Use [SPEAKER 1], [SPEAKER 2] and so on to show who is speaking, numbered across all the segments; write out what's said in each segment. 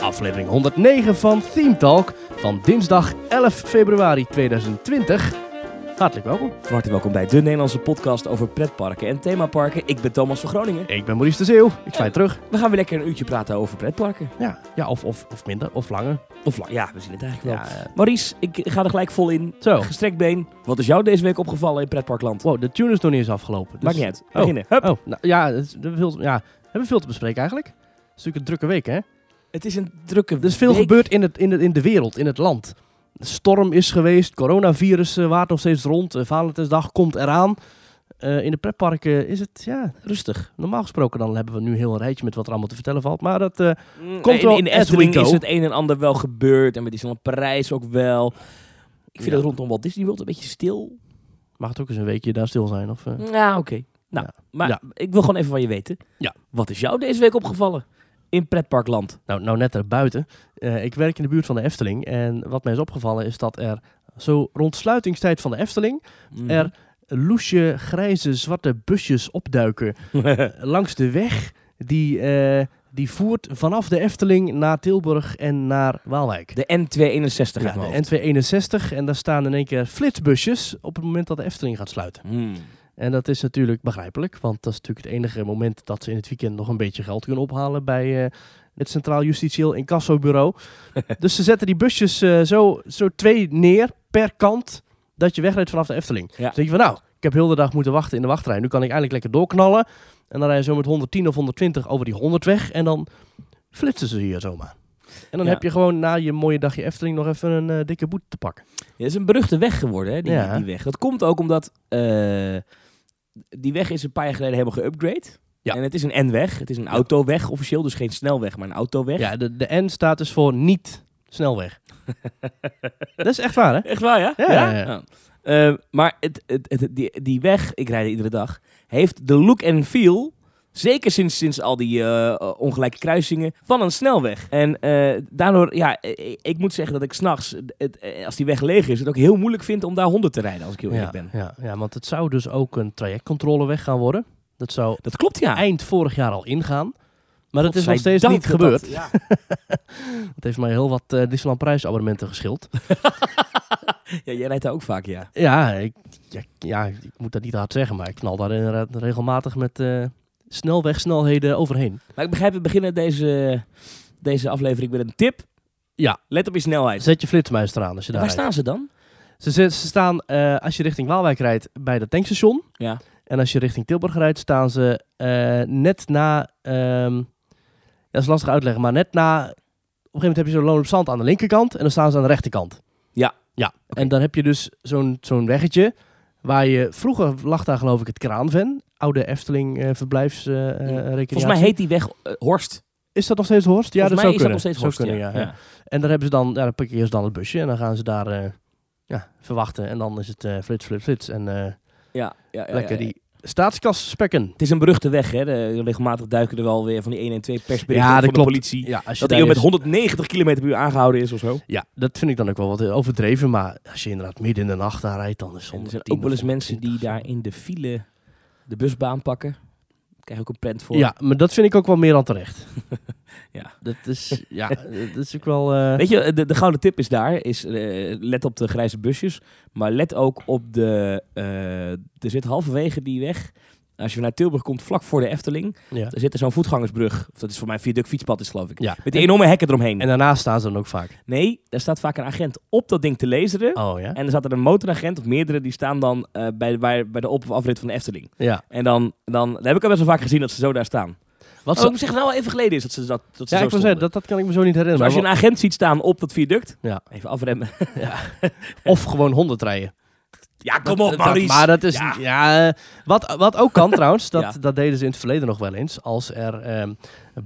[SPEAKER 1] aflevering 109 van Theme Talk van dinsdag 11 februari 2020. Hartelijk welkom.
[SPEAKER 2] Van harte welkom bij de Nederlandse podcast over pretparken en themaparken. Ik ben Thomas van Groningen.
[SPEAKER 1] Ik ben Maurice de Zeeuw. Ik zwaai terug.
[SPEAKER 2] We gaan weer lekker een uurtje praten over pretparken.
[SPEAKER 1] Ja, ja of, of, of minder, of langer.
[SPEAKER 2] Of lang, ja, we zien het eigenlijk wel.
[SPEAKER 1] Ja, eh,
[SPEAKER 2] Maurice, ik ga er gelijk vol in.
[SPEAKER 1] zo.
[SPEAKER 2] Gestrekt been. Wat is jou deze week opgevallen in pretparkland?
[SPEAKER 1] Wow, de tune is nog niet eens afgelopen. Dus...
[SPEAKER 2] Maakt niet uit. Beginnen. Hup.
[SPEAKER 1] Oh, nou, ja, het is- we hebben veel, ja, we hebben veel te bespreken eigenlijk. Het is natuurlijk een drukke week, hè?
[SPEAKER 2] Het is een drukke
[SPEAKER 1] Er is veel
[SPEAKER 2] week.
[SPEAKER 1] gebeurd in, het, in, het, in de wereld, in het land. De storm is geweest, coronavirus eh, waart nog steeds rond, eh, Valentijnsdag komt eraan. Eh, in de pretparken is het ja, rustig. Normaal gesproken dan hebben we nu een heel rijtje met wat er allemaal te vertellen valt. Maar dat, eh,
[SPEAKER 2] Mm,
[SPEAKER 1] Komt
[SPEAKER 2] in,
[SPEAKER 1] wel
[SPEAKER 2] in de
[SPEAKER 1] as we
[SPEAKER 2] Efteling
[SPEAKER 1] go.
[SPEAKER 2] is het een en ander wel gebeurd. En met Disneyland Parijs ook wel. Ik vind
[SPEAKER 1] Ja.
[SPEAKER 2] het rondom Walt Disney World een beetje stil.
[SPEAKER 1] mag het ook eens een weekje daar stil zijn. Of, eh,
[SPEAKER 2] Ja, oké. Nou, maar
[SPEAKER 1] Ja.
[SPEAKER 2] ik wil gewoon even van je weten.
[SPEAKER 1] Ja.
[SPEAKER 2] Wat is jou deze week opgevallen in pretparkland?
[SPEAKER 1] nou, nou, net erbuiten. Eh ik werk in de buurt van de Efteling. En wat mij is opgevallen is dat er zo rond sluitingstijd van de Efteling...
[SPEAKER 2] Mhm.
[SPEAKER 1] er loesje, grijze, zwarte busjes opduiken langs de weg die, eh, die voert vanaf de Efteling naar Tilburg en naar Waalwijk.
[SPEAKER 2] De N261
[SPEAKER 1] ja,
[SPEAKER 2] uit mijn
[SPEAKER 1] de
[SPEAKER 2] hoofd.
[SPEAKER 1] N261 en daar staan in één keer flitsbusjes op het moment dat de Efteling gaat sluiten.
[SPEAKER 2] Hmm.
[SPEAKER 1] En dat is natuurlijk begrijpelijk, want dat is natuurlijk het enige moment dat ze in het weekend nog een beetje geld kunnen ophalen bij eh, het Centraal Justitieel Incassobureau. dus ze zetten die busjes eh, zo, zo twee neer per kant dat je wegrijdt vanaf de Efteling.
[SPEAKER 2] Ja.
[SPEAKER 1] Dus denk je van nou, ik heb heel de dag moeten wachten in de wachtrij, nu kan ik eindelijk lekker doorknallen. En dan rij je zo met 110 of 120 over die 100 weg en dan flitsen ze hier zomaar. En dan
[SPEAKER 2] Ja.
[SPEAKER 1] heb je gewoon na je mooie dagje Efteling nog even een eh, dikke boete te pakken.
[SPEAKER 2] Ja, het is een beruchte weg geworden, hè, die,
[SPEAKER 1] Ja.
[SPEAKER 2] die weg. Dat komt ook omdat eh, die weg is een paar jaar geleden helemaal geüpgrade.
[SPEAKER 1] Ja.
[SPEAKER 2] En het is een N-weg. Het is een autoweg officieel, dus geen snelweg, maar een autoweg.
[SPEAKER 1] Ja, de, de N staat dus voor niet snelweg. dat is echt waar, hè?
[SPEAKER 2] Echt waar, ja?
[SPEAKER 1] Ja, ja, ja.
[SPEAKER 2] Nou, eh, maar het, het, het- die, die weg, ik rijd er iedere dag, heeft de look en feel, zeker sinds, sinds al die eh, ongelijke kruisingen, van een snelweg. En eh, daardoor, ja, eh, ik, moet zeggen dat ik s'nachts, eh, als die weg leeg is, het ook heel moeilijk vind om daar 100 te rijden, als ik heel
[SPEAKER 1] ja,
[SPEAKER 2] eerlijk ben.
[SPEAKER 1] Ja, ja, want het zou dus ook een trajectcontroleweg gaan worden. Dat zou
[SPEAKER 2] Dat klopt, ja.
[SPEAKER 1] eind vorig jaar al ingaan. Maar dat is nog steeds
[SPEAKER 2] Nou. Godzijdank
[SPEAKER 1] niet gebeurd.
[SPEAKER 2] dat
[SPEAKER 1] Dat,
[SPEAKER 2] dat- ja.
[SPEAKER 1] heeft mij heel wat eh Disneyland Prijs abonnementen geschild.
[SPEAKER 2] Ja, jij rijdt daar ook vaak, ja.
[SPEAKER 1] ja, ik, ja, ja, ik moet dat niet hard zeggen, maar ik knal daar inderdaad regelmatig met eh, snelwegsnelheden overheen.
[SPEAKER 2] Maar ik begrijp, we beginnen deze, deze aflevering met een tip.
[SPEAKER 1] Ja.
[SPEAKER 2] Let op je snelheid.
[SPEAKER 1] Zet je flitsmuister aan als je daar
[SPEAKER 2] Waar
[SPEAKER 1] rijdt.
[SPEAKER 2] staan ze dan?
[SPEAKER 1] Ze, ze, ze staan, eh, als je richting Waalwijk rijdt, bij dat tankstation.
[SPEAKER 2] Ja.
[SPEAKER 1] En als je richting Tilburg rijdt, staan ze eh, net na... ehm, dat is lastig uitleggen, maar net na... Op een gegeven moment heb je zo'n loon op zand aan de linkerkant en dan staan ze aan de rechterkant.
[SPEAKER 2] Ja.
[SPEAKER 1] Ja, en dan heb je dus zo'n zo'n weggetje waar je... Vroeger lag daar geloof ik het Kraanven, oude Efteling eh verblijfsrecreatie.
[SPEAKER 2] Volgens mij heet die weg eh, Horst.
[SPEAKER 1] Is dat nog steeds Horst? Ja,
[SPEAKER 2] Volgens
[SPEAKER 1] dat
[SPEAKER 2] mij
[SPEAKER 1] zou kunnen.
[SPEAKER 2] is dat nog steeds Horst,
[SPEAKER 1] Zou kunnen,
[SPEAKER 2] ja.
[SPEAKER 1] ja, ja. En daar hebben ze dan, ja, dan parkeren ze dan het busje en dan gaan ze daar eh, ja, verwachten. En dan is het eh, flits, flits, flits. En eh,
[SPEAKER 2] Ja, ja, ja,
[SPEAKER 1] lekker
[SPEAKER 2] ja, ja.
[SPEAKER 1] die staatskas spekken.
[SPEAKER 2] Het is een beruchte weg, hè. De- regelmatig duiken er wel weer van die 1 en 2 persberichten
[SPEAKER 1] Ja,
[SPEAKER 2] van
[SPEAKER 1] dat
[SPEAKER 2] de
[SPEAKER 1] klopt.
[SPEAKER 2] politie.
[SPEAKER 1] Ja, als je
[SPEAKER 2] Dat
[SPEAKER 1] daar
[SPEAKER 2] iemand met
[SPEAKER 1] eens-
[SPEAKER 2] 190 km per uur aangehouden is of zo.
[SPEAKER 1] ja, dat vind ik dan ook wel wat overdreven. Maar als je inderdaad midden in de nacht daar rijdt, dan is het
[SPEAKER 2] En er
[SPEAKER 1] 110
[SPEAKER 2] zijn ook wel eens
[SPEAKER 1] of
[SPEAKER 2] mensen die
[SPEAKER 1] 120.
[SPEAKER 2] daar in de file de busbaan pakken. Daar krijg je ook een prent voor.
[SPEAKER 1] Ja, maar dat vind ik ook wel meer dan terecht.
[SPEAKER 2] Ja.
[SPEAKER 1] Dat is, ja, dat is ook wel... eh,
[SPEAKER 2] Weet je, de, de gouden tip is daar, is eh, let op de grijze busjes, maar let ook op de, eh, er zit halverwege die weg, als je naar Tilburg komt, vlak voor de Efteling,
[SPEAKER 1] ja.
[SPEAKER 2] er zit er zo'n voetgangersbrug, of dat is voor mij een viaduct fietspad is geloof ik,
[SPEAKER 1] Ja.
[SPEAKER 2] met die enorme hekken eromheen.
[SPEAKER 1] En daarnaast staan ze dan ook vaak.
[SPEAKER 2] Nee, daar staat vaak een agent op dat ding te laseren.
[SPEAKER 1] Oh ja?
[SPEAKER 2] En er zat er een motoragent of meerdere, die staan dan eh, bij, bij, bij de op- of afrit van de Efteling.
[SPEAKER 1] Ja.
[SPEAKER 2] En dan, dan dat heb ik al best wel vaak gezien dat ze zo daar staan.
[SPEAKER 1] Wat
[SPEAKER 2] Wat
[SPEAKER 1] ze-
[SPEAKER 2] zou ik zeggen, nou wel even geleden is dat ze dat, dat ze
[SPEAKER 1] Oh. ja,
[SPEAKER 2] zo
[SPEAKER 1] ik wil
[SPEAKER 2] stonden.
[SPEAKER 1] zeggen, dat, dat kan ik me zo niet
[SPEAKER 2] Dus
[SPEAKER 1] herinneren.
[SPEAKER 2] als je een agent ziet staan op dat viaduct,
[SPEAKER 1] Ja.
[SPEAKER 2] even afremmen.
[SPEAKER 1] Of gewoon honderd rijden.
[SPEAKER 2] Ja, kom
[SPEAKER 1] Dat-
[SPEAKER 2] op,
[SPEAKER 1] dat-
[SPEAKER 2] Maurice.
[SPEAKER 1] maar dat is...
[SPEAKER 2] Ja.
[SPEAKER 1] Ja. eh, wat, wat ook kan trouwens, dat,
[SPEAKER 2] Ja.
[SPEAKER 1] dat deden ze in het verleden nog wel eens. Als er ehm,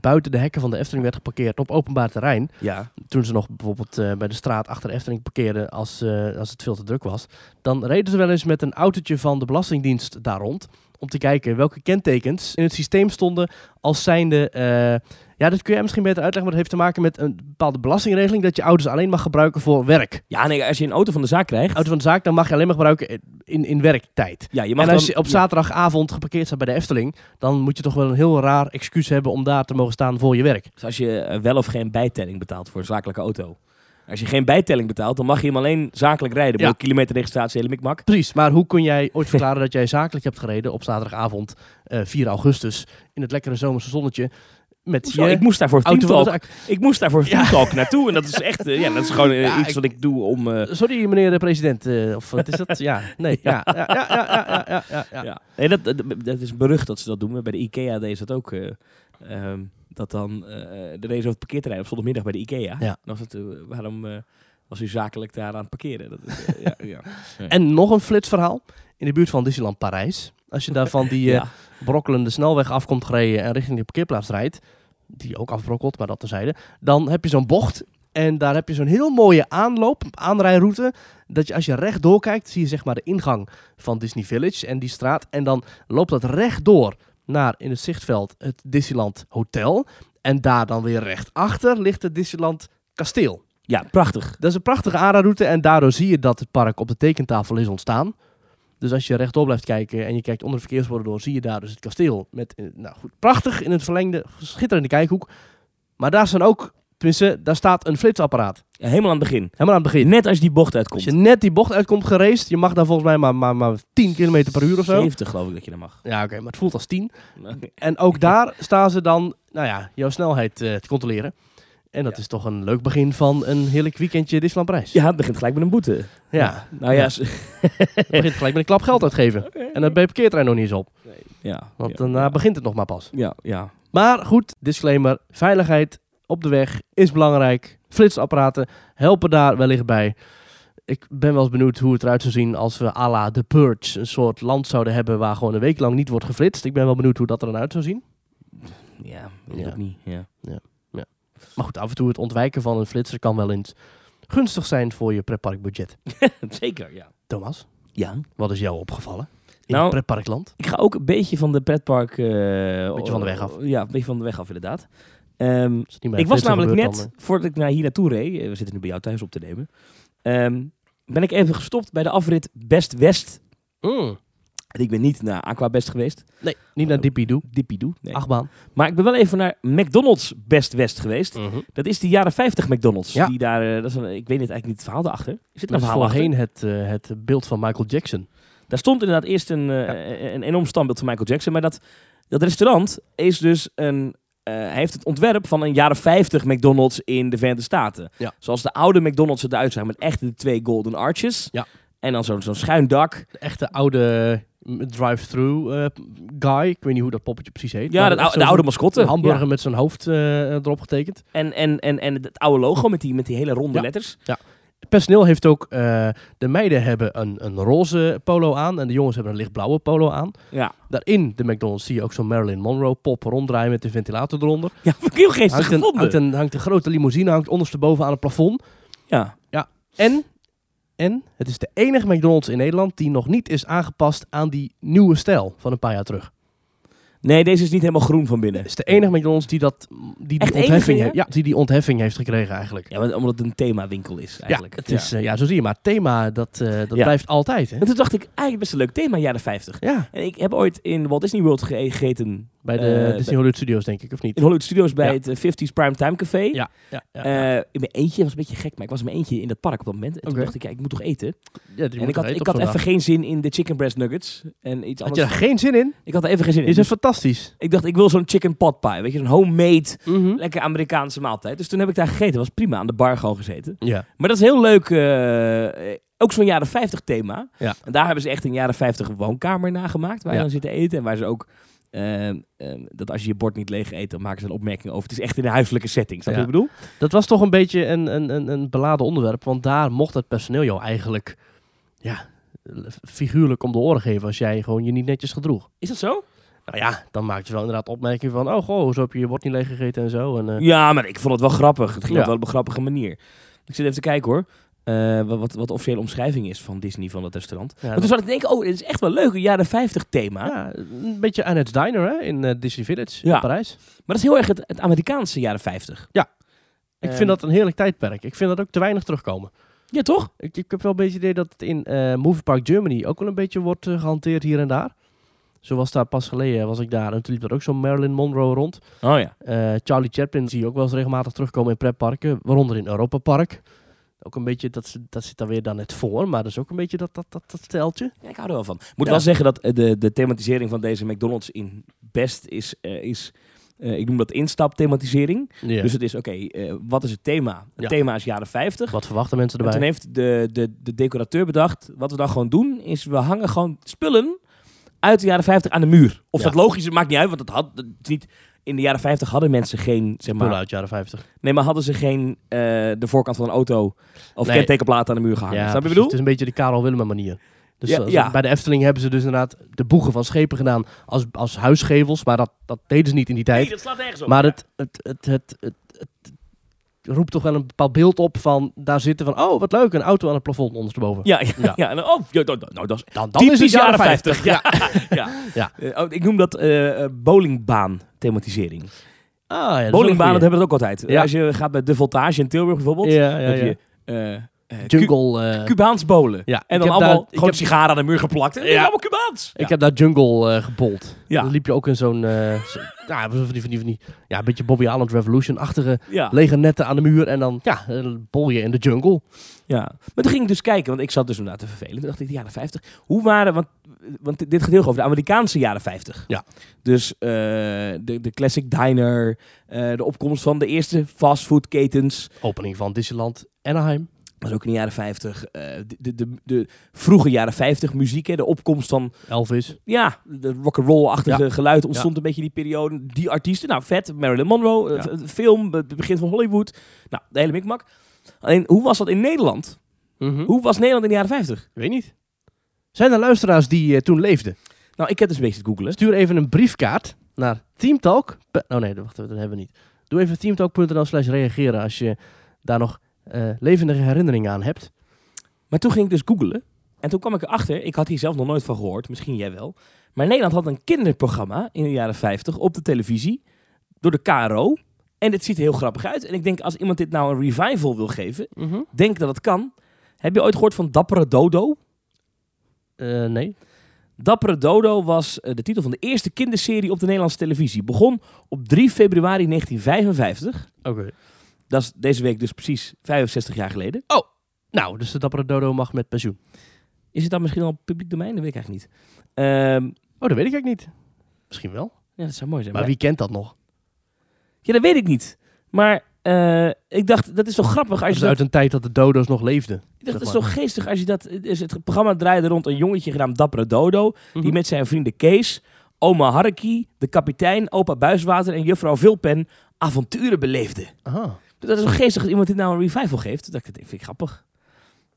[SPEAKER 1] buiten de hekken van de Efteling werd geparkeerd op openbaar terrein.
[SPEAKER 2] Ja.
[SPEAKER 1] Toen ze nog bijvoorbeeld eh, bij de straat achter de Efteling parkeerden als, eh, als het veel te druk was. Dan reden ze wel eens met een autootje van de Belastingdienst daar rond. Om te kijken welke kentekens in het systeem stonden als zijnde... eh, ja, dat kun jij misschien beter uitleggen, maar dat heeft te maken met een bepaalde belastingregeling. Dat je auto's alleen mag gebruiken voor werk.
[SPEAKER 2] ja, nee, als je een auto van de zaak krijgt,
[SPEAKER 1] Auto van de zaak, dan mag je alleen maar gebruiken eh, in, in werktijd.
[SPEAKER 2] Ja, je mag
[SPEAKER 1] En als
[SPEAKER 2] dan-
[SPEAKER 1] je op
[SPEAKER 2] ja.
[SPEAKER 1] zaterdagavond geparkeerd staat bij de Efteling, dan moet je toch wel een heel raar excuus hebben om daar te mogen staan voor je werk.
[SPEAKER 2] Dus als je eh, wel of geen bijtelling betaalt voor een zakelijke auto. Als je geen bijtelling betaalt, dan mag je hem alleen zakelijk rijden.
[SPEAKER 1] Ja.
[SPEAKER 2] Ja. Kilometerregistratie, hele mikmak.
[SPEAKER 1] Precies, maar hoe kun jij ooit verklaren dat jij zakelijk hebt gereden op zaterdagavond eh, 4 augustus in het lekkere zomerse zonnetje met
[SPEAKER 2] Hoezo?
[SPEAKER 1] je
[SPEAKER 2] ik moest daarvoor
[SPEAKER 1] auto van de
[SPEAKER 2] Teamtalk.
[SPEAKER 1] zaak?
[SPEAKER 2] Ik moest daarvoor
[SPEAKER 1] Ja.
[SPEAKER 2] Teamtalk naartoe. En dat is echt, eh, ja, dat is gewoon eh,
[SPEAKER 1] Ja,
[SPEAKER 2] iets
[SPEAKER 1] ik-
[SPEAKER 2] wat ik doe om... eh,
[SPEAKER 1] Sorry meneer de president, eh, of wat is dat? Ja, nee, ja, ja, ja, ja, ja, ja, ja, ja, ja.
[SPEAKER 2] ja. Nee, dat, dat, dat is berucht dat ze dat doen. Bij de IKEA deed ze dat ook. eh, ehm, dat dan eh de race over het parkeerterrein op zondagmiddag bij de IKEA.
[SPEAKER 1] Ja.
[SPEAKER 2] Dan was het, eh, waarom eh, was u zakelijk daar aan het parkeren? Dat is, eh, ja, ja.
[SPEAKER 1] En nog een flitsverhaal in de buurt van Disneyland Parijs. Als je daar van die eh,
[SPEAKER 2] Ja.
[SPEAKER 1] brokkelende snelweg afkomt gereden en richting de parkeerplaats rijdt, die ook afbrokkelt, maar dat terzijde, dan heb je zo'n bocht en daar heb je zo'n heel mooie aanloop, aanrijroute, dat je als je rechtdoor kijkt, zie je zeg maar de ingang van Disney Village en die straat en dan loopt dat rechtdoor naar in het zichtveld het Disneyland Hotel en daar dan weer rechtsachter ligt het Disneyland Kasteel.
[SPEAKER 2] ja, prachtig.
[SPEAKER 1] Dat is een prachtige aanraadroute en daardoor zie je dat het park op de tekentafel is ontstaan. Dus als je rechtdoor blijft kijken en je kijkt onder de verkeersborden door, zie je daar dus het kasteel. Met, eh, nou goed, prachtig in het verlengde, schitterende kijkhoek. Maar daar staan ook, tenminste, daar staat een flitsapparaat.
[SPEAKER 2] Ja, helemaal aan het begin.
[SPEAKER 1] Helemaal aan het begin.
[SPEAKER 2] Net als je die bocht uitkomt.
[SPEAKER 1] Als je net die bocht uitkomt gereest, je mag daar volgens mij maar, maar, maar 10 km per uur of zo.
[SPEAKER 2] 70 geloof ik dat je dan mag.
[SPEAKER 1] Ja, oké, maar het voelt als 10. En ook daar staan ze dan, nou ja, jouw snelheid eh, te controleren. En dat
[SPEAKER 2] Ja.
[SPEAKER 1] is toch een leuk begin van een heerlijk weekendje Disneyland Prijs.
[SPEAKER 2] Ja, het begint gelijk met een boete.
[SPEAKER 1] ja.
[SPEAKER 2] Nou ja,
[SPEAKER 1] Ja.
[SPEAKER 2] s-
[SPEAKER 1] Het begint gelijk met een klap geld uitgeven. En dat bij parkeertrein nog niet eens op.
[SPEAKER 2] ja.
[SPEAKER 1] Want
[SPEAKER 2] ja,
[SPEAKER 1] daarna
[SPEAKER 2] ja.
[SPEAKER 1] begint het nog maar pas.
[SPEAKER 2] Ja, ja.
[SPEAKER 1] Maar goed, disclaimer. Veiligheid op de weg is belangrijk. Flitsapparaten helpen daar wellicht bij. Ik ben wel eens benieuwd hoe het eruit zou zien als we à la The Purge een soort land zouden hebben waar gewoon een week lang niet wordt geflitst. Ik ben wel benieuwd hoe dat er dan uit zou zien.
[SPEAKER 2] Ja, weet
[SPEAKER 1] Ja.
[SPEAKER 2] ik ook niet. Ja.
[SPEAKER 1] Maar goed, af en toe het ontwijken van een flitser kan wel eens gunstig zijn voor je pretparkbudget.
[SPEAKER 2] Zeker, ja.
[SPEAKER 1] Thomas,
[SPEAKER 2] Ja.
[SPEAKER 1] wat is jou opgevallen in
[SPEAKER 2] Nou,
[SPEAKER 1] het pretparkland?
[SPEAKER 2] Ik ga ook een beetje van de pretpark... eh,
[SPEAKER 1] Beetje van de weg af.
[SPEAKER 2] Ja, een beetje van de weg af inderdaad. Ehm,
[SPEAKER 1] Is het niet bij
[SPEAKER 2] ik was
[SPEAKER 1] flitsen
[SPEAKER 2] namelijk
[SPEAKER 1] gebeurd
[SPEAKER 2] net,
[SPEAKER 1] dan,
[SPEAKER 2] voordat ik naar hier naartoe reed... eh, We zitten nu bij jou thuis op te nemen. ehm, ben ik even gestopt bij de afrit Best West.
[SPEAKER 1] eh? Mm.
[SPEAKER 2] En ik ben niet naar Aqua Best geweest.
[SPEAKER 1] Nee, niet naar Dippy Doe.
[SPEAKER 2] Dippiedoe. Nee.
[SPEAKER 1] Achtbaan.
[SPEAKER 2] Maar ik ben wel even naar McDonald's Best West geweest. Dat is die jaren 50 McDonald's.
[SPEAKER 1] Ja.
[SPEAKER 2] Die daar, eh, dat is een, ik weet niet eigenlijk niet het verhaal daarachter. Zit er
[SPEAKER 1] Dat
[SPEAKER 2] een
[SPEAKER 1] is
[SPEAKER 2] verhaal achter?
[SPEAKER 1] voorheen het, eh, het beeld van Michael Jackson.
[SPEAKER 2] Daar stond inderdaad eerst een, eh, een enorm standbeeld van Michael Jackson. Maar dat, dat restaurant is dus een. eh, hij heeft het ontwerp van een jaren 50 McDonald's in de Verenigde Staten.
[SPEAKER 1] Ja.
[SPEAKER 2] Zoals de oude McDonald's eruit zagen met echt de twee golden arches.
[SPEAKER 1] Ja.
[SPEAKER 2] En dan zo'n zo'n schuin dak.
[SPEAKER 1] De echte oude mm, drive-through eh, guy. Ik weet niet hoe dat poppetje precies heet.
[SPEAKER 2] Ja,
[SPEAKER 1] maar
[SPEAKER 2] dat,
[SPEAKER 1] echt
[SPEAKER 2] ou-
[SPEAKER 1] zo'n-
[SPEAKER 2] de oude
[SPEAKER 1] zo'n
[SPEAKER 2] mascotte.
[SPEAKER 1] hamburger
[SPEAKER 2] Ja.
[SPEAKER 1] met zijn hoofd eh, erop getekend.
[SPEAKER 2] En, en, en, en het oude logo met die, met die hele ronde
[SPEAKER 1] Ja.
[SPEAKER 2] letters.
[SPEAKER 1] Het personeel heeft ook... eh, de meiden hebben een, een roze polo aan. En de jongens hebben een lichtblauwe polo aan.
[SPEAKER 2] Ja,
[SPEAKER 1] Daarin de McDonald's zie je ook zo'n Marilyn Monroe pop ronddraaien met de ventilator eronder.
[SPEAKER 2] ja vind ik heel geestig
[SPEAKER 1] Hangt een,
[SPEAKER 2] gevonden.
[SPEAKER 1] hangt, een, hangt een grote limousine, hangt ondersteboven aan het plafond.
[SPEAKER 2] Ja.
[SPEAKER 1] En, en het is de enige McDonald's in Nederland die nog niet is aangepast aan die nieuwe stijl van een paar jaar terug.
[SPEAKER 2] Nee, deze is niet helemaal groen van binnen.
[SPEAKER 1] Het is de enige McDonald's die dat, die, die,
[SPEAKER 2] Echt enige,
[SPEAKER 1] ontheffing,
[SPEAKER 2] ja?
[SPEAKER 1] heeft, ja, die die ontheffing heeft gekregen eigenlijk.
[SPEAKER 2] Ja, want- omdat het een themawinkel is eigenlijk.
[SPEAKER 1] Ja, het is, eh, ja, zo zie je. Maar het thema, dat, eh, dat
[SPEAKER 2] Ja.
[SPEAKER 1] blijft altijd. Hè?
[SPEAKER 2] En toen dacht ik, eigenlijk best een leuk thema, jaren 50.
[SPEAKER 1] Ja,
[SPEAKER 2] En ik heb ooit in Walt Disney World ge- gegeten.
[SPEAKER 1] bij de
[SPEAKER 2] Eh,
[SPEAKER 1] Disney
[SPEAKER 2] bij-
[SPEAKER 1] Hollywood Studios denk ik, of niet?
[SPEAKER 2] In Hollywood Studios bij
[SPEAKER 1] Ja.
[SPEAKER 2] het eh, 50s Primetime Café.
[SPEAKER 1] Ja, ja, ja.
[SPEAKER 2] Eh, in mijn eentje, was een beetje gek, maar ik was in mijn eentje in dat park op dat moment. En toen
[SPEAKER 1] Oké.
[SPEAKER 2] dacht ik, ja, ik moet toch eten.
[SPEAKER 1] Ja, die
[SPEAKER 2] en
[SPEAKER 1] moet
[SPEAKER 2] ik had,
[SPEAKER 1] er eten
[SPEAKER 2] ik
[SPEAKER 1] op
[SPEAKER 2] had
[SPEAKER 1] zo'n
[SPEAKER 2] even
[SPEAKER 1] dag.
[SPEAKER 2] geen zin in de chicken breast nuggets. En iets
[SPEAKER 1] Had je
[SPEAKER 2] anders.
[SPEAKER 1] daar geen zin in?
[SPEAKER 2] Ik had er even geen zin in.
[SPEAKER 1] Is het
[SPEAKER 2] Dus
[SPEAKER 1] fantastisch?
[SPEAKER 2] ik dacht, ik wil zo'n chicken pot pie. Weet je, zo'n homemade,
[SPEAKER 1] Mhm.
[SPEAKER 2] lekker Amerikaanse maaltijd. Dus toen heb ik daar gegeten. was prima, aan de bar gewoon gezeten.
[SPEAKER 1] Ja.
[SPEAKER 2] Maar dat is heel leuk. eh, eh, ook zo'n jaren 50 thema.
[SPEAKER 1] Ja.
[SPEAKER 2] En daar hebben ze echt een jaren 50 woonkamer nagemaakt. Waar
[SPEAKER 1] Ja.
[SPEAKER 2] je dan zit te eten. En waar ze ook... eh, eh, dat als je je bord niet leeg eet, dan maken ze een opmerking over. Het is echt in een huiselijke setting. Snap je
[SPEAKER 1] Ja.
[SPEAKER 2] wat ik bedoel?
[SPEAKER 1] Dat was toch een beetje een, een, een, een beladen onderwerp. Want daar mocht het personeel jou eigenlijk ja, figuurlijk om de oren geven als jij gewoon je niet netjes gedroeg.
[SPEAKER 2] Is dat zo?
[SPEAKER 1] Nou ja, dan maakte ze wel inderdaad opmerkingen van... oh, goh, zo heb je je bord niet leeggegeten en zo. En, eh,
[SPEAKER 2] Ja, maar ik vond het wel grappig. Het ging
[SPEAKER 1] Ja.
[SPEAKER 2] wel op een grappige manier. Ik zit even te kijken hoor. eh, wat- wat, wat de officiële omschrijving is van Disney van dat restaurant.
[SPEAKER 1] ja,
[SPEAKER 2] Maar toen zat ik te denken, oh, dit is echt wel leuk, een jaren 50 thema.
[SPEAKER 1] dat- ja, een beetje aan het diner hè, in eh, Disney Village
[SPEAKER 2] Ja.
[SPEAKER 1] in Parijs.
[SPEAKER 2] Maar dat is heel erg het, het Amerikaanse jaren 50.
[SPEAKER 1] Ja. Ik
[SPEAKER 2] Ehm,
[SPEAKER 1] vind dat een heerlijk tijdperk. Ik vind dat ook te weinig terugkomen.
[SPEAKER 2] Ja, toch?
[SPEAKER 1] Ik, ik heb wel een beetje het idee dat het in eh Movie Park Germany ook wel een beetje wordt eh, gehanteerd hier en daar. Zo was daar pas geleden, was ik daar en toen liep er ook zo'n Marilyn Monroe rond.
[SPEAKER 2] Oh ja.
[SPEAKER 1] Eh, Charlie Chaplin zie je ook wel eens regelmatig terugkomen in pretparken, waaronder in Europa Park. Ook een beetje, dat, ze- dat zit dan weer dan net voor, maar dat is ook een beetje dat, dat, dat, dat steltje.
[SPEAKER 2] Ja, ik hou er wel van. Moet
[SPEAKER 1] Ja.
[SPEAKER 2] wel zeggen dat eh, de, de thematisering van deze McDonald's in best is, eh, is eh, ik noem dat instapthematisering. Dus
[SPEAKER 1] Dus
[SPEAKER 2] het is, oké, eh, wat is het thema? Het
[SPEAKER 1] Ja.
[SPEAKER 2] thema is jaren 50.
[SPEAKER 1] wat verwachten mensen
[SPEAKER 2] En
[SPEAKER 1] erbij?
[SPEAKER 2] toen heeft de, de, de decorateur bedacht, wat we dan gewoon doen, is we hangen gewoon spullen uit de jaren 50 aan de muur. Of
[SPEAKER 1] Ja.
[SPEAKER 2] dat logisch is, maakt niet uit, want dat had dat is niet... In de jaren 50 hadden mensen geen, zeg
[SPEAKER 1] Spullen
[SPEAKER 2] maar...
[SPEAKER 1] uit jaren 50.
[SPEAKER 2] Nee, maar hadden ze geen eh, de voorkant van een auto of
[SPEAKER 1] Nee.
[SPEAKER 2] kentekenplaat aan de muur gehangen. Ah, Snap je wat ik
[SPEAKER 1] precies.
[SPEAKER 2] bedoel?
[SPEAKER 1] Het is een beetje de Karel Willem manier. Dus
[SPEAKER 2] Ja,
[SPEAKER 1] als-
[SPEAKER 2] ja.
[SPEAKER 1] bij de Efteling hebben ze dus inderdaad de boegen van schepen gedaan als, als huisgevels, maar dat, dat deden ze niet in die tijd.
[SPEAKER 2] Nee, dat slaat nergens
[SPEAKER 1] Dus-
[SPEAKER 2] op.
[SPEAKER 1] Maar het, het, het, het, het, het roept toch wel een bepaald beeld op van daar zitten van, oh wat leuk, een auto aan het plafond ondersteboven.
[SPEAKER 2] Ja, ja, ja.
[SPEAKER 1] Ja.
[SPEAKER 2] en dan- oh, ja, nou, nou, dat is
[SPEAKER 1] Dan, dan
[SPEAKER 2] typisch
[SPEAKER 1] is het jaren 50.
[SPEAKER 2] 50. Ja.
[SPEAKER 1] Ja.
[SPEAKER 2] ja. Eh, oh, ik noem dat eh, eh, bowlingbaan-thematisering.
[SPEAKER 1] Ah, ja, dat is wel een
[SPEAKER 2] Bowlingbanen dat
[SPEAKER 1] goeie.
[SPEAKER 2] hebben we dat ook altijd.
[SPEAKER 1] Ja.
[SPEAKER 2] Als je gaat bij De Voltage in Tilburg bijvoorbeeld,
[SPEAKER 1] Ja, ja,
[SPEAKER 2] heb
[SPEAKER 1] ja.
[SPEAKER 2] je eh eh, Cu-
[SPEAKER 1] Jungle. eh,
[SPEAKER 2] Cubaans bowlen.
[SPEAKER 1] ja,
[SPEAKER 2] En
[SPEAKER 1] ik
[SPEAKER 2] dan
[SPEAKER 1] heb
[SPEAKER 2] allemaal
[SPEAKER 1] daar- ik
[SPEAKER 2] gewoon
[SPEAKER 1] heb,
[SPEAKER 2] sigaren aan de muur geplakt. En
[SPEAKER 1] Ja.
[SPEAKER 2] ja. allemaal Cubaans.
[SPEAKER 1] ik heb daar Jungle eh gebold.
[SPEAKER 2] Ja.
[SPEAKER 1] Dan liep je ook in zo'n, eh, zo- ja, van die, van die, van die, ja, een beetje Bobby Island Revolution-achtige
[SPEAKER 2] ja. Ja.
[SPEAKER 1] legernetten aan de muur en dan, ja, eh, bol je in de jungle.
[SPEAKER 2] ja. Maar toen ging ik dus kijken, want ik zat dus inderdaad te vervelen. Toen dacht ik, de jaren 50. Hoe waren, want, want dit gaat heel erg over de Amerikaanse jaren 50.
[SPEAKER 1] Ja.
[SPEAKER 2] Dus eh, de, de classic diner, eh, de opkomst van de eerste fastfoodketens.
[SPEAKER 1] Opening van Disneyland Anaheim.
[SPEAKER 2] Dat is ook in de jaren 50. eh, de, de, de, de vroege jaren 50 muziek, hè, de opkomst van
[SPEAKER 1] Elvis.
[SPEAKER 2] ja, de rock'n'roll-achtige geluid ontstond
[SPEAKER 1] Ja.
[SPEAKER 2] een beetje die periode. Die artiesten, nou vet, Marilyn Monroe, eh,
[SPEAKER 1] Ja.
[SPEAKER 2] v- film, het begin van Hollywood. Nou, de hele mikmak. Alleen, hoe was dat in Nederland?
[SPEAKER 1] Mhm.
[SPEAKER 2] Hoe was Nederland in de jaren 50?
[SPEAKER 1] Weet niet. Zijn er luisteraars die eh, toen leefden?
[SPEAKER 2] Nou, ik heb dus een beetje te googelen.
[SPEAKER 1] Stuur even een briefkaart naar Teamtalk. Oh nee, wacht, dat hebben we niet. Doe even teamtalk.nl slash reageren als je daar nog eh, levendige herinneringen aan hebt.
[SPEAKER 2] Maar toen ging ik dus googelen. En toen kwam ik erachter, ik had hier zelf nog nooit van gehoord, misschien jij wel. Maar Nederland had een kinderprogramma in de jaren 50 op de televisie door de KRO. En het ziet er heel grappig uit. En ik denk, als iemand dit nou een revival wil geven, denk dat het kan. Heb je ooit gehoord van Dappere Dodo?
[SPEAKER 1] Eh, nee.
[SPEAKER 2] Dappere Dodo was eh, de titel van de eerste kinderserie op de Nederlandse televisie. Begon op 3 februari 1955.
[SPEAKER 1] Oké.
[SPEAKER 2] Dat is deze week dus precies 65 jaar geleden.
[SPEAKER 1] Nou, dus de dappere dodo mag met pensioen.
[SPEAKER 2] Is het dan misschien al publiek domein? Dat weet ik eigenlijk niet. Ehm,
[SPEAKER 1] Oh, dat weet ik eigenlijk niet. Misschien wel.
[SPEAKER 2] ja, dat zou mooi zijn.
[SPEAKER 1] Maar wie kent dat nog?
[SPEAKER 2] Ja, dat weet ik niet. Maar eh, ik dacht, dat is toch grappig
[SPEAKER 1] Dat
[SPEAKER 2] als
[SPEAKER 1] is
[SPEAKER 2] je dat...
[SPEAKER 1] uit een tijd dat de dodo's nog leefden.
[SPEAKER 2] Ik dacht, dat is
[SPEAKER 1] zeg
[SPEAKER 2] toch geestig als je dat... het is- Het programma draaide rond een jongetje genaamd Dappere Dodo... die
[SPEAKER 1] Mhm.
[SPEAKER 2] met zijn vrienden Kees, oma Harky, de kapitein, opa Buiswater... en juffrouw Vilpen avonturen beleefde. Dus
[SPEAKER 1] Aha.
[SPEAKER 2] Dat is toch geestig als iemand dit nou een revival geeft? Dat dacht ik, dat vind ik grappig.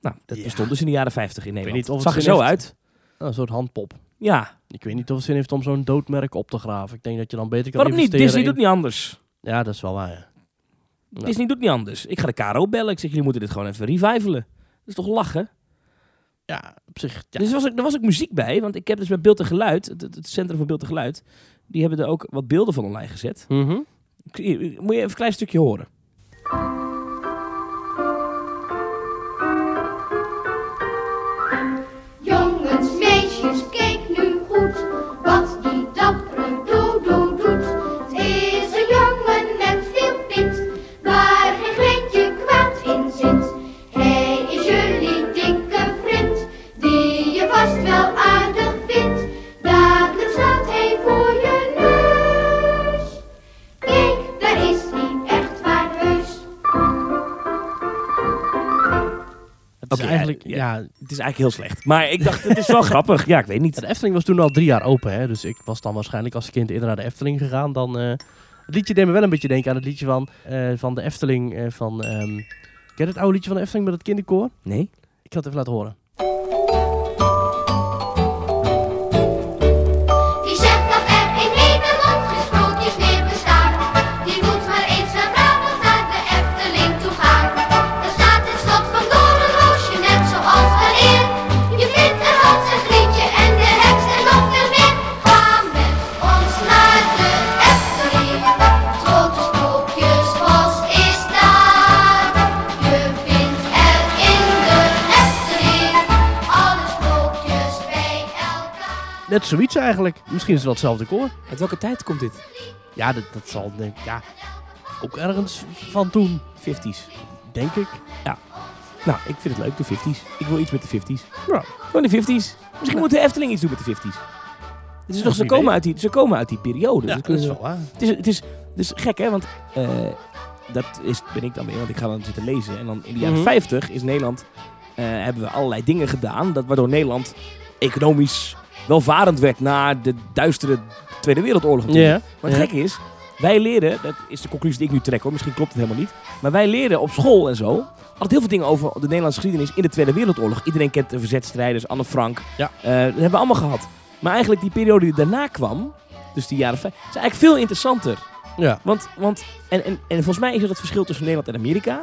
[SPEAKER 2] Nou, dat
[SPEAKER 1] Ja.
[SPEAKER 2] bestond dus in de jaren 50 in Nederland.
[SPEAKER 1] niet of het
[SPEAKER 2] Zag er
[SPEAKER 1] zin
[SPEAKER 2] zo
[SPEAKER 1] heeft.
[SPEAKER 2] uit.
[SPEAKER 1] Nou, een soort handpop.
[SPEAKER 2] Ja,
[SPEAKER 1] Ik weet niet of het zin heeft om zo'n doodmerk op te graven. Ik denk dat je dan beter kan
[SPEAKER 2] waarom niet?
[SPEAKER 1] investeren
[SPEAKER 2] Disney
[SPEAKER 1] in-
[SPEAKER 2] doet niet anders.
[SPEAKER 1] Ja, dat is wel waar. ja. Ja.
[SPEAKER 2] Disney doet niet anders. Ik ga de KRO bellen. Ik zeg, jullie moeten dit gewoon even revivalen. Dat is toch lachen?
[SPEAKER 1] Ja, op zich. Ja.
[SPEAKER 2] Dus er was, ook, er was ook muziek bij, want ik heb dus met Beeld en Geluid, het, het- het Centrum voor Beeld en Geluid, die hebben er ook wat beelden van online gezet.
[SPEAKER 1] Mhm.
[SPEAKER 2] Ik- hier, Moet je even een klein stukje horen.
[SPEAKER 3] Jongens, meisjes, kijk nu goed wat die dappere dodo doet. Het is een jongen met veel pit, waar geen greintje kwaad in zit. Hij is jullie dikke vriend, die je vast wel aardig vindt. Dadelijk staat hij voor je neus. Kijk, daar is hij echt waar heus.
[SPEAKER 1] Het is
[SPEAKER 2] Oké,
[SPEAKER 1] eigenlijk,
[SPEAKER 2] ja,
[SPEAKER 1] ja,
[SPEAKER 2] Het is eigenlijk heel slecht. Maar ik dacht, het is wel grappig. Ja, ik weet
[SPEAKER 1] Ja,
[SPEAKER 2] niet.
[SPEAKER 1] De Efteling was toen al drie jaar open, hè? dus ik was dan waarschijnlijk als kind eerder naar de Efteling gegaan dan... eh, Het liedje deed me wel een beetje denken aan het liedje van, eh, van de Efteling, eh, van... ehm Ken je het oude liedje van de Efteling met het kinderkoor?
[SPEAKER 2] Nee?
[SPEAKER 1] Ik ga het even laten horen.
[SPEAKER 3] Die zegt dat er in Nederland geen sprookjes meer bestaan. Die moet maar eens naar Brabant naar de Efteling toe gaan. Daar staat het slot van Doornroosje net zoals er eer. Je vindt er Hans en Grietje en de heks en nog veel meer. Ga met ons naar de Efteling. Het grote sprookjesbos is daar. Je vindt er in de
[SPEAKER 1] Net zoiets eigenlijk. Misschien is het wel hetzelfde koor.
[SPEAKER 2] Uit welke tijd komt dit?
[SPEAKER 1] Ja, dat, dat zal denk ik ja, ook ergens van toen,
[SPEAKER 2] 50s.
[SPEAKER 1] denk ik.
[SPEAKER 2] Nou, ik vind het leuk, de 50s. Ik wil iets met de 50s.
[SPEAKER 1] Ja.
[SPEAKER 2] Gewoon de 50s. Misschien moet de Efteling iets doen met de 50s. Het is
[SPEAKER 1] Ja,
[SPEAKER 2] toch, ze,
[SPEAKER 1] wie
[SPEAKER 2] komen
[SPEAKER 1] weet.
[SPEAKER 2] uit die, ze komen uit die periode.
[SPEAKER 1] Ja,
[SPEAKER 2] Dus
[SPEAKER 1] dat is
[SPEAKER 2] kunnen ze-
[SPEAKER 1] wel waar.
[SPEAKER 2] Het is, het is, het is gek, hè? Want eh, dat is, ben ik dan weer, want ik ga dan zitten lezen. En dan in de jaren
[SPEAKER 1] Mhm.
[SPEAKER 2] 50 is Nederland, eh, hebben we allerlei dingen gedaan. Dat, waardoor Nederland economisch welvarend werd na de duistere Tweede Wereldoorlog. natuurlijk.
[SPEAKER 1] Ja.
[SPEAKER 2] Maar het
[SPEAKER 1] ja.
[SPEAKER 2] gekke is, wij leren, dat is de conclusie die ik nu trek hoor, misschien klopt het helemaal niet. Maar wij leren op school en zo altijd heel veel dingen over de Nederlandse geschiedenis in de Tweede Wereldoorlog. Iedereen kent de verzetstrijders, Anne Frank.
[SPEAKER 1] Ja.
[SPEAKER 2] Eh, dat hebben we allemaal gehad. Maar eigenlijk die periode die daarna kwam, dus die jaren vijf, is eigenlijk veel interessanter.
[SPEAKER 1] Ja.
[SPEAKER 2] Want, want en, en, en volgens mij is dat het verschil tussen Nederland en Amerika.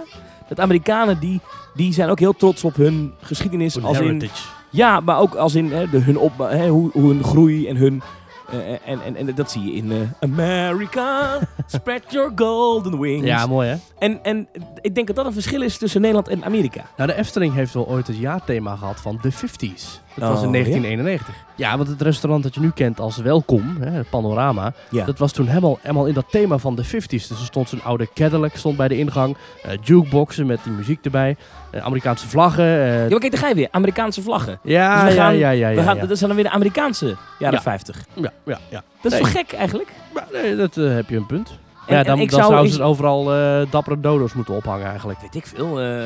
[SPEAKER 2] Dat Amerikanen die, die zijn ook heel trots op hun geschiedenis.
[SPEAKER 1] Een
[SPEAKER 2] Als in,
[SPEAKER 1] heritage.
[SPEAKER 2] ja, maar ook als in hè, de, hun op, hè, hoe, hoe hun groei en hun... eh, en, en, en dat zie je in eh, America, spread your golden wings.
[SPEAKER 1] Ja, mooi hè.
[SPEAKER 2] en, en ik denk dat dat een verschil is tussen Nederland en Amerika.
[SPEAKER 1] Nou, de Efteling heeft wel ooit het jaarthema gehad van de 50s. Dat
[SPEAKER 2] Oh,
[SPEAKER 1] was in 1991. Ja? want het restaurant dat je nu kent als Welkom, hè, het Panorama,
[SPEAKER 2] Ja.
[SPEAKER 1] dat was toen helemaal, helemaal in dat thema van de 50s. Dus er stond zo'n oude Cadillac stond bij de ingang, eh, jukeboxen met die muziek erbij, eh, Amerikaanse vlaggen. eh,
[SPEAKER 2] Ja, maar kijk, daar ga je weer. Amerikaanse vlaggen.
[SPEAKER 1] ja,
[SPEAKER 2] dus we gaan-
[SPEAKER 1] ja, ja, ja,
[SPEAKER 2] We gaan,
[SPEAKER 1] ja.
[SPEAKER 2] Dat zijn dan weer de Amerikaanse jaren
[SPEAKER 1] Ja.
[SPEAKER 2] 50.
[SPEAKER 1] ja, ja, ja.
[SPEAKER 2] Dat is
[SPEAKER 1] Nee.
[SPEAKER 2] toch gek eigenlijk?
[SPEAKER 1] Maar nee, dat eh, heb je een punt.
[SPEAKER 2] En-
[SPEAKER 1] ja,
[SPEAKER 2] en
[SPEAKER 1] dan,
[SPEAKER 2] ik
[SPEAKER 1] dan
[SPEAKER 2] zou-
[SPEAKER 1] zouden
[SPEAKER 2] ik-
[SPEAKER 1] ze overal eh dappere dodo's moeten ophangen eigenlijk.
[SPEAKER 2] Weet ik veel. eh,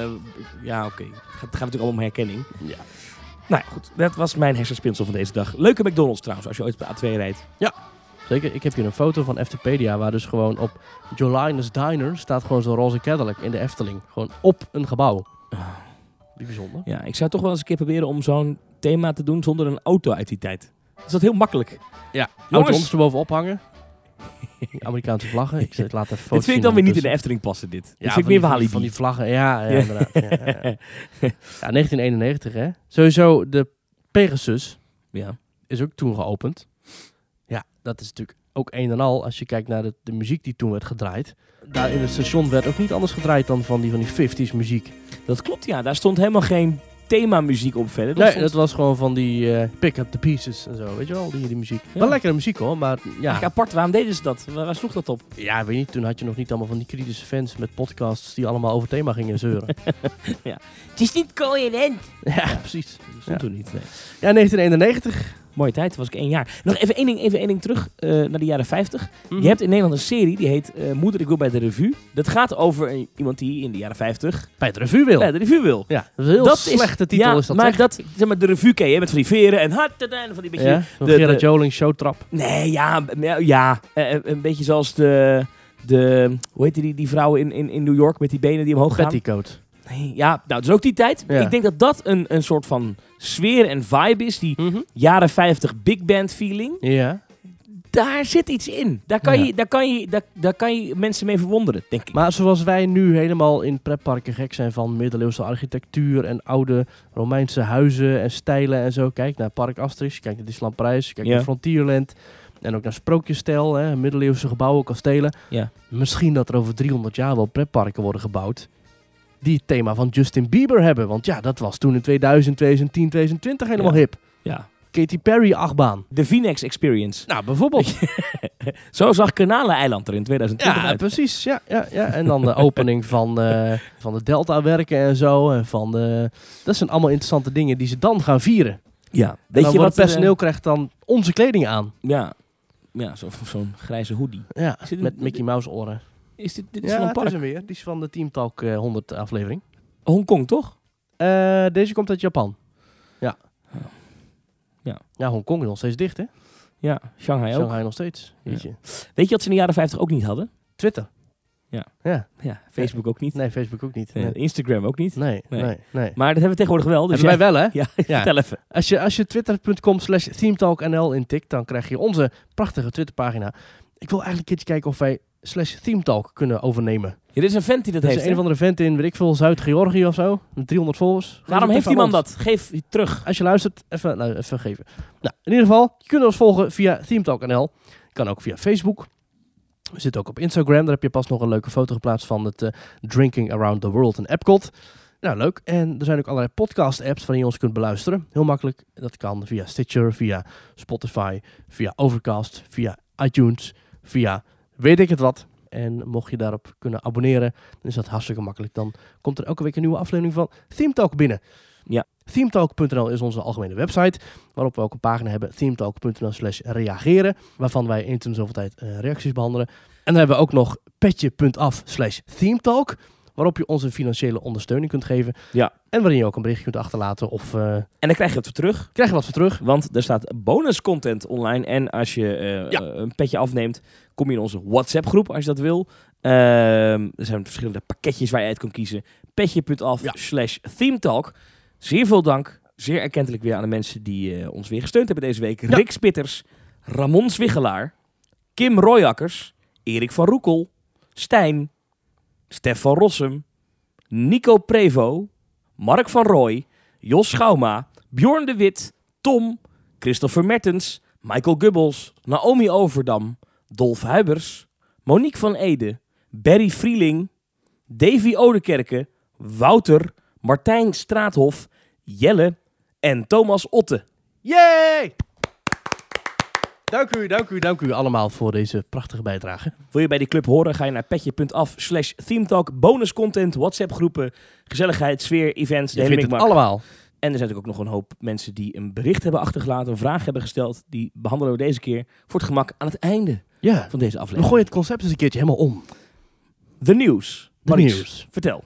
[SPEAKER 2] ja, oké. Het gaat, het gaat natuurlijk allemaal om herkenning.
[SPEAKER 1] Ja.
[SPEAKER 2] Nou ja, goed. Dat was mijn hersenspinsel van deze dag. Leuke McDonald's trouwens, als je ooit op de A2 rijdt.
[SPEAKER 1] Zeker, ik heb hier een foto van Eftepedia waar dus gewoon op Jolinus Diner staat gewoon zo'n roze Cadillac in de Efteling. Gewoon op een gebouw.
[SPEAKER 2] Ah.
[SPEAKER 1] Wie bijzonder.
[SPEAKER 2] Ja, ik zou toch wel eens een keer proberen om zo'n thema te doen zonder een auto uit die tijd. Is dat heel makkelijk?
[SPEAKER 1] Ja,
[SPEAKER 2] jongens.
[SPEAKER 1] jongens. bovenop hangen. Die Amerikaanse vlaggen. Ik zet- laat even foto's
[SPEAKER 2] dit vind ik dan weer niet in de Efteling passen, dit. dit vind ik meer
[SPEAKER 1] van, die,
[SPEAKER 2] Walibi.
[SPEAKER 1] van die vlaggen, ja, ja, inderdaad. Ja, ja, ja. Ja, 1991 hè. Sowieso, de Pegasus
[SPEAKER 2] ja.
[SPEAKER 1] is ook toen geopend. Ja, dat is natuurlijk ook een en al als je kijkt naar de, de muziek die toen werd gedraaid. Daar in het station werd ook niet anders gedraaid dan van die, van die 50s muziek.
[SPEAKER 2] Dat klopt, ja. Daar stond helemaal geen themamuziek op verder. Dat
[SPEAKER 1] Nee,
[SPEAKER 2] stond
[SPEAKER 1] dat was gewoon van die eh, pick up the pieces en zo, weet je wel, die, die muziek.
[SPEAKER 2] Ja.
[SPEAKER 1] Wel lekkere muziek hoor, maar ja,
[SPEAKER 2] eigenlijk apart. Waarom deden ze dat? Waar, waar sloeg dat op?
[SPEAKER 1] ja, weet niet, toen had je nog niet allemaal van die kritische fans met podcasts die allemaal over thema gingen zeuren.
[SPEAKER 2] Het is niet coherent.
[SPEAKER 1] ja, precies.
[SPEAKER 2] Dat stond
[SPEAKER 1] Ja.
[SPEAKER 2] toen niet, nee.
[SPEAKER 1] Ja, 1991.
[SPEAKER 2] Mooie tijd, was ik één jaar. Nog even één ding, even één ding terug eh, naar de jaren 50.
[SPEAKER 1] Mhm.
[SPEAKER 2] Je hebt in Nederland een serie die heet eh, Moeder, ik wil bij de revue. Dat gaat over een- iemand die in de jaren 50
[SPEAKER 1] bij het revue wil.
[SPEAKER 2] bij de revue wil.
[SPEAKER 1] Ja, dat is een heel
[SPEAKER 2] Dat is-
[SPEAKER 1] slechte titel
[SPEAKER 2] ja,
[SPEAKER 1] is dat.
[SPEAKER 2] maar
[SPEAKER 1] zeg.
[SPEAKER 2] dat zeg maar de revue ken je hè, met van die veren en hart en van die beetje.
[SPEAKER 1] ja, zo'n
[SPEAKER 2] de-
[SPEAKER 1] Gerard
[SPEAKER 2] de-
[SPEAKER 1] Joling showtrap.
[SPEAKER 2] Nee, ja, m- ja, ja, eh, eh, een beetje zoals de de hoe heet die die vrouwen in, in, in New York met die benen die omhoog gaan.
[SPEAKER 1] Petticoat.
[SPEAKER 2] Nee, ja, nou, dus ook die tijd.
[SPEAKER 1] Ja.
[SPEAKER 2] Ik denk dat dat een, een soort van sfeer en vibe is, die jaren 50 big band feeling.
[SPEAKER 1] Ja.
[SPEAKER 2] Daar zit iets in. Daar kan,
[SPEAKER 1] Ja.
[SPEAKER 2] je, daar, kan je, daar, daar kan je mensen mee verwonderen, denk ik.
[SPEAKER 1] Maar zoals wij nu helemaal in pretparken gek zijn van middeleeuwse architectuur en oude Romeinse huizen en stijlen en zo. Kijk naar Park Asterix, kijk naar Disneyland Parijs, kijk
[SPEAKER 2] Ja.
[SPEAKER 1] naar Frontierland. En ook naar sprookjesstijl, hè, middeleeuwse gebouwen, kastelen.
[SPEAKER 2] Ja.
[SPEAKER 1] Misschien dat er over 300 jaar wel pretparken worden gebouwd die het thema van Justin Bieber hebben. Want ja, dat was toen in 2000, 2010, 2020 helemaal
[SPEAKER 2] Ja.
[SPEAKER 1] hip.
[SPEAKER 2] ja.
[SPEAKER 1] Katy Perry achtbaan.
[SPEAKER 2] De Phoenix Experience.
[SPEAKER 1] Nou, bijvoorbeeld.
[SPEAKER 2] Zo zag Kanaleneiland er in 2020
[SPEAKER 1] Ja,
[SPEAKER 2] uit.
[SPEAKER 1] precies. Ja, ja, ja. En dan de opening van, eh, van de Delta-werken en zo. En van de... Dat zijn allemaal interessante dingen die ze dan gaan vieren.
[SPEAKER 2] Ja.
[SPEAKER 1] Weet
[SPEAKER 2] Weet je wat eh,
[SPEAKER 1] het personeel
[SPEAKER 2] er,
[SPEAKER 1] krijgt dan onze kleding aan.
[SPEAKER 2] eh, ja, ja zo- zo'n grijze hoodie.
[SPEAKER 1] Ja,
[SPEAKER 2] Zit een-
[SPEAKER 1] met Mickey Mouse oren.
[SPEAKER 2] Is dit, dit is
[SPEAKER 1] Ja,
[SPEAKER 2] van een
[SPEAKER 1] het is
[SPEAKER 2] park?
[SPEAKER 1] hem weer. Die is van de Team Talk eh, 100 aflevering.
[SPEAKER 2] Hongkong, toch?
[SPEAKER 1] Eh, deze komt uit Japan. Ja.
[SPEAKER 2] Ja.
[SPEAKER 1] Ja, Hongkong is nog steeds dicht, hè?
[SPEAKER 2] Ja, Shanghai ook.
[SPEAKER 1] Shanghai nog steeds.
[SPEAKER 2] Ja.
[SPEAKER 1] Jeetje.
[SPEAKER 2] Weet je wat ze in de jaren 50 ook niet hadden?
[SPEAKER 1] Twitter.
[SPEAKER 2] Ja.
[SPEAKER 1] ja.
[SPEAKER 2] Ja, Facebook ook niet.
[SPEAKER 1] Nee, Facebook ook niet.
[SPEAKER 2] Eh,
[SPEAKER 1] Nee,
[SPEAKER 2] Instagram ook niet.
[SPEAKER 1] nee, nee.
[SPEAKER 2] Nee.
[SPEAKER 1] nee.
[SPEAKER 2] Maar dat hebben we tegenwoordig wel. Dus
[SPEAKER 1] Hebben wij
[SPEAKER 2] ja,
[SPEAKER 1] wel, hè?
[SPEAKER 2] ja, vertel even.
[SPEAKER 1] Als je, als je twitter.com slash themetalknl intikt, dan krijg je onze prachtige Twitterpagina. Ik wil eigenlijk een keertje kijken of wij slash themetalk kunnen overnemen.
[SPEAKER 2] Ja, dit is een vent die dat
[SPEAKER 1] Er is
[SPEAKER 2] heeft.
[SPEAKER 1] een of
[SPEAKER 2] hè?
[SPEAKER 1] andere vent in, weet ik veel, Zuid-Georgië of zo. Met 300 volgers. Geef
[SPEAKER 2] Waarom
[SPEAKER 1] het
[SPEAKER 2] heeft die
[SPEAKER 1] even aan
[SPEAKER 2] man
[SPEAKER 1] ons.
[SPEAKER 2] dat? Geef terug.
[SPEAKER 1] Als je luistert, even, nou, even geven. Nou, in ieder geval, je kunt ons volgen via themetalk.nl. Kan ook via Facebook. We zitten ook op Instagram. Daar heb je pas nog een leuke foto geplaatst van het eh, Drinking Around the World in Epcot. Nou, leuk. En er zijn ook allerlei podcast-apps waarin je ons kunt beluisteren. Heel makkelijk. Dat kan via Stitcher, via Spotify, via Overcast, via iTunes, via weet ik het wat. En mocht je daarop kunnen abonneren, dan is dat hartstikke makkelijk. Dan komt er elke week een nieuwe aflevering van Theme Talk binnen.
[SPEAKER 2] Ja.
[SPEAKER 1] Themetalk.nl is onze algemene website, waarop we ook een pagina hebben, themetalk.nl slash reageren, waarvan wij eens in zoveel tijd eh, reacties behandelen. En dan hebben we ook nog petje.af slash themetalk, waarop je onze financiële ondersteuning kunt geven.
[SPEAKER 2] Ja.
[SPEAKER 1] En waarin je ook een berichtje kunt achterlaten of eh,
[SPEAKER 2] En dan krijg je het voor terug.
[SPEAKER 1] krijg je wat voor terug.
[SPEAKER 2] Want er staat bonus content online. En als je eh,
[SPEAKER 1] Ja.
[SPEAKER 2] eh, een petje afneemt, kom je in onze WhatsApp groep als je dat wil. Ehm, er zijn verschillende pakketjes waar je uit kan kiezen. Petje.af
[SPEAKER 1] Ja.
[SPEAKER 2] slash themetalk. Zeer veel dank. Zeer erkentelijk weer aan de mensen die eh, ons weer gesteund hebben deze week.
[SPEAKER 1] Ja.
[SPEAKER 2] Rick Spitters, Ramon Zwiggelaar, Kim Royakkers, Erik van Roekel, Stijn, Stef van Rossum, Nico Prevo, Mark van Rooij, Jos Schouwma, Bjorn de Wit, Tom, Christopher Mertens, Michael Gubbels, Naomi Overdam, Dolf Huibers, Monique van Ede, Barry Vrieling, Davy Odekerke, Wouter, Martijn Straathof, Jelle en Thomas Otte.
[SPEAKER 1] Yay! Dank u, dank u, dank u allemaal voor deze prachtige bijdrage.
[SPEAKER 2] Wil je bij die club horen, ga je naar petje.af slash themetalk, bonus content, WhatsApp groepen, gezelligheid, sfeer, events, de
[SPEAKER 1] Je
[SPEAKER 2] hele
[SPEAKER 1] vindt het
[SPEAKER 2] mikmak.
[SPEAKER 1] allemaal.
[SPEAKER 2] En er zijn natuurlijk ook nog een hoop mensen die een bericht hebben achtergelaten, een vraag hebben gesteld. Die behandelen we deze keer voor het gemak aan het einde
[SPEAKER 1] Ja.
[SPEAKER 2] van deze
[SPEAKER 1] We
[SPEAKER 2] aflevering.
[SPEAKER 1] gooien het concept eens een keertje helemaal om.
[SPEAKER 2] De nieuws.
[SPEAKER 1] De
[SPEAKER 2] Maurice,
[SPEAKER 1] nieuws.
[SPEAKER 2] Vertel.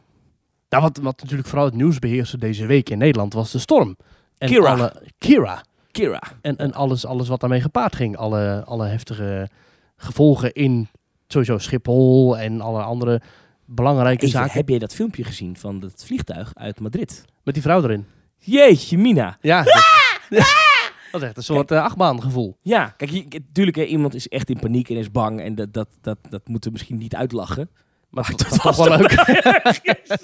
[SPEAKER 1] Nou, wat, wat natuurlijk vooral het nieuws beheerste deze week in Nederland was de storm. En
[SPEAKER 2] Kira.
[SPEAKER 1] Alle, Kira.
[SPEAKER 2] Kira.
[SPEAKER 1] En, en alles, alles wat daarmee gepaard ging. Alle, alle heftige gevolgen in sowieso Schiphol en alle andere belangrijke
[SPEAKER 2] Even,
[SPEAKER 1] zaken.
[SPEAKER 2] heb jij dat filmpje gezien van het vliegtuig uit Madrid?
[SPEAKER 1] Met die vrouw erin.
[SPEAKER 2] Jeetje, Mina.
[SPEAKER 1] Ja. dat- Dat is echt een soort eh, achtbaangevoel.
[SPEAKER 2] Ja, kijk, je- k- tuurlijk, hè, iemand is echt in paniek en is bang. En dat, dat, dat, dat moeten we misschien niet uitlachen.
[SPEAKER 1] Maar het
[SPEAKER 2] dat
[SPEAKER 1] was toch
[SPEAKER 2] was
[SPEAKER 1] wel leuk.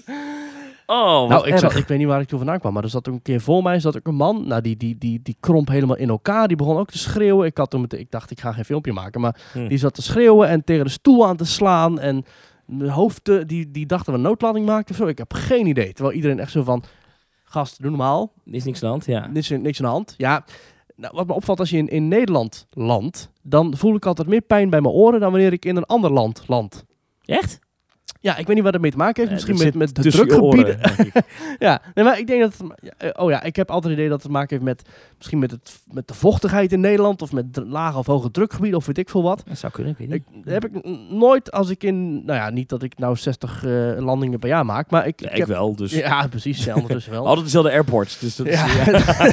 [SPEAKER 2] Oh, wat
[SPEAKER 1] Nou, ik,
[SPEAKER 2] erg.
[SPEAKER 1] zat, ik weet niet waar ik toen vandaan kwam, maar er zat ook een keer voor mij zat ook een man. Nou, die, die, die, die kromp helemaal in elkaar. Die begon ook te schreeuwen. Ik, had toen meteen, ik dacht, ik ga geen filmpje maken. Maar
[SPEAKER 2] Hm.
[SPEAKER 1] die zat te schreeuwen en tegen de stoel aan te slaan. En de hoofden, die, die dachten we een noodlanding maakten of zo. Ik heb geen idee. Terwijl iedereen echt zo van, gast, doe normaal.
[SPEAKER 2] Er is niks aan de hand, ja.
[SPEAKER 1] Niks, niks aan de hand. Ja, nou, wat me opvalt als je in, in Nederland landt, dan voel ik altijd meer pijn bij mijn oren dan wanneer ik in een ander land land.
[SPEAKER 2] Echt?
[SPEAKER 1] Ja, ik weet niet wat het mee te maken heeft.
[SPEAKER 2] Eh,
[SPEAKER 1] Misschien
[SPEAKER 2] dat
[SPEAKER 1] met, met
[SPEAKER 2] zit
[SPEAKER 1] de
[SPEAKER 2] tussen je
[SPEAKER 1] drukgebieden.
[SPEAKER 2] oren, denk ik.
[SPEAKER 1] Ja, nee, maar ik denk dat. het- ja, eh, Oh ja, ik heb altijd het idee dat het te maken heeft met. Misschien met, het, met de vochtigheid in Nederland. Of met dr- lage of hoge drukgebieden. Of weet ik veel wat.
[SPEAKER 2] Dat zou kunnen, ik weet niet.
[SPEAKER 1] Ik, heb ik n- nooit als ik in. Nou ja, niet dat ik nou 60 eh, landingen per jaar maak. Maar ik.
[SPEAKER 2] Ja,
[SPEAKER 1] ik
[SPEAKER 2] ik
[SPEAKER 1] heb-
[SPEAKER 2] wel, dus...
[SPEAKER 1] ja, precies. Ja, ondertussen wel.
[SPEAKER 2] Altijd dezelfde airports, dus dat
[SPEAKER 1] Ja,
[SPEAKER 2] is...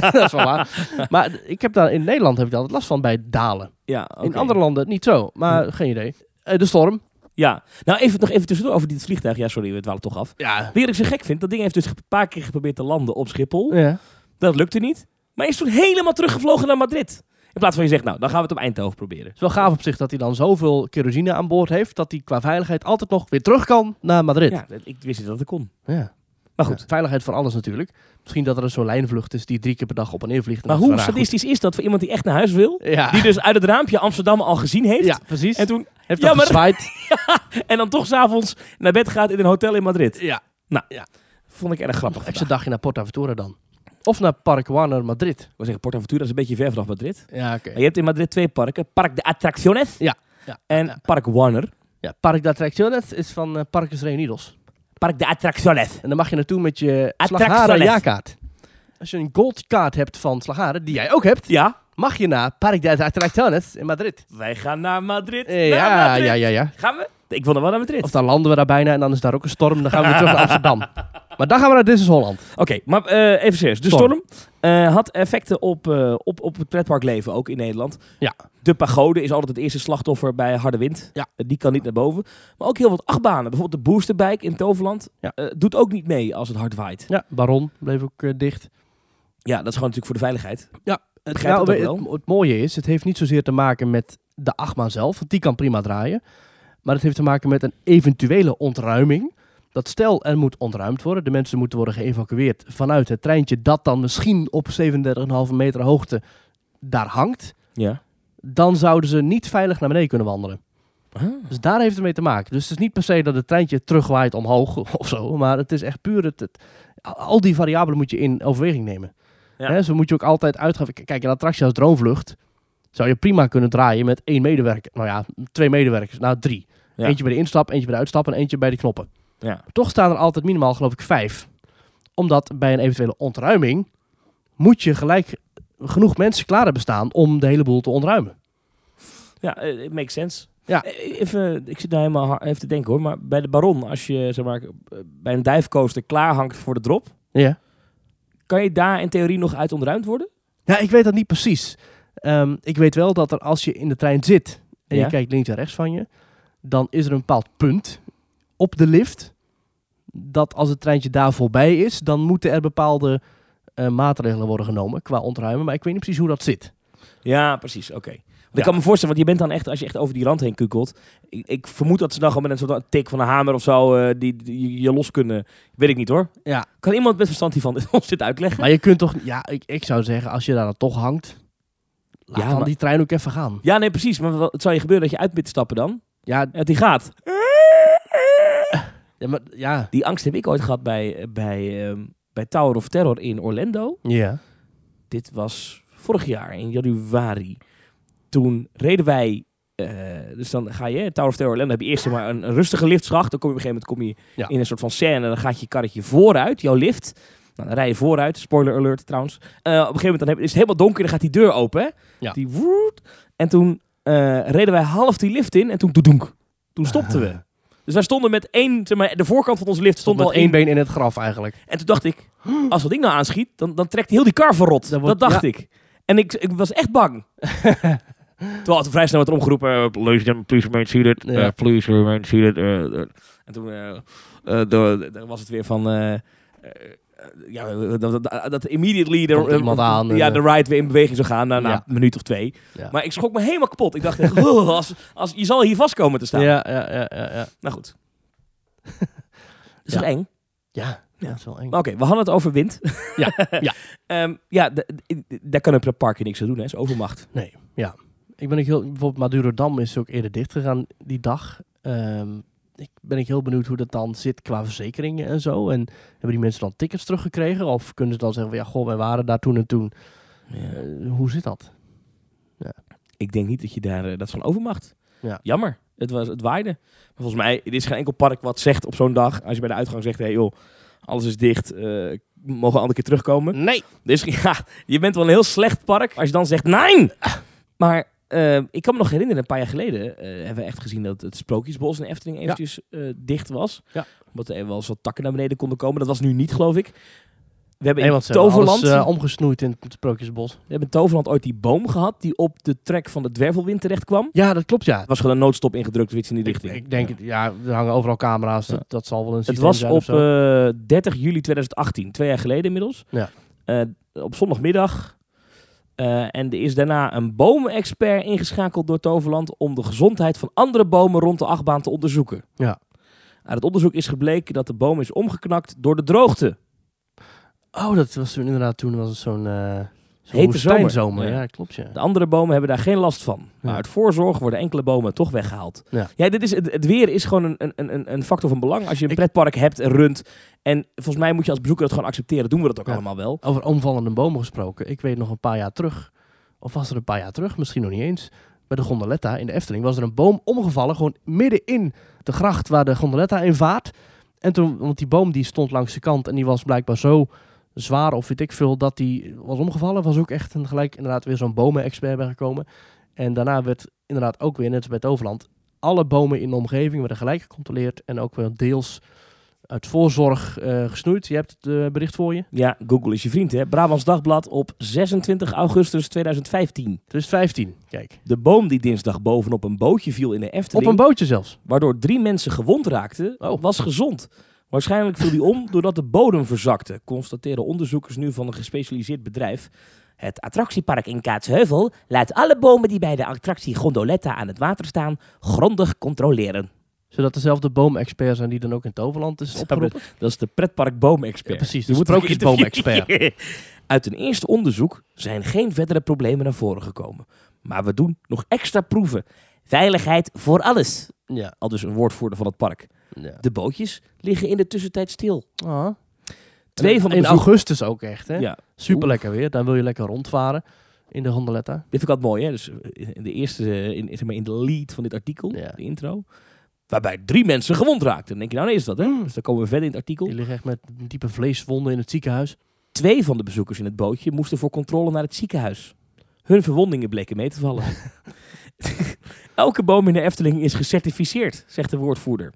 [SPEAKER 1] dat is wel waar. Maar ik heb daar in Nederland heb ik daar altijd last van bij het dalen.
[SPEAKER 2] Ja, oké. Hm.
[SPEAKER 1] In andere landen niet zo, maar geen idee. Eh, de storm.
[SPEAKER 2] Ja. Nou, even, nog even tussendoor over dit vliegtuig. Ja, sorry, we dwalen toch af.
[SPEAKER 1] Ja.
[SPEAKER 2] Weer ik ze gek vind, dat ding heeft dus een paar keer geprobeerd te landen op Schiphol.
[SPEAKER 1] ja.
[SPEAKER 2] Dat lukte niet. Maar is toen helemaal teruggevlogen naar Madrid. In plaats van je zegt, nou, dan gaan we het op Eindhoven proberen.
[SPEAKER 1] Het is wel gaaf op zich dat hij dan zoveel kerosine aan boord heeft. dat hij qua veiligheid altijd nog weer terug kan naar Madrid.
[SPEAKER 2] Ja, dat- ik wist niet dat het kon.
[SPEAKER 1] ja.
[SPEAKER 2] Maar goed.
[SPEAKER 1] Ja, veiligheid van alles natuurlijk. Misschien dat er een zo'n lijnvlucht is die drie keer per dag op en neer vliegt. en
[SPEAKER 2] Maar
[SPEAKER 1] dat
[SPEAKER 2] hoe
[SPEAKER 1] is wel raar
[SPEAKER 2] statistisch is dat voor iemand die echt naar huis wil?
[SPEAKER 1] goed. Ja,
[SPEAKER 2] Die dus uit het raampje Amsterdam al gezien heeft.
[SPEAKER 1] ja precies.
[SPEAKER 2] En, toen,
[SPEAKER 1] Heeft
[SPEAKER 2] Ja,
[SPEAKER 1] dat
[SPEAKER 2] maar-
[SPEAKER 1] gezwaaid.
[SPEAKER 2] en dan toch s'avonds naar bed gaat in een hotel in Madrid.
[SPEAKER 1] Ja.
[SPEAKER 2] Vond ik erg grappig.
[SPEAKER 1] Extra
[SPEAKER 2] vandaag.
[SPEAKER 1] dagje naar Porta Ventura dan. Of naar Park Warner Madrid.
[SPEAKER 2] Ik wil zeggen, Portaventura is een beetje ver vanaf Madrid.
[SPEAKER 1] Ja, oké.
[SPEAKER 2] Maar je hebt in Madrid twee parken. Park de Atracciones
[SPEAKER 1] Ja, ja,
[SPEAKER 2] en
[SPEAKER 1] ja.
[SPEAKER 2] Park Warner.
[SPEAKER 1] Ja, Park de Attracciones is van eh, Parques Reunidos.
[SPEAKER 2] Park de Atracciones.
[SPEAKER 1] En dan mag je naartoe met je
[SPEAKER 2] Attractiones.
[SPEAKER 1] Slagharen jaarkaart. Als je een goldkaart hebt van Slagharen, die jij ook hebt,
[SPEAKER 2] Ja,
[SPEAKER 1] mag je naar Park de Attracciones in Madrid.
[SPEAKER 2] wij gaan naar Madrid.
[SPEAKER 1] Eh,
[SPEAKER 2] Naar
[SPEAKER 1] ja,
[SPEAKER 2] Madrid.
[SPEAKER 1] ja, ja, ja.
[SPEAKER 2] Gaan we? Ik wil nog wel naar Madrid.
[SPEAKER 1] Of dan landen we daar bijna en dan is daar ook een storm. Dan gaan we weer terug naar Amsterdam. Maar dan gaan we naar This is Holland.
[SPEAKER 2] Oké, maar eh, even serieus. De storm,
[SPEAKER 1] Storm.
[SPEAKER 2] eh, had effecten op, eh, op, op het pretparkleven, ook in Nederland.
[SPEAKER 1] Ja.
[SPEAKER 2] De pagode is altijd het eerste slachtoffer bij harde wind.
[SPEAKER 1] Ja.
[SPEAKER 2] Eh, die kan niet naar boven. Maar ook heel wat achtbanen. Bijvoorbeeld de Boosterbike in Toverland
[SPEAKER 1] Ja.
[SPEAKER 2] eh, doet ook niet mee als het hard waait.
[SPEAKER 1] Ja, Baron bleef ook eh, dicht.
[SPEAKER 2] Ja, dat is gewoon natuurlijk voor de veiligheid.
[SPEAKER 1] Het,
[SPEAKER 2] Begrijp
[SPEAKER 1] nou,
[SPEAKER 2] het ook
[SPEAKER 1] weet-
[SPEAKER 2] wel.
[SPEAKER 1] het, het mooie is, het heeft niet zozeer te maken met de achtbaan zelf, want die kan prima draaien. Maar het heeft te maken met een eventuele ontruiming. Dat stel er moet ontruimd worden, de mensen moeten worden geëvacueerd vanuit het treintje dat dan misschien op 37,5 meter hoogte daar hangt.
[SPEAKER 2] Ja.
[SPEAKER 1] Dan zouden ze niet veilig naar beneden kunnen wandelen.
[SPEAKER 2] Ah.
[SPEAKER 1] Dus daar heeft het mee te maken. Dus het is niet per se dat het treintje terugwaait omhoog of zo. Maar het is echt puur het, het, al- al die variabelen moet je in overweging nemen.
[SPEAKER 2] Ja.
[SPEAKER 1] Hè, zo moet je ook altijd uitgaan. K- Kijk, een attractie als Droomvlucht zou je prima kunnen draaien met één medewerker. Nou ja, twee medewerkers. Nou, drie.
[SPEAKER 2] Ja.
[SPEAKER 1] Eentje bij de instap, eentje bij de uitstap en eentje bij de knoppen.
[SPEAKER 2] Ja.
[SPEAKER 1] Toch staan er altijd minimaal, geloof ik, vijf. Omdat bij een eventuele ontruiming moet je gelijk genoeg mensen klaar hebben staan om de hele boel te ontruimen.
[SPEAKER 2] Ja, eh, it makes sense.
[SPEAKER 1] Ja.
[SPEAKER 2] Eh, Even, ik zit daar helemaal har- even te denken hoor. Maar bij de Baron, als je zeg maar, eh, bij een divecoaster klaar hangt voor de drop,
[SPEAKER 1] Ja.
[SPEAKER 2] kan je daar in theorie nog uit ontruimd worden?
[SPEAKER 1] Ja, Nou, ik weet dat niet precies. Ehm, ik weet wel dat er als je in de trein zit en
[SPEAKER 2] Ja.
[SPEAKER 1] je kijkt links en rechts van je, dan is er een bepaald punt op de lift dat als het treintje daar voorbij is, dan moeten er bepaalde eh, maatregelen worden genomen qua ontruimen. Maar ik weet niet precies hoe dat zit.
[SPEAKER 2] Ja, precies. Oké. Want
[SPEAKER 1] Ja.
[SPEAKER 2] Ik kan me voorstellen, want je bent dan echt, als je echt over die rand heen kukelt. Ik, ik vermoed dat ze dan gewoon met een soort tik van een hamer of zo eh, die, die je los kunnen. Weet ik niet hoor.
[SPEAKER 1] Ja.
[SPEAKER 2] Kan iemand met verstand hiervan ons dit uitleggen?
[SPEAKER 1] Maar je kunt toch, ja, ik, ik zou zeggen, als je daar dan toch hangt, laat
[SPEAKER 2] Ja,
[SPEAKER 1] dan
[SPEAKER 2] maar-
[SPEAKER 1] die trein ook even gaan.
[SPEAKER 2] Ja, nee, precies. Maar wat- het zou je gebeuren dat je uit bent te stappen dan.
[SPEAKER 1] Ja,
[SPEAKER 2] En dat die gaat.
[SPEAKER 1] ja, maar, ja.
[SPEAKER 2] Die angst heb ik ooit gehad bij, bij, ehm, bij Tower of Terror in Orlando.
[SPEAKER 1] Ja.
[SPEAKER 2] Dit was vorig jaar in januari. Toen reden wij. eh, dus dan ga je, hè, Tower of Terror Orlando, heb je eerst zeg maar, een, een rustige liftschacht. Dan kom je op een gegeven moment kom je
[SPEAKER 1] Ja.
[SPEAKER 2] in een soort van scène. Dan gaat je karretje vooruit, jouw lift. Nou, dan rij je vooruit, spoiler alert trouwens. Eh, op een gegeven moment dan heb, is het helemaal donker en dan gaat die deur open. Hè?
[SPEAKER 1] Ja.
[SPEAKER 2] Die woert. En toen eh, reden wij half die lift in en toen doedoenk. Toen stopten we. Dus wij stonden met één, zeg maar, de voorkant van onze lift stond,
[SPEAKER 1] Stond met één
[SPEAKER 2] al in.
[SPEAKER 1] been in het graf eigenlijk.
[SPEAKER 2] En toen dacht ik, als dat ding nou aanschiet, dan, dan trekt heel die kar verrot.
[SPEAKER 1] Dan wordt-
[SPEAKER 2] dat dacht ik. En ik, ik was echt bang. Terwijl het vrij snel werd omgeroepen, eh, please, please remain seated, eh,
[SPEAKER 1] Ja.
[SPEAKER 2] please remain seated. eh, eh. En toen eh, eh, door- dan was het weer van... eh, eh, ja, dat, dat, dat immediately de,
[SPEAKER 1] Komt iemand aan en,
[SPEAKER 2] ja,
[SPEAKER 1] eh.
[SPEAKER 2] de ride weer in beweging zou gaan na, na
[SPEAKER 1] Ja.
[SPEAKER 2] een minuut of twee.
[SPEAKER 1] Ja.
[SPEAKER 2] Maar ik schrok me helemaal kapot. Ik dacht echt, "Oh, als, als, je zal hier vast komen te staan.
[SPEAKER 1] Ja, ja, ja, ja. Ja,
[SPEAKER 2] Nou goed. Dat is
[SPEAKER 1] Ja.
[SPEAKER 2] toch eng?
[SPEAKER 1] ja.
[SPEAKER 2] Ja.
[SPEAKER 1] dat is wel eng.
[SPEAKER 2] Maar oké, we hadden het over wind.
[SPEAKER 1] Ja, ja.
[SPEAKER 2] Ehm, ja, d- d- daar kan een park niks aan doen, hè? Is overmacht.
[SPEAKER 1] Nee, ja. Ik ben ook heel, bijvoorbeeld Madurodam is ook eerder dicht gegaan die dag. Ehm, ik ben ik heel benieuwd hoe dat dan zit qua verzekeringen en zo. En hebben die mensen dan tickets teruggekregen? Of kunnen ze dan zeggen, van, ja, goh, wij waren daar toen en toen. Eh, hoe zit dat?
[SPEAKER 2] Ik denk niet dat je daar... eh, dat is van overmacht.
[SPEAKER 1] Ja.
[SPEAKER 2] Jammer. Het, was, het waaide. Maar volgens mij, er is geen enkel park wat zegt op zo'n dag... als je bij de uitgang zegt, hé hey, joh, alles is dicht... eh, mogen we een andere keer terugkomen.
[SPEAKER 1] Nee!
[SPEAKER 2] Dus ja, je bent wel een heel slecht park als je dan zegt, nee! Maar eh, ik kan me nog herinneren, een paar jaar geleden eh, hebben we echt gezien dat het Sprookjesbos in Efteling eventjes eh, dicht was.
[SPEAKER 1] Ja.
[SPEAKER 2] Omdat er wel eens wat takken naar beneden konden komen. Dat was nu niet, geloof ik. We hebben
[SPEAKER 1] Nee,
[SPEAKER 2] in
[SPEAKER 1] want ze hebben
[SPEAKER 2] Toverland,
[SPEAKER 1] alles eh, omgesnoeid in het Sprookjesbos.
[SPEAKER 2] we hebben in Toverland ooit die boom gehad die op de trek van de dwervelwind terecht kwam.
[SPEAKER 1] Ja, dat klopt, ja.
[SPEAKER 2] Er was gewoon een noodstop ingedrukt of iets in die
[SPEAKER 1] Ik,
[SPEAKER 2] richting.
[SPEAKER 1] ik denk, het- ja, er hangen overal camera's.
[SPEAKER 2] Ja.
[SPEAKER 1] Dat, dat zal wel een
[SPEAKER 2] Het
[SPEAKER 1] systeem
[SPEAKER 2] was
[SPEAKER 1] zijn
[SPEAKER 2] op
[SPEAKER 1] of zo.
[SPEAKER 2] eh, 30 juli 2018, twee jaar geleden inmiddels.
[SPEAKER 1] Ja.
[SPEAKER 2] Eh, op zondagmiddag. Eh, en er is daarna een bomenexpert ingeschakeld door Toverland om de gezondheid van andere bomen rond de achtbaan te onderzoeken.
[SPEAKER 1] Ja.
[SPEAKER 2] Uit het onderzoek is gebleken dat de boom is omgeknakt door de droogte.
[SPEAKER 1] Oh, dat was toen inderdaad, toen was het zo'n... eh zo'n
[SPEAKER 2] eh, Hete zomer.
[SPEAKER 1] woestijnzomer.
[SPEAKER 2] Ja.
[SPEAKER 1] Ja, klopt, ja.
[SPEAKER 2] De andere bomen hebben daar geen last van. Maar
[SPEAKER 1] Ja.
[SPEAKER 2] uit voorzorg worden enkele bomen toch weggehaald.
[SPEAKER 1] Ja.
[SPEAKER 2] dit is, het, het weer is gewoon een, een- een, een factor van belang. Als je een
[SPEAKER 1] Ik-
[SPEAKER 2] pretpark hebt en runt. En volgens mij moet je als bezoeker dat gewoon accepteren. Doen we dat ook
[SPEAKER 1] Ja.
[SPEAKER 2] allemaal wel.
[SPEAKER 1] Over omvallende bomen gesproken. Ik weet nog een paar jaar terug, of was er een paar jaar terug, misschien nog niet eens. Bij de gondoletta in de Efteling was er een boom omgevallen, gewoon midden in de gracht waar de gondoletta in vaart. En toen, want die boom die stond langs de kant en die was blijkbaar zo zwaar of weet ik veel dat die was omgevallen. Was ook echt een gelijk inderdaad weer zo'n bomen-expert bij gekomen. En daarna werd inderdaad ook weer, net als bij het Overland, alle bomen in de omgeving werden gelijk gecontroleerd en ook wel deels uit voorzorg eh, gesnoeid. Je hebt het eh, bericht voor je.
[SPEAKER 2] Ja, Google is je vriend, hè? Brabants Dagblad op 26 augustus 2015.
[SPEAKER 1] 2015, kijk.
[SPEAKER 2] De boom die dinsdag bovenop een bootje viel in de Efteling,
[SPEAKER 1] Op een Oh. bootje zelfs.
[SPEAKER 2] waardoor drie mensen gewond raakten, was gezond. Waarschijnlijk viel die om doordat de bodem verzakte, constateren onderzoekers nu van een gespecialiseerd bedrijf. Het attractiepark in Kaatsheuvel laat alle bomen die bij de attractie Gondoletta aan het water staan grondig controleren.
[SPEAKER 1] Zodat dezelfde boomexpert zijn die dan ook in Toverland is opgeroepen.
[SPEAKER 2] Dat is de pretpark boomexpert.
[SPEAKER 1] Ja, precies, de
[SPEAKER 2] Die wordt ook
[SPEAKER 1] sprookjesboomexpert.
[SPEAKER 2] geïnterviewd. Uit een eerste onderzoek zijn geen verdere problemen naar voren gekomen. Maar we doen nog extra proeven. Veiligheid voor alles.
[SPEAKER 1] Ja.
[SPEAKER 2] Al dus een woordvoerder van het park.
[SPEAKER 1] ja.
[SPEAKER 2] De bootjes liggen in de tussentijd stil.
[SPEAKER 1] Ah,
[SPEAKER 2] Twee van de
[SPEAKER 1] In
[SPEAKER 2] bezoek-
[SPEAKER 1] augustus ook echt, hè?
[SPEAKER 2] Ja,
[SPEAKER 1] Super lekker weer. Dan wil je lekker rondvaren in de Gondoletta.
[SPEAKER 2] dit vind ik altijd mooi, hè? Dus eh, in de eerste, eh, in, zeg maar in de lead van dit artikel,
[SPEAKER 1] Ja.
[SPEAKER 2] de intro, waarbij drie mensen gewond raakten. Dan denk je, nou nee, is dat, hè?
[SPEAKER 1] Mm.
[SPEAKER 2] Dus dan komen we verder in het artikel.
[SPEAKER 1] Die liggen echt met diepe vleeswonden in het ziekenhuis.
[SPEAKER 2] Twee van de bezoekers in het bootje moesten voor controle naar het ziekenhuis. Hun verwondingen bleken mee te vallen. Elke boom in de Efteling is gecertificeerd, zegt de woordvoerder.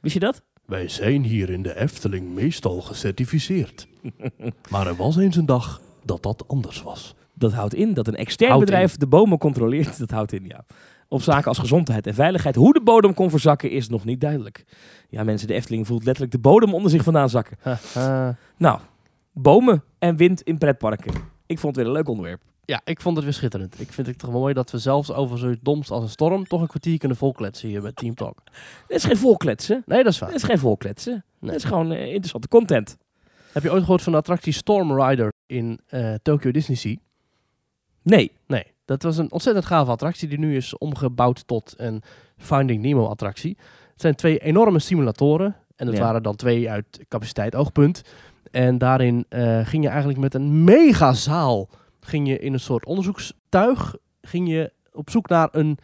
[SPEAKER 2] Wist je dat?
[SPEAKER 1] Wij zijn hier in de Efteling meestal gecertificeerd. maar er was eens een dag dat dat anders was.
[SPEAKER 2] Dat houdt in dat een extern
[SPEAKER 1] Houdt
[SPEAKER 2] bedrijf de bomen controleert. Dat houdt in, ja. Op zaken als gezondheid en veiligheid. Hoe de bodem kon verzakken is nog niet duidelijk. Ja, mensen, de Efteling voelt letterlijk de bodem onder zich vandaan zakken. Nou, bomen en wind in pretparken. Ik vond het weer een leuk onderwerp.
[SPEAKER 1] ja, ik vond het weer schitterend. Ik vind het toch wel mooi dat we zelfs over zoiets doms als een storm toch een kwartier kunnen volkletsen hier met Team Talk.
[SPEAKER 2] Het is geen volkletsen.
[SPEAKER 1] Nee, dat is waar.
[SPEAKER 2] Het is geen volkletsen.
[SPEAKER 1] Nee.
[SPEAKER 2] Het is gewoon eh, interessante content.
[SPEAKER 1] Heb je ooit gehoord van de attractie Storm Rider in eh Tokyo Disney Sea?
[SPEAKER 2] Nee.
[SPEAKER 1] Nee, dat was een ontzettend gave attractie die nu is omgebouwd tot een Finding Nemo attractie. Het zijn twee enorme simulatoren en dat
[SPEAKER 2] Ja.
[SPEAKER 1] waren dan twee uit capaciteit oogpunt. En daarin eh, ging je eigenlijk met een megazaal, ging je in een soort onderzoekstuig, ging je op zoek naar een,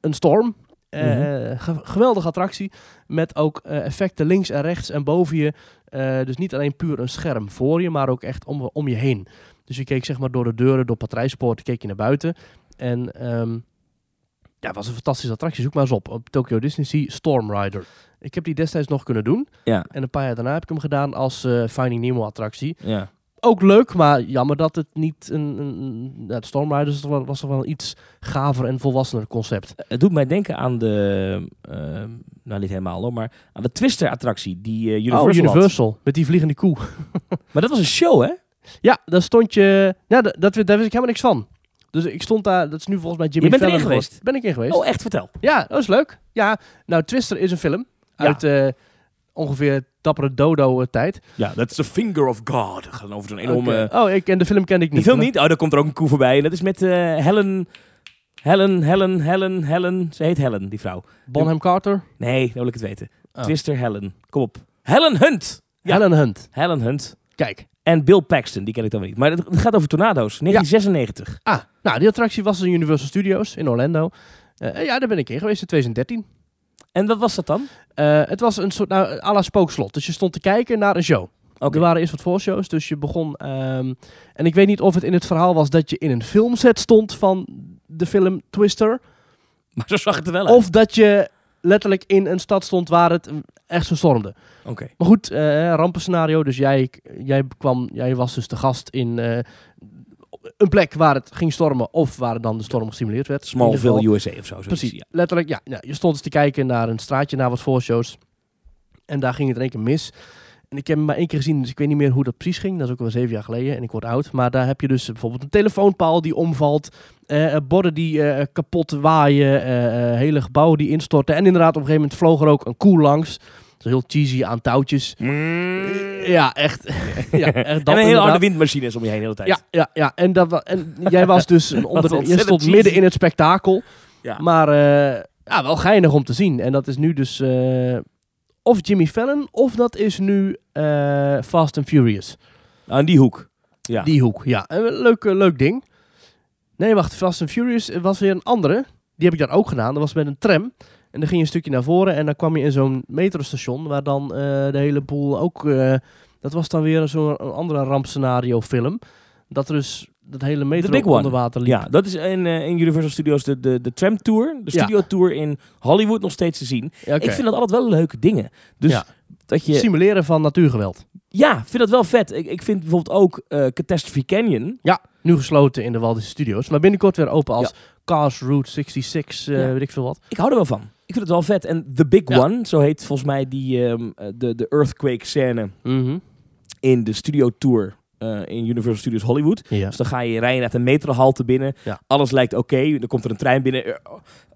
[SPEAKER 1] een storm. Eh, ge- geweldige attractie met ook eh, effecten links en rechts en boven je. Eh, dus niet alleen puur een scherm voor je, maar ook echt om, om je heen. Dus je keek zeg maar door de deuren, door patrijspoorten, keek je naar buiten. En ehm, ja, het was een fantastische attractie. Zoek maar eens op. Op Tokyo Disney Sea Storm Rider. Ik heb die destijds nog kunnen doen.
[SPEAKER 2] Ja.
[SPEAKER 1] En een paar jaar daarna heb ik hem gedaan als eh, Finding Nemo attractie.
[SPEAKER 2] Ja.
[SPEAKER 1] Ook leuk, maar jammer dat het niet een... een, een- ja, het Storm Rider is toch wel- was toch wel een iets gaver en volwassener concept.
[SPEAKER 2] Het doet mij denken aan de... ehm, nou, niet helemaal hoor, maar aan de Twister-attractie die eh Universal,
[SPEAKER 1] oh,
[SPEAKER 2] had.
[SPEAKER 1] Universal. Met die vliegende koe.
[SPEAKER 2] Maar dat was een show, hè?
[SPEAKER 1] Ja, daar stond je... Ja, da- dat, daar wist ik helemaal niks van. Dus ik stond daar... Dat is nu volgens mij Jimmy
[SPEAKER 2] Je bent erin
[SPEAKER 1] Fallon
[SPEAKER 2] geweest?
[SPEAKER 1] geworden. Ben ik in geweest.
[SPEAKER 2] Oh, echt? Vertel.
[SPEAKER 1] Ja, dat is leuk. Ja, nou, Twister is een film
[SPEAKER 2] Ja.
[SPEAKER 1] uit eh, ongeveer Dappere eh, Dodo-tijd.
[SPEAKER 2] Ja, dat is The Finger of God. Gaan over zo'n enorme...
[SPEAKER 1] Oh, ik, en de film kende ik
[SPEAKER 2] De
[SPEAKER 1] niet.
[SPEAKER 2] film
[SPEAKER 1] Maar-
[SPEAKER 2] niet? Oh, daar komt er ook een koe voorbij. En dat is met eh, Helen... Helen, Helen, Helen, Helen. Ze heet Helen, die vrouw.
[SPEAKER 1] Bonham Carter,
[SPEAKER 2] Nee, nou wil ik het weten.
[SPEAKER 1] Oh.
[SPEAKER 2] Twister Helen. Kom op. Helen Hunt. Ja.
[SPEAKER 1] Helen Hunt.
[SPEAKER 2] Helen Hunt.
[SPEAKER 1] Kijk.
[SPEAKER 2] En Bill Paxton, die ken ik dan weer niet. Maar het het gaat over tornado's. 1996.
[SPEAKER 1] Ah, nou, die attractie was in Universal Studios in Orlando. Eh, ja, daar ben ik in geweest in 2013.
[SPEAKER 2] En wat was dat dan?
[SPEAKER 1] Eh, het was een soort, nou, à la spookslot. Dus je stond te kijken naar een show.
[SPEAKER 2] Oké.
[SPEAKER 1] Er waren eerst wat voorshows, dus je begon... ehm, en ik weet niet of het in het verhaal was dat je in een filmset stond van de film Twister...
[SPEAKER 2] Maar zo zag het er wel uit.
[SPEAKER 1] Of dat je letterlijk in een stad stond waar het mm, echt zo stormde.
[SPEAKER 2] Oké.
[SPEAKER 1] Maar goed, eh, rampenscenario. Dus jij, jij, kwam, jij was dus de gast in eh, een plek waar het ging stormen. Of waar dan de storm gesimuleerd werd. In ieder geval-
[SPEAKER 2] Smallville USA of zo. zoiets,
[SPEAKER 1] Precies,
[SPEAKER 2] ja.
[SPEAKER 1] letterlijk. Ja, ja, je stond eens te kijken naar een straatje, naar wat voorshows. En daar ging het in één keer mis. En ik heb hem maar één keer gezien, dus ik weet niet meer hoe dat precies ging. Dat is ook wel zeven jaar geleden en ik word oud. Maar daar heb je dus bijvoorbeeld een telefoonpaal die omvalt. eh, eh, borden die eh, kapot waaien. eh, eh, hele gebouwen die instorten. En inderdaad, op een gegeven moment vloog er ook een koe langs. Dat is heel cheesy aan touwtjes. Ja, echt. ja, echt dat
[SPEAKER 2] en een hele harde
[SPEAKER 1] inderdaad.
[SPEAKER 2] windmachine is om je heen de hele tijd.
[SPEAKER 1] Ja, ja, ja. En, dat, wa- en jij was dus een onderdeel. Je
[SPEAKER 2] ontzettend
[SPEAKER 1] stond
[SPEAKER 2] cheesy.
[SPEAKER 1] midden in het spektakel.
[SPEAKER 2] Ja.
[SPEAKER 1] Maar eh, ja, wel geinig om te zien. En dat is nu dus eh, of Jimmy Fallon of dat is nu eh, Fast and Furious.
[SPEAKER 2] Aan Nou, die hoek. Ja.
[SPEAKER 1] Die hoek, ja. Eh, Leuk, eh, leuk ding. Nee, wacht. Fast and Furious eh, was weer een andere. Die heb ik daar ook gedaan. Dat was met een tram. En dan ging je een stukje naar voren en dan kwam je in zo'n metrostation waar dan eh, de hele boel ook... eh, dat was dan weer zo'n andere rampscenario film. Dat er dus dat hele metro
[SPEAKER 2] big one.
[SPEAKER 1] onder water liep.
[SPEAKER 2] Ja, dat is in, eh, in Universal Studios de, de, de tram tour, de
[SPEAKER 1] Ja.
[SPEAKER 2] studio tour in Hollywood nog steeds te zien.
[SPEAKER 1] Ja, oké.
[SPEAKER 2] Ik vind dat altijd wel leuke dingen. Dus
[SPEAKER 1] Ja.
[SPEAKER 2] dat je...
[SPEAKER 1] Simuleren van natuurgeweld.
[SPEAKER 2] Ja, ik vind dat wel vet. Ik, ik vind bijvoorbeeld ook eh, Catastrophe Canyon.
[SPEAKER 1] Ja, nu gesloten in de Waldische Studios. Maar binnenkort weer open als Cars Route 66, eh,
[SPEAKER 2] Ja.
[SPEAKER 1] weet ik veel wat.
[SPEAKER 2] Ik hou er wel van. Ik vind het wel vet. En The Big
[SPEAKER 1] Ja.
[SPEAKER 2] One, zo heet volgens mij die, ehm, eh, de, de earthquake scène in de studio tour eh, in Universal Studios Hollywood.
[SPEAKER 1] Ja.
[SPEAKER 2] Dus dan ga je rijden naar de metrohalte binnen.
[SPEAKER 1] Ja.
[SPEAKER 2] Alles lijkt oké. Dan komt er een trein binnen. Eh,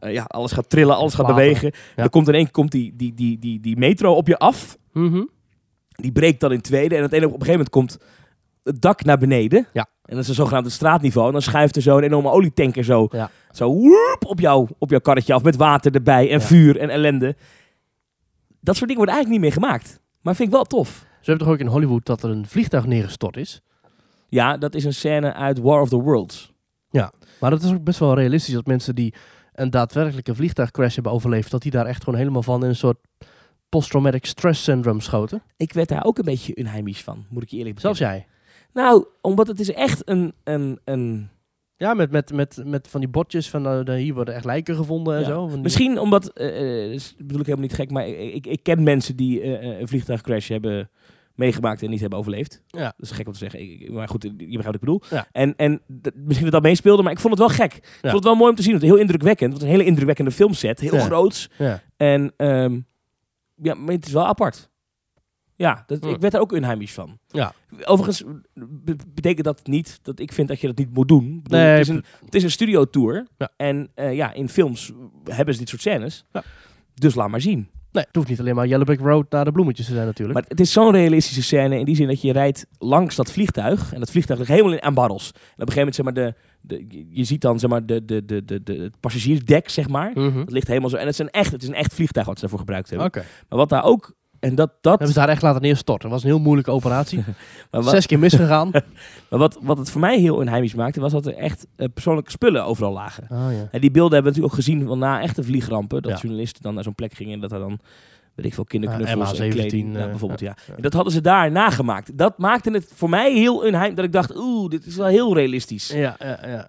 [SPEAKER 2] eh, ja, alles gaat trillen, alles gaat
[SPEAKER 1] Water.
[SPEAKER 2] bewegen. Dan komt in één keer komt die, die, die, die, die metro op je af.
[SPEAKER 1] Mhm.
[SPEAKER 2] Die breekt dan in tweede. En het ene- op een gegeven moment komt het dak naar beneden.
[SPEAKER 1] Ja.
[SPEAKER 2] En dat is een zogenaamde straatniveau. En dan schuift er zo een enorme olietanker zo,
[SPEAKER 1] Ja.
[SPEAKER 2] zo woep, op, jou, op jouw karretje af. Met water erbij en
[SPEAKER 1] Ja.
[SPEAKER 2] vuur en ellende. Dat soort dingen wordt eigenlijk niet meer gemaakt. Maar vind ik wel tof.
[SPEAKER 1] Zo heb je toch ook in Hollywood dat er een vliegtuig neergestort is.
[SPEAKER 2] Ja, dat is een scène uit War of the Worlds.
[SPEAKER 1] Maar dat is ook best wel realistisch dat mensen die een daadwerkelijke vliegtuigcrash hebben overleefd, dat die daar echt gewoon helemaal van in een soort posttraumatic stress syndrome schoten.
[SPEAKER 2] Ik werd daar ook een beetje unheimisch van, moet ik je eerlijk
[SPEAKER 1] Zelfs
[SPEAKER 2] bekennen.
[SPEAKER 1] jij.
[SPEAKER 2] Nou, omdat het is echt een... een, een
[SPEAKER 1] Ja, met, met, met, met van die bordjes van eh, de- hier worden echt lijken gevonden en
[SPEAKER 2] Ja.
[SPEAKER 1] zo. Van die-
[SPEAKER 2] misschien omdat... eh, eh, is- bedoel ik helemaal niet gek, maar ik, ik, ik ken mensen die eh, eh, een vliegtuigcrash hebben meegemaakt en niet hebben overleefd.
[SPEAKER 1] Ja.
[SPEAKER 2] Dat is gek om te zeggen. Ik- ik- maar goed, je begrijpt wat ik bedoel.
[SPEAKER 1] Ja.
[SPEAKER 2] En, en d- misschien dat dat meespeelde, maar ik vond het wel gek. Ik vond het wel mooi om te zien. want Heel indrukwekkend. Het was een hele indrukwekkende filmset. Heel
[SPEAKER 1] Ja.
[SPEAKER 2] groots.
[SPEAKER 1] Ja.
[SPEAKER 2] En ehm, ja, maar het is wel apart. Ja, dat,
[SPEAKER 1] Hm.
[SPEAKER 2] ik werd er ook unheimisch van.
[SPEAKER 1] Ja.
[SPEAKER 2] Overigens be- betekent dat niet dat ik vind dat je dat niet moet doen. Ik bedoel,
[SPEAKER 1] Nee,
[SPEAKER 2] het, is een, het is een studiotour.
[SPEAKER 1] Ja.
[SPEAKER 2] En eh, ja, in films hebben ze dit soort scènes.
[SPEAKER 1] Ja.
[SPEAKER 2] Dus laat maar zien.
[SPEAKER 1] Nee, het hoeft niet alleen maar Yellow Brick Road naar de bloemetjes te zijn natuurlijk.
[SPEAKER 2] Maar het is zo'n realistische scène in die zin dat je rijdt langs dat vliegtuig. En dat vliegtuig ligt helemaal in, aan barrels. En op een gegeven moment, zeg maar, de, de, je- je ziet dan zeg maar, de, de, de, de, de, het passagiersdek, zeg maar.
[SPEAKER 1] Mhm.
[SPEAKER 2] Dat ligt helemaal zo. En het is een echt, het is een echt vliegtuig wat ze daarvoor gebruikt hebben.
[SPEAKER 1] Oké.
[SPEAKER 2] Maar wat daar ook... En dat, dat,
[SPEAKER 1] Hebben ze daar echt laten neerstorten. Dat was een heel moeilijke operatie.
[SPEAKER 2] maar wat,
[SPEAKER 1] Zes keer misgegaan.
[SPEAKER 2] maar wat, wat het voor mij heel onheimisch maakte, was dat er echt eh, persoonlijke spullen overal lagen.
[SPEAKER 1] Ah, ja.
[SPEAKER 2] En die beelden hebben we natuurlijk ook gezien van na echte vliegrampen. Dat
[SPEAKER 1] Ja.
[SPEAKER 2] journalisten dan naar zo'n plek gingen en dat daar dan, weet ik veel, kinderknuffels
[SPEAKER 1] Ah,
[SPEAKER 2] en
[SPEAKER 1] MH17,
[SPEAKER 2] kleding nou,
[SPEAKER 1] eh,
[SPEAKER 2] bijvoorbeeld. Ja.
[SPEAKER 1] ja.
[SPEAKER 2] En dat hadden ze daar nagemaakt. Dat maakte het voor mij heel onheim. Dat ik dacht, oeh, dit is wel heel realistisch.
[SPEAKER 1] Ja, ja, ja.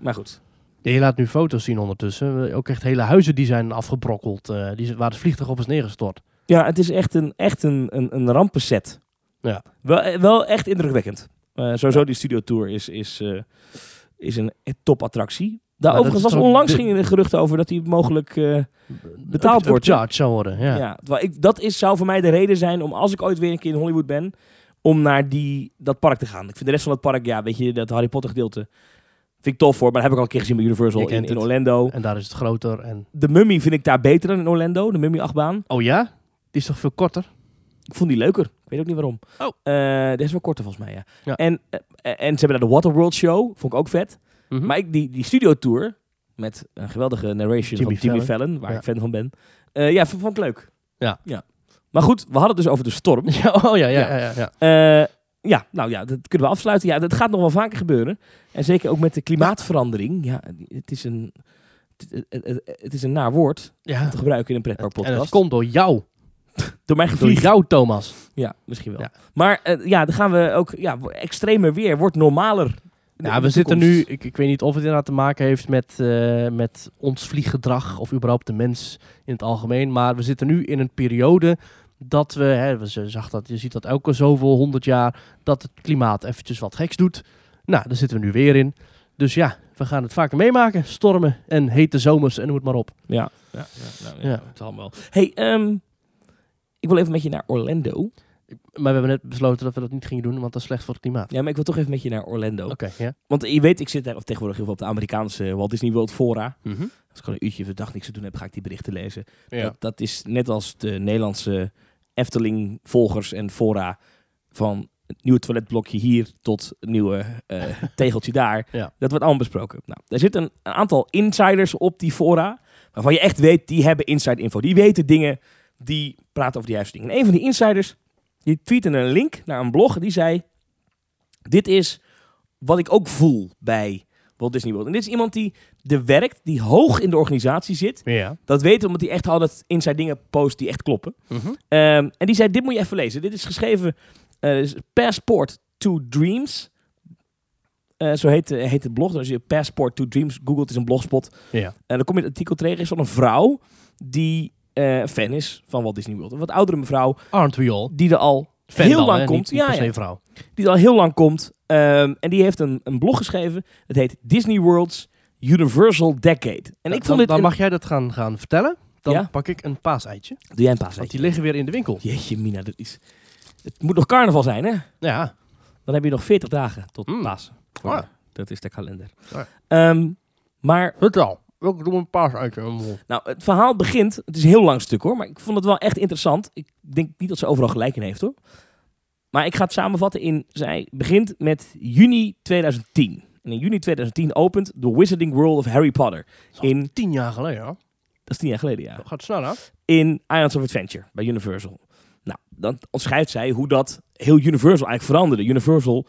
[SPEAKER 2] Maar goed.
[SPEAKER 1] Ja, je laat nu foto's zien ondertussen. Eh, Ook echt hele huizen die zijn afgebrokkeld. eh, die, z- waar het vliegtuig op is neergestort.
[SPEAKER 2] Ja, het is echt een, echt een, een, een rampenset.
[SPEAKER 1] Ja.
[SPEAKER 2] Wel, eh, wel echt indrukwekkend. Eh, sowieso die studiotour is, is, eh, is een topattractie.
[SPEAKER 1] Maar dat
[SPEAKER 2] Daar overigens
[SPEAKER 1] is
[SPEAKER 2] was
[SPEAKER 1] toch
[SPEAKER 2] onlangs
[SPEAKER 1] de-
[SPEAKER 2] gingen er geruchten over dat hij mogelijk... eh, Betaald
[SPEAKER 1] Up-
[SPEAKER 2] wordt, hè?
[SPEAKER 1] upcharged zou worden, ja.
[SPEAKER 2] ja. terwijl ik, dat is, zou voor mij de reden zijn om als ik ooit weer een keer in Hollywood ben... om naar die, dat park te gaan. Ik vind de rest van het park, ja, weet je, dat Harry Potter gedeelte... vind ik tof voor, maar dat heb ik al een keer gezien bij
[SPEAKER 1] Je
[SPEAKER 2] Universal in,
[SPEAKER 1] kent
[SPEAKER 2] in
[SPEAKER 1] het.
[SPEAKER 2] Orlando.
[SPEAKER 1] En daar is het groter. En...
[SPEAKER 2] De Mummy vind ik daar beter dan in Orlando, de Mummy-achtbaan.
[SPEAKER 1] Oh ja? Die is toch veel korter?
[SPEAKER 2] Ik vond die leuker. Ik weet ook niet waarom.
[SPEAKER 1] Oh.
[SPEAKER 2] Eh, die is wel korter volgens mij, ja.
[SPEAKER 1] Ja.
[SPEAKER 2] En, eh, en ze hebben daar de Waterworld Show. Vond ik ook vet.
[SPEAKER 1] Mhm.
[SPEAKER 2] Maar ik, die, die studiotour met een geweldige narration
[SPEAKER 1] Jimmy
[SPEAKER 2] van Jimmy
[SPEAKER 1] Fallon.
[SPEAKER 2] Fallon, waar
[SPEAKER 1] Ja.
[SPEAKER 2] ik fan van ben. Eh, ja, vond, vond ik leuk.
[SPEAKER 1] Ja.
[SPEAKER 2] ja. Maar goed, we hadden het dus over de storm.
[SPEAKER 1] Ja, oh ja, ja,
[SPEAKER 2] Ja.
[SPEAKER 1] ja. ja, ja.
[SPEAKER 2] Eh, ja, nou ja, dat kunnen we afsluiten. Ja, dat gaat nog wel vaker gebeuren. En zeker ook met de klimaatverandering. Ja, het is een, het, het- het- het is een naar woord
[SPEAKER 1] Ja.
[SPEAKER 2] te gebruiken in een
[SPEAKER 1] En dat
[SPEAKER 2] pretparkpodcast.
[SPEAKER 1] komt door jou.
[SPEAKER 2] door mijn
[SPEAKER 1] Door
[SPEAKER 2] gevlieg.
[SPEAKER 1] jou, Thomas.
[SPEAKER 2] Ja, misschien wel.
[SPEAKER 1] Ja.
[SPEAKER 2] Maar eh, ja, dan gaan we ook... Ja, wo- extremer weer wordt normaler. in de- in
[SPEAKER 1] Ja, we
[SPEAKER 2] de
[SPEAKER 1] zitten nu...
[SPEAKER 2] toekomst.
[SPEAKER 1] Ik, ik weet niet of het inderdaad te maken heeft met, eh, met ons vlieggedrag... of überhaupt de mens in het algemeen. Maar we zitten nu in een periode dat we... Hè, we z- zag dat, je ziet dat elke zoveel honderd jaar... dat het klimaat eventjes wat geks doet. Nou, daar zitten we nu weer in. Dus ja, we gaan het vaker meemaken. Stormen en hete zomers en noem het maar op.
[SPEAKER 2] Ja, ja, ja, nou, ja,
[SPEAKER 1] Ja.
[SPEAKER 2] het allemaal wel. hey, ehm, ik wil even met je naar Orlando.
[SPEAKER 1] Maar we hebben net besloten dat we dat niet gingen doen... want dat is slecht voor het klimaat.
[SPEAKER 2] Ja, maar ik wil toch even met je naar Orlando.
[SPEAKER 1] Oké, ja.
[SPEAKER 2] Want je weet, ik zit daar tegenwoordig heel veel op de Amerikaanse Walt Disney World fora.
[SPEAKER 1] Mhm.
[SPEAKER 2] Als ik gewoon een uurtje per dag niks te doen heb, ga ik die berichten lezen.
[SPEAKER 1] Ja.
[SPEAKER 2] Dat, dat is net als de Nederlandse Efteling-volgers en fora van het nieuwe toiletblokje hier tot het nieuwe eh, tegeltje daar.
[SPEAKER 1] Ja.
[SPEAKER 2] Dat wordt allemaal besproken. Nou, er zitten een, een aantal insiders op die fora, waarvan je echt weet, die hebben inside info. Die weten dingen, die praten over die juiste dingen. En een van die insiders, die tweette een link naar een blog, die zei, dit is wat ik ook voel bij Walt Disney World. En dit is iemand die er werkt, die hoog in de organisatie zit,
[SPEAKER 1] Ja.
[SPEAKER 2] dat weten we omdat hij echt altijd inside dingen post die echt kloppen.
[SPEAKER 1] Mhm.
[SPEAKER 2] Ehm, en die zei, dit moet je even lezen. Dit is geschreven, eh, dus Passport to Dreams. Eh, zo heet, eh, heet het blog. Dus als je Passport to Dreams googelt, het is een blogspot.
[SPEAKER 1] Ja.
[SPEAKER 2] En dan kom je het artikel tegen, is van een vrouw die eh, fan is van Walt Disney World. Een wat oudere mevrouw,
[SPEAKER 1] Aren't we all?
[SPEAKER 2] die er al
[SPEAKER 1] Fan
[SPEAKER 2] heel
[SPEAKER 1] dan,
[SPEAKER 2] lang
[SPEAKER 1] hè?
[SPEAKER 2] komt.
[SPEAKER 1] Niet, niet
[SPEAKER 2] Ja,
[SPEAKER 1] per se
[SPEAKER 2] ja.
[SPEAKER 1] vrouw.
[SPEAKER 2] die al heel lang komt. Ehm, en die heeft een, een blog geschreven. Het heet Disney World's Universal Decade.
[SPEAKER 1] dan,
[SPEAKER 2] En ik vond dit...
[SPEAKER 1] dan
[SPEAKER 2] een-
[SPEAKER 1] mag jij dat gaan, gaan vertellen. Dan
[SPEAKER 2] Ja.
[SPEAKER 1] pak ik een paaseitje.
[SPEAKER 2] Doe jij een paas?
[SPEAKER 1] Want die liggen weer in de winkel.
[SPEAKER 2] Jeetje, Mina, dat is. Het moet nog carnaval zijn, hè?
[SPEAKER 1] Ja.
[SPEAKER 2] Dan heb je nog 40 dagen tot
[SPEAKER 1] Mm.
[SPEAKER 2] Pasen.
[SPEAKER 1] Ah.
[SPEAKER 2] Dat is de kalender.
[SPEAKER 1] Ah.
[SPEAKER 2] Ehm, maar,
[SPEAKER 1] Vertel. Ik doe een paaseitje.
[SPEAKER 2] nou, het verhaal begint. Het is een heel lang stuk hoor, maar ik vond het wel echt interessant. Ik denk niet dat ze overal gelijk in heeft hoor. Maar ik ga het samenvatten in. Zij begint met juni 2010. En in juni 2010 opent The Wizarding World of Harry Potter. In, dat
[SPEAKER 1] Tien jaar geleden, ja.
[SPEAKER 2] is tien jaar geleden, ja.
[SPEAKER 1] Dat gaat snel, hè? Nou,
[SPEAKER 2] In Islands of Adventure bij Universal. Nou, dan ontscheidt zij hoe dat heel Universal eigenlijk veranderde. Universal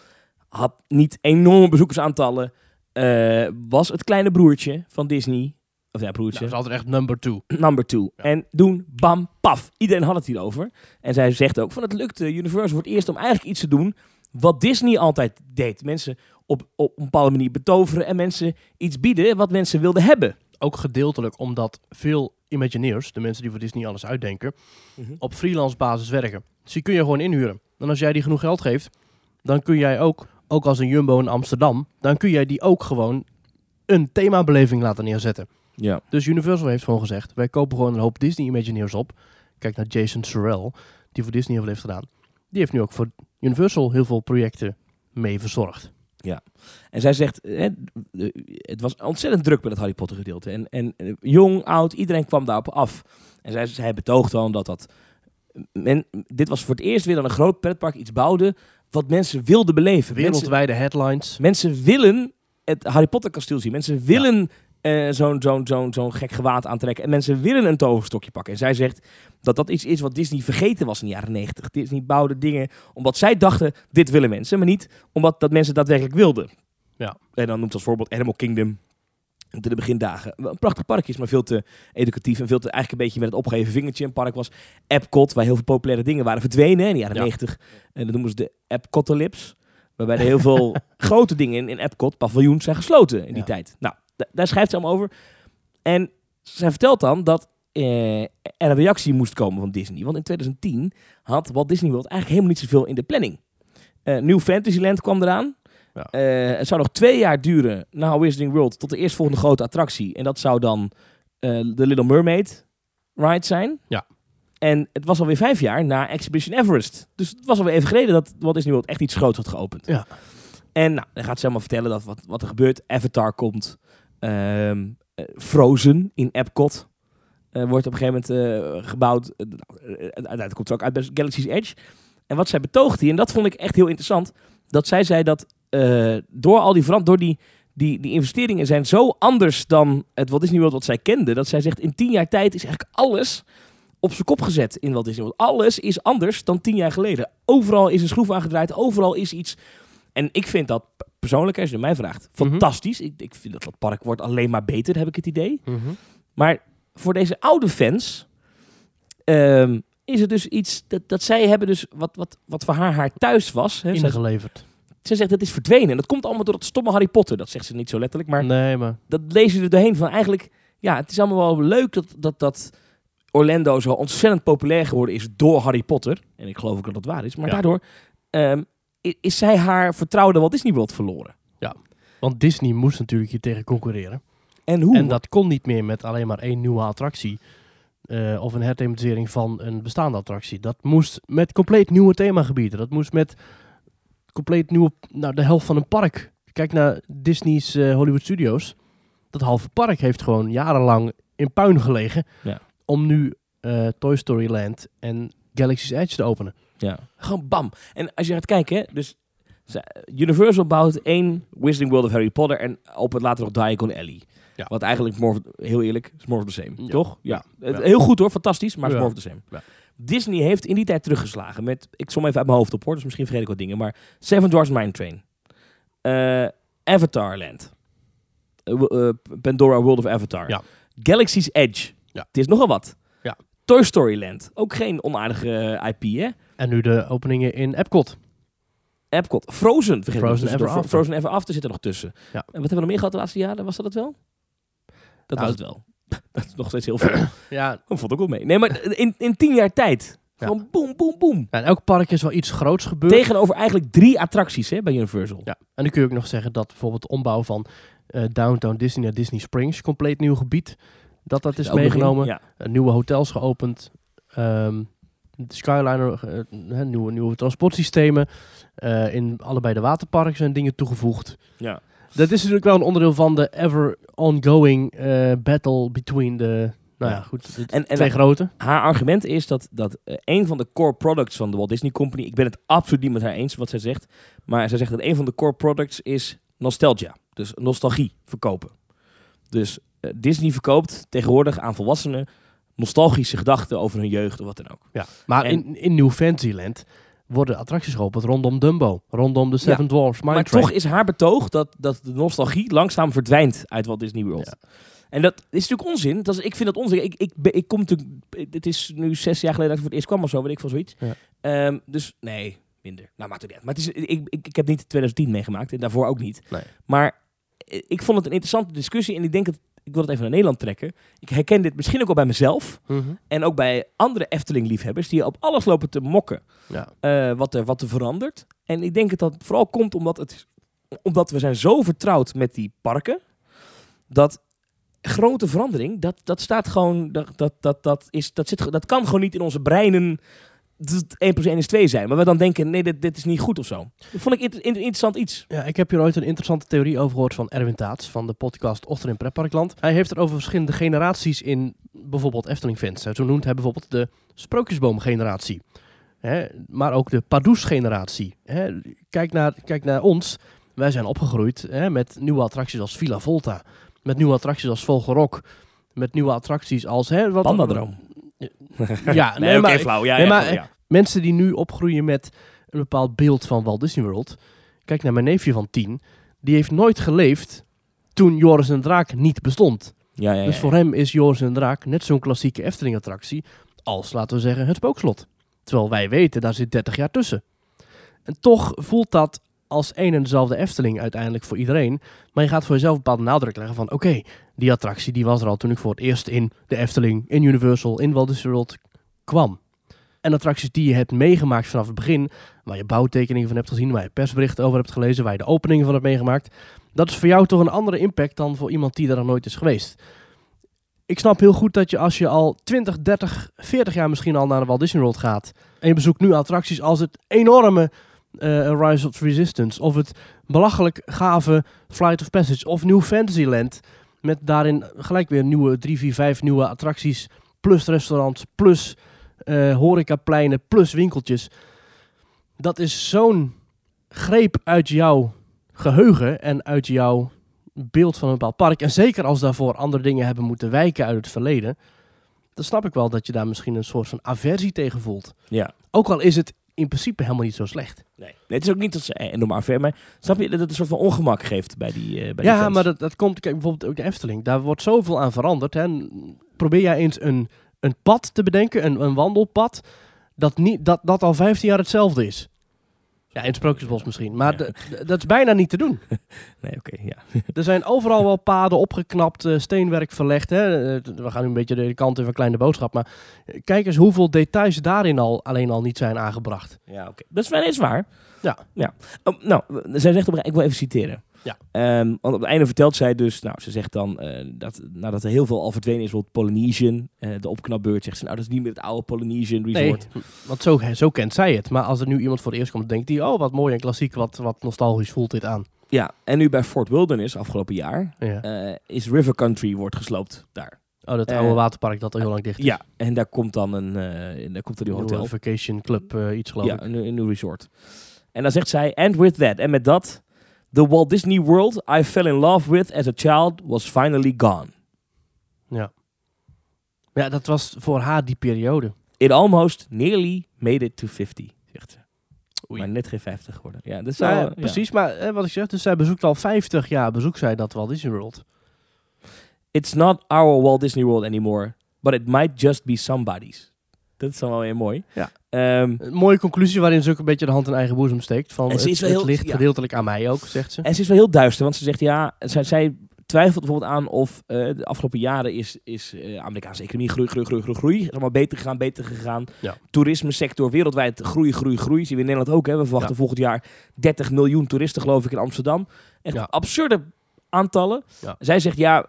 [SPEAKER 2] had niet enorme bezoekersaantallen. eh, was het kleine broertje van Disney. Of ja, broertje
[SPEAKER 1] dat is altijd echt number two.
[SPEAKER 2] number two.
[SPEAKER 1] Nou, Ja.
[SPEAKER 2] En doen, bam, paf. Iedereen had het hierover. En zij zegt ook van het lukt eh, Universal voor het eerst om eigenlijk iets te doen wat Disney altijd deed. Mensen op, op een bepaalde manier betoveren en mensen iets bieden wat mensen wilden hebben.
[SPEAKER 1] Ook gedeeltelijk omdat veel Imagineers, de mensen die voor Disney alles uitdenken,
[SPEAKER 2] Mhm.
[SPEAKER 1] op freelance basis werken. Dus die kun je gewoon inhuren. En als jij die genoeg geld geeft, dan kun jij ook, ook als een Jumbo in Amsterdam, dan kun jij die ook gewoon een themabeleving laten neerzetten.
[SPEAKER 2] Ja.
[SPEAKER 1] Dus Universal heeft gewoon gezegd: wij kopen gewoon een hoop Disney Imagineers op. Kijk naar Jason Sorrell, die voor Disney heel veel heeft gedaan. Die heeft nu ook voor Universal heel veel projecten mee verzorgd.
[SPEAKER 2] En zij zegt, eh, eh, het was ontzettend druk met het Harry Potter gedeelte. En, en eh, jong, oud, iedereen kwam daarop af. En zij, zij betoogde dan dat dat... Men, dit was voor het eerst weer dan een groot pretpark iets bouwde wat mensen wilden beleven. Mensen-
[SPEAKER 1] Wereldwijde headlines.
[SPEAKER 2] Mensen willen het Harry Potter kasteel zien. Mensen willen eh, zo'n zo'n zo'n zo'n gek gewaad aantrekken. En mensen willen een toverstokje pakken. En zij zegt dat dat iets is wat Disney vergeten was in de jaren 90. Disney bouwde dingen omdat zij dachten, dit willen mensen. Maar niet omdat dat mensen daadwerkelijk wilden.
[SPEAKER 1] Ja.
[SPEAKER 2] En dan noemt ze als voorbeeld Animal Kingdom. De begindagen. Wel Een prachtig park is, maar veel te educatief. En veel te eigenlijk een beetje met het opgeheven vingertje een park was. Epcot, waar heel veel populaire dingen waren verdwenen hè, in de jaren
[SPEAKER 1] Ja.
[SPEAKER 2] 90. En dat noemen ze de Epcotalypse. Waarbij er heel veel grote dingen in, in Epcot, paviljoens, zijn gesloten in die
[SPEAKER 1] Ja.
[SPEAKER 2] tijd. Nou, da- daar schrijft ze allemaal over. En zij vertelt dan dat eh, er een reactie moest komen van Disney. Want in 2010 had Walt Disney World eigenlijk helemaal niet zoveel in de planning. Eh Nieuw Fantasyland kwam eraan.
[SPEAKER 1] Ja.
[SPEAKER 2] Eh, het zou nog twee jaar duren na Wizarding World tot de eerstvolgende grote attractie. En dat zou dan eh The Little Mermaid ride zijn.
[SPEAKER 1] Ja.
[SPEAKER 2] En het was alweer vijf jaar na Expedition Everest. Dus het was alweer even geleden dat Walt Disney World echt iets groots had geopend.
[SPEAKER 1] Ja.
[SPEAKER 2] En nou, dan gaat ze helemaal vertellen dat wat, wat er gebeurt. Avatar komt. Ehm, eh, Frozen in Epcot eh, wordt op een gegeven moment eh, gebouwd. Eh, nou, eh, uiteindelijk komt ze ook uit bij Galaxy's Edge. En wat zij betoogde hier, en dat vond ik echt heel interessant, dat zij zei dat eh, door al die verand, door die, die, die investeringen zijn zo anders dan het Walt Disney World wat zij kende, dat zij zegt in tien jaar tijd is eigenlijk alles op zijn kop gezet in Walt Disney World. Alles is anders dan tien jaar geleden. Overal is een schroef aangedraaid, overal is iets. En ik vind dat p- persoonlijk, als je het mij vraagt,
[SPEAKER 1] Mhm.
[SPEAKER 2] fantastisch. Ik, ik vind dat dat park wordt alleen maar beter, heb ik het idee. Maar voor deze oude fans ehm, is het dus iets dat, dat zij hebben dus wat, wat, wat voor haar haar thuis was. Hè. Zij,
[SPEAKER 1] Ingeleverd.
[SPEAKER 2] zij zegt dat is verdwenen. En dat komt allemaal door dat stomme Harry Potter. Dat zegt ze niet zo letterlijk, maar
[SPEAKER 1] Nee, maar
[SPEAKER 2] dat lees je er doorheen van eigenlijk... Ja, het is allemaal wel leuk dat, dat, dat Orlando zo ontzettend populair geworden is door Harry Potter. En ik geloof ook dat dat waar is. Maar
[SPEAKER 1] Ja.
[SPEAKER 2] daardoor ehm, i- is zij haar vertrouwde Walt Disney World verloren.
[SPEAKER 1] Want Disney moest natuurlijk hier tegen concurreren.
[SPEAKER 2] En hoe?
[SPEAKER 1] En dat kon niet meer met alleen maar één nieuwe attractie. eh, of een herthematisering van een bestaande attractie. Dat moest met compleet nieuwe themagebieden. Dat moest met compleet nieuwe. Nou, de helft van een park. Kijk naar Disney's eh, Hollywood Studios. Dat halve park heeft gewoon jarenlang in puin gelegen.
[SPEAKER 2] Ja.
[SPEAKER 1] Om nu eh, Toy Story Land en Galaxy's Edge te openen.
[SPEAKER 2] Ja. Gewoon bam. En als je gaat kijken, hè, dus ze- Universal bouwt één Wizarding World of Harry Potter en op het later nog Diagon Alley.
[SPEAKER 1] Ja.
[SPEAKER 2] Wat eigenlijk, more of- heel eerlijk, is more of the same.
[SPEAKER 1] Ja.
[SPEAKER 2] Toch? Ja.
[SPEAKER 1] Ja.
[SPEAKER 2] Het- Heel goed hoor, fantastisch, maar het is
[SPEAKER 1] Ja.
[SPEAKER 2] more of the same.
[SPEAKER 1] Ja.
[SPEAKER 2] Disney heeft in die tijd teruggeslagen met, ik som even uit mijn hoofd op hoor, dus misschien vergeet ik wat dingen, maar Seven Dwarfs Mine Train, Eh, Avatar Land, Eh, wo- eh, Pandora World of Avatar,
[SPEAKER 1] Ja.
[SPEAKER 2] Galaxy's Edge,
[SPEAKER 1] Ja.
[SPEAKER 2] het is nogal wat.
[SPEAKER 1] Ja.
[SPEAKER 2] Toy Story Land, ook geen onaardige eh, IP hè?
[SPEAKER 1] En nu de openingen in Epcot.
[SPEAKER 2] Epcot. Frozen, vergeet
[SPEAKER 1] Frozen
[SPEAKER 2] ik nog.
[SPEAKER 1] Ever
[SPEAKER 2] Fro-
[SPEAKER 1] After.
[SPEAKER 2] Frozen Ever After zit er nog tussen.
[SPEAKER 1] Ja.
[SPEAKER 2] En wat hebben we nog meer gehad de laatste jaren? Was dat het wel? Dat
[SPEAKER 1] Nou,
[SPEAKER 2] was het wel. dat is nog steeds heel veel.
[SPEAKER 1] Ja.
[SPEAKER 2] Dat vond ik ook wel mee. Nee, maar in, in tien jaar tijd.
[SPEAKER 1] Ja.
[SPEAKER 2] Gewoon boem, boem, boem.
[SPEAKER 1] En elk park is wel iets groots gebeurd.
[SPEAKER 2] Tegenover eigenlijk drie attracties hè, bij Universal.
[SPEAKER 1] Ja, en dan kun je ook nog zeggen dat bijvoorbeeld de ombouw van eh, Downtown Disney naar Disney Springs, compleet nieuw gebied, dat dat is
[SPEAKER 2] Ook nog in.
[SPEAKER 1] meegenomen.
[SPEAKER 2] Ja.
[SPEAKER 1] Eh, nieuwe hotels geopend, ehm, de Skyliner, eh, hè, nieuwe, nieuwe transportsystemen. Eh, in allebei de waterparken zijn dingen toegevoegd.
[SPEAKER 2] Ja.
[SPEAKER 1] Dat is natuurlijk wel een onderdeel van de ever ongoing eh, battle between de, nou ja,
[SPEAKER 2] Ja.
[SPEAKER 1] goed, de
[SPEAKER 2] En, en
[SPEAKER 1] twee grote.
[SPEAKER 2] haar argument is dat, dat eh, een van de core products van de Walt Disney Company... Ik ben het absoluut niet met haar eens wat zij zegt. Maar zij zegt dat een van de core products is nostalgia. Dus nostalgie verkopen. Dus eh, Disney verkoopt tegenwoordig aan volwassenen nostalgische gedachten over hun jeugd of wat dan ook.
[SPEAKER 1] Ja. Maar
[SPEAKER 2] En-
[SPEAKER 1] in, in New Fantasyland worden attracties geopend rondom Dumbo, rondom de Seven Dwarfs Mine
[SPEAKER 2] maar
[SPEAKER 1] Train.
[SPEAKER 2] toch is haar betoog dat, dat de nostalgie langzaam verdwijnt uit Walt Disney World. En dat is natuurlijk onzin. Dat is, ik vind dat onzin. Ik, ik, ben- ik kom natuurlijk... Het is nu zes jaar geleden dat ik voor het eerst kwam of zo, weet ik veel zoiets.
[SPEAKER 1] Ja.
[SPEAKER 2] Ehm, dus nee, minder. Nou, maakt het niet uit. Maar het is, ik, ik, ik heb niet 2010 meegemaakt en daarvoor ook niet.
[SPEAKER 1] Nee.
[SPEAKER 2] Maar eh, ik vond het een interessante discussie en ik denk dat... Ik wil het even naar Nederland trekken. Ik herken dit misschien ook al bij mezelf.
[SPEAKER 1] Mhm.
[SPEAKER 2] En ook bij andere Efteling-liefhebbers die op alles lopen te mokken
[SPEAKER 1] Ja.
[SPEAKER 2] eh, wat, er, wat er verandert. En ik denk dat dat vooral komt omdat, het, omdat we zijn zo vertrouwd met die parken. Dat grote verandering, dat, dat staat gewoon, dat, dat, dat, dat, is, dat, zit, ge- dat kan gewoon niet in onze breinen. dat 1 plus 1 is 2 zijn. Maar we dan denken, nee, dit, dit is niet goed of zo. Dat vond ik inter- inter- interessant iets.
[SPEAKER 1] ja, ik heb hier ooit een interessante theorie over gehoord van Erwin Taats van de podcast Ochter in Pretparkland. Hij heeft het over verschillende generaties in bijvoorbeeld Efteling-fans. Zo noemt hij bijvoorbeeld de Sprookjesboom-generatie. Hè, maar ook de Pardoes-generatie. Hè, Kijk, naar, kijk naar ons. Wij zijn opgegroeid hè, met nieuwe attracties als Villa Volta. Met nieuwe attracties als Vogelrok. Met nieuwe attracties als... Hè, wat,
[SPEAKER 2] Pandadroom.
[SPEAKER 1] Ja,
[SPEAKER 2] Nee,
[SPEAKER 1] nee,
[SPEAKER 2] oké,
[SPEAKER 1] maar
[SPEAKER 2] flauw. Ja,
[SPEAKER 1] nee,
[SPEAKER 2] ja,
[SPEAKER 1] maar-
[SPEAKER 2] goed, ja.
[SPEAKER 1] mensen die nu opgroeien met een bepaald beeld van Walt Disney World. Kijk naar mijn neefje van 10. Die heeft nooit geleefd toen Joris en de Draak niet bestond.
[SPEAKER 2] Ja, ja, ja,
[SPEAKER 1] Dus voor hem is Joris en de Draak net zo'n klassieke Efteling-attractie als, laten we zeggen, het spookslot. Terwijl wij weten, daar zit 30 jaar tussen. En toch voelt dat als één en dezelfde Efteling uiteindelijk voor iedereen. Maar je gaat voor jezelf een bepaalde nadruk leggen van... oké, die attractie die was er al toen ik voor het eerst in de Efteling, in Universal, in Walt Disney World kwam. En attracties die je hebt meegemaakt vanaf het begin... waar je bouwtekeningen van hebt gezien, waar je persberichten over hebt gelezen... waar je de openingen van hebt meegemaakt... dat is voor jou toch een andere impact dan voor iemand die daar nog nooit is geweest ik snap heel goed dat je als je al 20, 30, 40 jaar misschien al naar de Walt Disney World gaat. En je bezoekt nu attracties als het enorme eh, Rise of Resistance. Of het belachelijk gave Flight of Passage. Of New Fantasyland. Met daarin gelijk weer nieuwe 3, 4, 5 nieuwe attracties. Plus restaurants, plus eh, horecapleinen, plus winkeltjes. Dat is zo'n greep uit jouw geheugen en uit jouw beeld van een bepaald park. En zeker als daarvoor andere dingen hebben moeten wijken uit het verleden. Dan snap ik wel dat je daar misschien een soort van aversie tegen voelt.
[SPEAKER 2] Ja.
[SPEAKER 1] Ook al is het in principe helemaal niet zo slecht.
[SPEAKER 2] Nee. Nee, het is ook niet dat ze eh, enorm affair, maar snap je dat het een soort van ongemak geeft bij die, eh, bij die
[SPEAKER 1] Ja,
[SPEAKER 2] fans?
[SPEAKER 1] maar dat, dat komt kijk, bijvoorbeeld ook de Efteling. Daar wordt zoveel aan veranderd. Hè. En Probeer jij eens een, een pad te bedenken, een, een wandelpad, dat, niet, dat, dat al 15 jaar hetzelfde is. Ja, in het Sprookjesbos misschien. Maar
[SPEAKER 2] Ja.
[SPEAKER 1] d- d- dat is bijna niet te doen.
[SPEAKER 2] Nee, oké, ja.
[SPEAKER 1] Er zijn overal wel paden opgeknapt, eh, steenwerk verlegd. Hè? Eh, We gaan nu een beetje de kant in van kleine boodschap. Maar eh, kijk eens hoeveel details daarin al alleen al niet zijn aangebracht.
[SPEAKER 2] Ja, oké. Dat is wel eens waar.
[SPEAKER 1] Ja.
[SPEAKER 2] ja. Oh, nou, zij zegt op een ik wil even citeren.
[SPEAKER 1] Ja.
[SPEAKER 2] Ehm, want op het einde vertelt zij dus, nou, ze zegt dan eh, dat nadat er heel veel al verdwenen is, bijvoorbeeld Polynesian, eh, de opknapbeurt, zegt ze, nou, dat is niet meer het oude Polynesian
[SPEAKER 1] Nee,
[SPEAKER 2] Resort.
[SPEAKER 1] want zo, zo kent zij het. Maar als er nu iemand voor het eerst komt, denkt hij... oh, wat mooi en klassiek, wat, wat nostalgisch voelt dit aan.
[SPEAKER 2] Ja, en nu bij Fort Wilderness, afgelopen jaar,
[SPEAKER 1] Ja.
[SPEAKER 2] eh, is River Country wordt gesloopt daar.
[SPEAKER 1] Oh, dat
[SPEAKER 2] eh,
[SPEAKER 1] oude waterpark dat al heel lang dicht is.
[SPEAKER 2] Ja, en daar komt dan een, eh, en daar komt er een
[SPEAKER 1] Nieuwe
[SPEAKER 2] hotel.
[SPEAKER 1] vacation club, eh, iets geloof
[SPEAKER 2] Ja,
[SPEAKER 1] ik.
[SPEAKER 2] een, een nieuw resort. En dan zegt zij, and with that, en met dat, the Walt Disney World I fell in love with as a child was finally gone.
[SPEAKER 1] Ja, dat was voor haar die periode.
[SPEAKER 2] It almost nearly made it to 50, zegt ze.
[SPEAKER 1] Oei.
[SPEAKER 2] Maar net geen 50 geworden. Ja, dat is
[SPEAKER 1] Nou,
[SPEAKER 2] wel,
[SPEAKER 1] ja,
[SPEAKER 2] ja.
[SPEAKER 1] precies, maar eh, wat ik zeg, dus zij bezoekt al 50 jaar, bezoekt zij dat Walt Disney World.
[SPEAKER 2] It's not our Walt Disney World anymore, but it might just be somebody's. Dat is dan wel weer mooi.
[SPEAKER 1] Ja.
[SPEAKER 2] Ehm,
[SPEAKER 1] Een mooie conclusie waarin ze ook een beetje de hand in eigen boezem steekt. Van,
[SPEAKER 2] En
[SPEAKER 1] het
[SPEAKER 2] ze is wel
[SPEAKER 1] het
[SPEAKER 2] heel-
[SPEAKER 1] ligt
[SPEAKER 2] ja.
[SPEAKER 1] gedeeltelijk aan mij ook, zegt ze.
[SPEAKER 2] en ze is wel heel duister, want ze zegt ja, zij, zij twijfelt bijvoorbeeld aan of eh, de afgelopen jaren is, is eh, Amerikaanse economie groei, groei, groei, groei, groei. Is allemaal beter gegaan, beter gegaan.
[SPEAKER 1] Ja.
[SPEAKER 2] Toerisme sector wereldwijd groei, groei, groei. Zien we in Nederland ook. Hè? We verwachten
[SPEAKER 1] Ja.
[SPEAKER 2] volgend jaar 30 miljoen toeristen geloof ik in Amsterdam. Echt
[SPEAKER 1] Ja.
[SPEAKER 2] absurde aantallen.
[SPEAKER 1] Ja.
[SPEAKER 2] Zij zegt ja,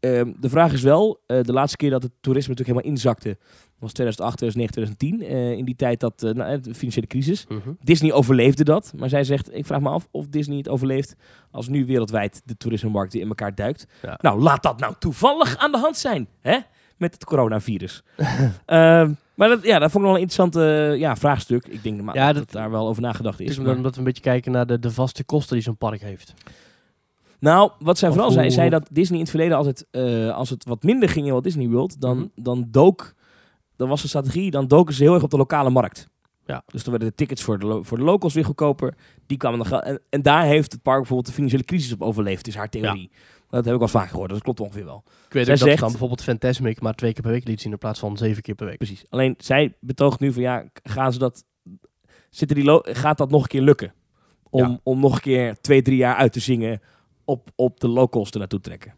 [SPEAKER 2] ehm, de vraag is wel, eh, de laatste keer dat het toerisme natuurlijk helemaal inzakte was 2008, 2009, 2010. eh, in die tijd dat, eh, nou, de financiële crisis.
[SPEAKER 1] Mhm.
[SPEAKER 2] Disney overleefde dat, maar zij zegt, ik vraag me af of Disney het overleeft als nu wereldwijd de toerismemarkt weer in elkaar duikt.
[SPEAKER 1] Ja.
[SPEAKER 2] Nou, laat dat nou toevallig aan de hand zijn, hè? Met het coronavirus. Ehm, maar dat, ja, dat vond ik wel een interessant eh, ja, vraagstuk. Ik denk maar,
[SPEAKER 1] Ja,
[SPEAKER 2] dat,
[SPEAKER 1] dat-
[SPEAKER 2] daar wel over nagedacht
[SPEAKER 1] Het
[SPEAKER 2] is.
[SPEAKER 1] is
[SPEAKER 2] maar-
[SPEAKER 1] omdat we een beetje kijken naar de, de vaste kosten die zo'n park heeft.
[SPEAKER 2] Nou, wat zij
[SPEAKER 1] Of
[SPEAKER 2] vooral
[SPEAKER 1] hoe-
[SPEAKER 2] zei, zei dat Disney in het verleden altijd, eh, als het wat minder ging in Walt Disney World, dan,
[SPEAKER 1] Mhm.
[SPEAKER 2] dan dook, dan was de strategie, dan doken ze heel erg op de lokale markt.
[SPEAKER 1] Ja.
[SPEAKER 2] Dus dan werden de tickets voor de, lo- voor de locals weer goedkoper. Die kwamen dan gel- en, en daar heeft het park bijvoorbeeld de financiële crisis op overleefd, is haar theorie. Dat heb ik wel vaak gehoord, dat klopt ongeveer wel.
[SPEAKER 1] Ik weet
[SPEAKER 2] Zij
[SPEAKER 1] ook dat
[SPEAKER 2] zegt-
[SPEAKER 1] ze dan bijvoorbeeld Fantasmic maar twee keer per week liet zien in plaats van zeven keer per week.
[SPEAKER 2] Precies. Alleen zij betoogt nu van ja, k- gaan ze dat, zitten die lo- gaat dat nog een keer lukken? Om, om nog een keer twee, drie jaar uit te zingen op, op de locals er naartoe trekken.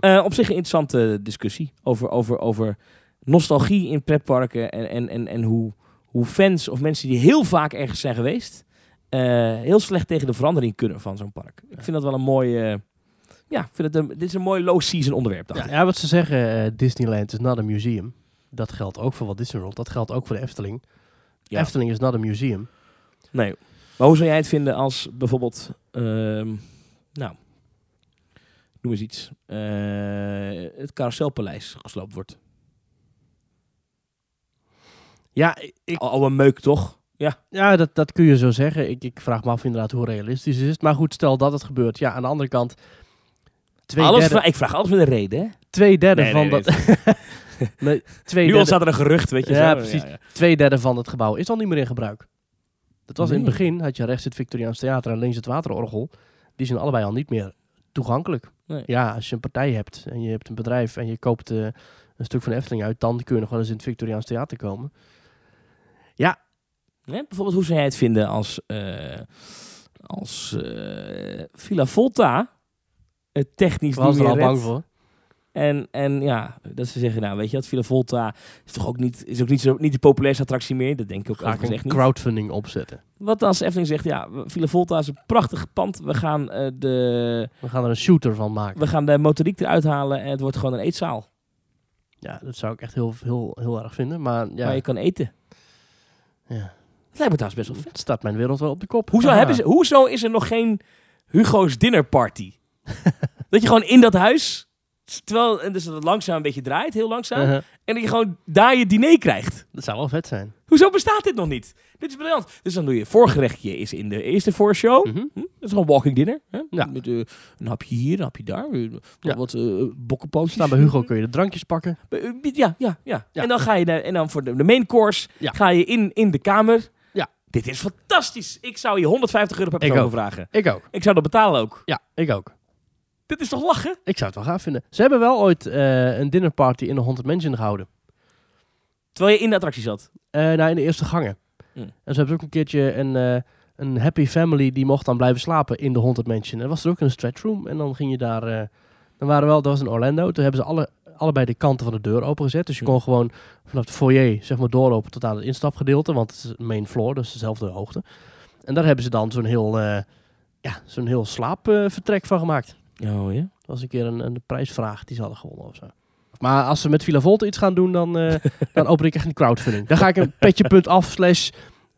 [SPEAKER 2] Eh, op zich een interessante discussie over, over, over nostalgie in pretparken en, en, en, en hoe, hoe fans of mensen die heel vaak ergens zijn geweest, eh, heel slecht tegen de verandering kunnen van zo'n park. Ik vind dat wel een mooie. eh, ja, ik vind het een, dit is een mooi low-season onderwerp. Dacht
[SPEAKER 1] Ja,
[SPEAKER 2] ik.
[SPEAKER 1] ja, wat ze zeggen, eh, Disneyland is not a museum. Dat geldt ook voor Walt Disney World. Dat geldt ook voor de Efteling.
[SPEAKER 2] Ja.
[SPEAKER 1] Efteling is not a museum.
[SPEAKER 2] Nee. Maar hoe zou jij het vinden als bijvoorbeeld. ehm, nou, noem eens iets. Eh, het Carouselpaleis gesloopt wordt.
[SPEAKER 1] Ja, ik,
[SPEAKER 2] Al, al een meuk toch?
[SPEAKER 1] ja dat, dat kun je zo zeggen. Ik, ik vraag me af inderdaad hoe realistisch het is. Maar goed, stel dat het gebeurt. Ja, aan de andere kant... Twee
[SPEAKER 2] Alles
[SPEAKER 1] derde,
[SPEAKER 2] vra- ik vraag alles met een reden. Hè?
[SPEAKER 1] twee derde
[SPEAKER 2] Nee,
[SPEAKER 1] van
[SPEAKER 2] nee, nee,
[SPEAKER 1] dat... Nee, twee,
[SPEAKER 2] Nu
[SPEAKER 1] derde,
[SPEAKER 2] ontstaat er een gerucht, weet je.
[SPEAKER 1] Ja,
[SPEAKER 2] zo.
[SPEAKER 1] precies. twee derde van het gebouw is al niet meer in gebruik. Dat was in het
[SPEAKER 2] Nee.
[SPEAKER 1] begin, had je rechts het Victoriaans Theater en links het Waterorgel. Die zijn allebei al niet meer toegankelijk.
[SPEAKER 2] Nee.
[SPEAKER 1] Ja, als je een partij hebt en je hebt een bedrijf en je koopt eh, een stuk van de Efteling uit, dan kun je nog wel eens in het Victoriaans Theater komen.
[SPEAKER 2] Hè, bijvoorbeeld, hoe zou jij het vinden als, eh, als eh, Villa Volta het technisch
[SPEAKER 1] Ik was
[SPEAKER 2] niet
[SPEAKER 1] er
[SPEAKER 2] meer
[SPEAKER 1] al
[SPEAKER 2] redt?
[SPEAKER 1] bang voor.
[SPEAKER 2] En, en ja, dat ze zeggen, nou weet je wat, Villa Volta is toch ook niet, is ook niet, zo, niet de populairste attractie meer. Dat denk ik ook
[SPEAKER 1] Ga ik
[SPEAKER 2] overigens
[SPEAKER 1] een
[SPEAKER 2] echt niet.
[SPEAKER 1] crowdfunding opzetten.
[SPEAKER 2] Wat als Efteling zegt, ja, we- Villa Volta is een prachtig pand. We gaan, eh, de,
[SPEAKER 1] We gaan er een shooter van maken.
[SPEAKER 2] we gaan de motoriek eruit halen en het wordt gewoon een eetzaal
[SPEAKER 1] Ja, dat zou ik echt heel, heel, heel erg vinden. Maar ja,
[SPEAKER 2] waar je kan eten.
[SPEAKER 1] ja.
[SPEAKER 2] Dat lijkt me trouwens best wel vet.
[SPEAKER 1] het staat mijn wereld wel op de kop.
[SPEAKER 2] Hoezo,
[SPEAKER 1] Aha.
[SPEAKER 2] hebben ze, hoezo is er nog geen Hugo's Dinner Party? dat je gewoon in dat huis, terwijl en dus dat het langzaam een beetje draait, heel langzaam,
[SPEAKER 1] Uh-huh.
[SPEAKER 2] en dat je gewoon daar je diner krijgt.
[SPEAKER 1] Dat zou wel vet zijn.
[SPEAKER 2] Hoezo bestaat dit nog niet? Dit is briljant. Dus dan doe je voorgerechtje is in de eerste voorshow.
[SPEAKER 1] Mhm.
[SPEAKER 2] Hm? Dat is gewoon walking dinner. Hè?
[SPEAKER 1] Ja.
[SPEAKER 2] Met eh, een hapje hier, een hapje daar. eh, Wat,
[SPEAKER 1] Ja.
[SPEAKER 2] wat eh, bokkenpootjes.
[SPEAKER 1] Staan bij Hugo kun je de drankjes pakken.
[SPEAKER 2] Eh, Ja, ja, ja.
[SPEAKER 1] Ja.
[SPEAKER 2] En dan ga je naar, en dan voor de, de main course
[SPEAKER 1] Ja.
[SPEAKER 2] ga je in, in de kamer.
[SPEAKER 1] Ja.
[SPEAKER 2] Dit is fantastisch. Ik zou hier 150 euro per
[SPEAKER 1] Ik
[SPEAKER 2] persoon voor
[SPEAKER 1] ook.
[SPEAKER 2] vragen.
[SPEAKER 1] Ik ook.
[SPEAKER 2] Ik zou dat betalen ook.
[SPEAKER 1] Ja, ik ook.
[SPEAKER 2] Dit is toch lachen?
[SPEAKER 1] Ik zou het wel gaaf vinden. Ze hebben wel ooit eh, een dinnerparty in de Haunted Mansion gehouden.
[SPEAKER 2] Terwijl je in de attractie zat.
[SPEAKER 1] Eh nou, in de eerste gangen.
[SPEAKER 2] Hm.
[SPEAKER 1] En ze hebben ook een keertje een, eh, een happy family die mocht dan blijven slapen in de Haunted Mansion. Er was er ook een stretchroom en dan ging je daar... eh, dan waren we wel, dat was in Orlando. Toen hebben ze alle, allebei de kanten van de deur opengezet. Dus je
[SPEAKER 2] Hm.
[SPEAKER 1] kon gewoon vanaf de foyer zeg maar, doorlopen tot aan het instapgedeelte. Want het is main floor, dus dezelfde hoogte. En daar hebben ze dan zo'n heel, eh, ja, zo'n heel slaapvertrek van gemaakt.
[SPEAKER 2] Oh ja.
[SPEAKER 1] Dat was een keer een, een prijsvraag die ze hadden gewonnen of zo. Maar als ze met Villa Volta iets gaan doen, dan, eh, dan open ik echt een crowdfunding. Dan ga ik een petje.af slash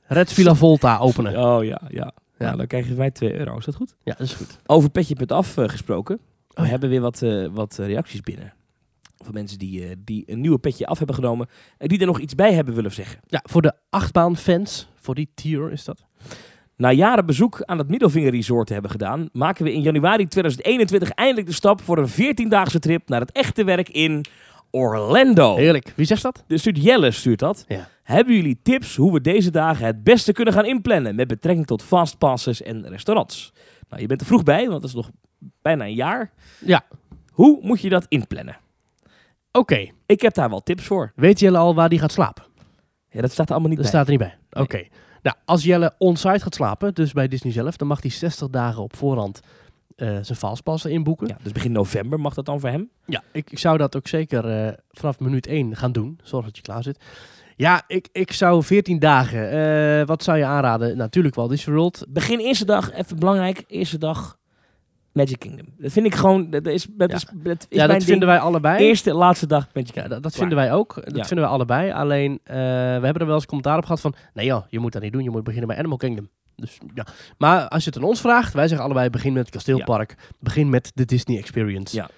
[SPEAKER 1] Red Villa Volta openen. Ja,
[SPEAKER 2] Oh ja, ja. Nou, dan krijg je van mij 2 euro. Is dat goed?
[SPEAKER 1] dat is goed.
[SPEAKER 2] Over petje.af eh, gesproken. We
[SPEAKER 1] ja.
[SPEAKER 2] hebben weer wat, eh, wat eh, reacties binnen. Van mensen die, eh, die een nieuwe petje af hebben genomen. En die er nog iets bij hebben willen zeggen.
[SPEAKER 1] Ja, voor de achtbaan-fans, voor die tier is dat.
[SPEAKER 2] Na jaren bezoek aan het Middelvingerresort te hebben gedaan, maken we in januari 2021 eindelijk de stap voor een 14-daagse trip naar het echte werk in Orlando.
[SPEAKER 1] Heerlijk. Wie zegt dat?
[SPEAKER 2] De stuurt Jelle stuurt dat.
[SPEAKER 1] Ja.
[SPEAKER 2] Hebben jullie tips hoe we deze dagen het beste kunnen gaan inplannen met betrekking tot fastpasses en restaurants? Nou, je bent er vroeg bij, want dat is nog bijna een jaar.
[SPEAKER 1] Ja.
[SPEAKER 2] Hoe moet je dat inplannen?
[SPEAKER 1] Oké.
[SPEAKER 2] Ik heb daar wel tips voor.
[SPEAKER 1] Weet Jelle al waar die gaat slapen?
[SPEAKER 2] Ja, dat staat er allemaal niet
[SPEAKER 1] Dat
[SPEAKER 2] bij.
[SPEAKER 1] staat er niet bij. Oké. Nou, als Jelle on-site gaat slapen, dus bij Disney zelf, dan mag hij 60 dagen op voorhand eh, zijn valspassen inboeken.
[SPEAKER 2] Ja, dus begin november mag dat dan voor hem.
[SPEAKER 1] Ja, ik, ik zou dat ook zeker eh, vanaf minuut 1 gaan doen. Zorg dat je klaar zit. Ja, ik, ik zou 14 dagen. eh, wat zou je aanraden? Natuurlijk wel Disney World.
[SPEAKER 2] Begin eerste dag, even belangrijk, eerste dag Magic Kingdom. Dat vind ik gewoon, dat is, dat
[SPEAKER 1] Ja.
[SPEAKER 2] is, dat is
[SPEAKER 1] Ja,
[SPEAKER 2] mijn
[SPEAKER 1] dat vinden wij allebei.
[SPEAKER 2] ding. Eerste, laatste dag Magic
[SPEAKER 1] ja,
[SPEAKER 2] Kingdom.
[SPEAKER 1] dat, dat
[SPEAKER 2] Klaar.
[SPEAKER 1] vinden wij ook. Dat
[SPEAKER 2] Ja.
[SPEAKER 1] vinden wij allebei. Alleen, eh, we hebben er wel eens commentaar op gehad van... Nee joh, je moet dat niet doen. Je moet beginnen bij Animal Kingdom. Dus, ja. Maar als je het aan ons vraagt... Wij zeggen allebei, begin met het kasteelpark. Begin met de Disney Experience.
[SPEAKER 2] Ja.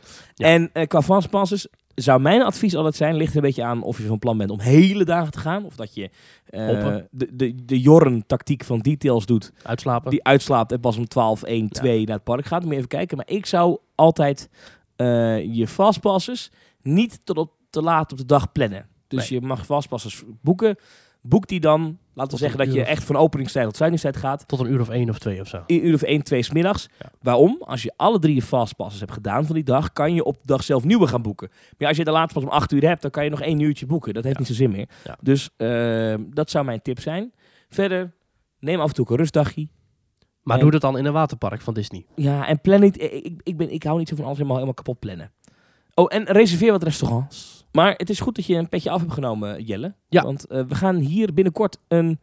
[SPEAKER 2] En eh qua fastpasses, zou mijn advies altijd zijn, ligt er een beetje aan of je van plan bent om hele dagen te gaan. Of dat je eh,
[SPEAKER 1] Hoppen.
[SPEAKER 2] de, de, de Jorn-tactiek van details doet.
[SPEAKER 1] Uitslapen.
[SPEAKER 2] Die uitslaapt en pas om 12, 1, 2 naar het park gaat. Moet je even kijken. Maar ik zou altijd eh, je fastpassers niet tot op, te laat op de dag plannen. Dus je mag fastpassers boeken. Boek die dan. Laten we
[SPEAKER 1] Tot
[SPEAKER 2] zeggen
[SPEAKER 1] een
[SPEAKER 2] dat
[SPEAKER 1] uur
[SPEAKER 2] je
[SPEAKER 1] of-
[SPEAKER 2] echt van openingstijd tot sluitingstijd gaat.
[SPEAKER 1] Tot een uur of één of twee of zo.
[SPEAKER 2] Een uur of 1, 2 middags.
[SPEAKER 1] Ja.
[SPEAKER 2] Waarom? Als je alle drie je fastpassers hebt gedaan van die dag, kan je op de dag zelf nieuwe gaan boeken. Maar als je de laatste pas om 8 uur hebt, dan kan je nog één uurtje boeken. Dat heeft
[SPEAKER 1] Ja.
[SPEAKER 2] niet zo'n zin meer.
[SPEAKER 1] Ja.
[SPEAKER 2] Dus eh, dat zou mijn tip zijn. Verder, neem af en toe ook een rustdagje.
[SPEAKER 1] Maar
[SPEAKER 2] En-
[SPEAKER 1] doe dat dan in een waterpark van Disney.
[SPEAKER 2] Ja, en plan niet. Ik, ik- ik, ben, ik hou niet zo van alles helemaal, helemaal kapot plannen. Oh, en reserveer wat restaurants. Maar het is goed dat je een petje af hebt genomen, Jelle.
[SPEAKER 1] Ja.
[SPEAKER 2] Want eh, we gaan hier binnenkort een.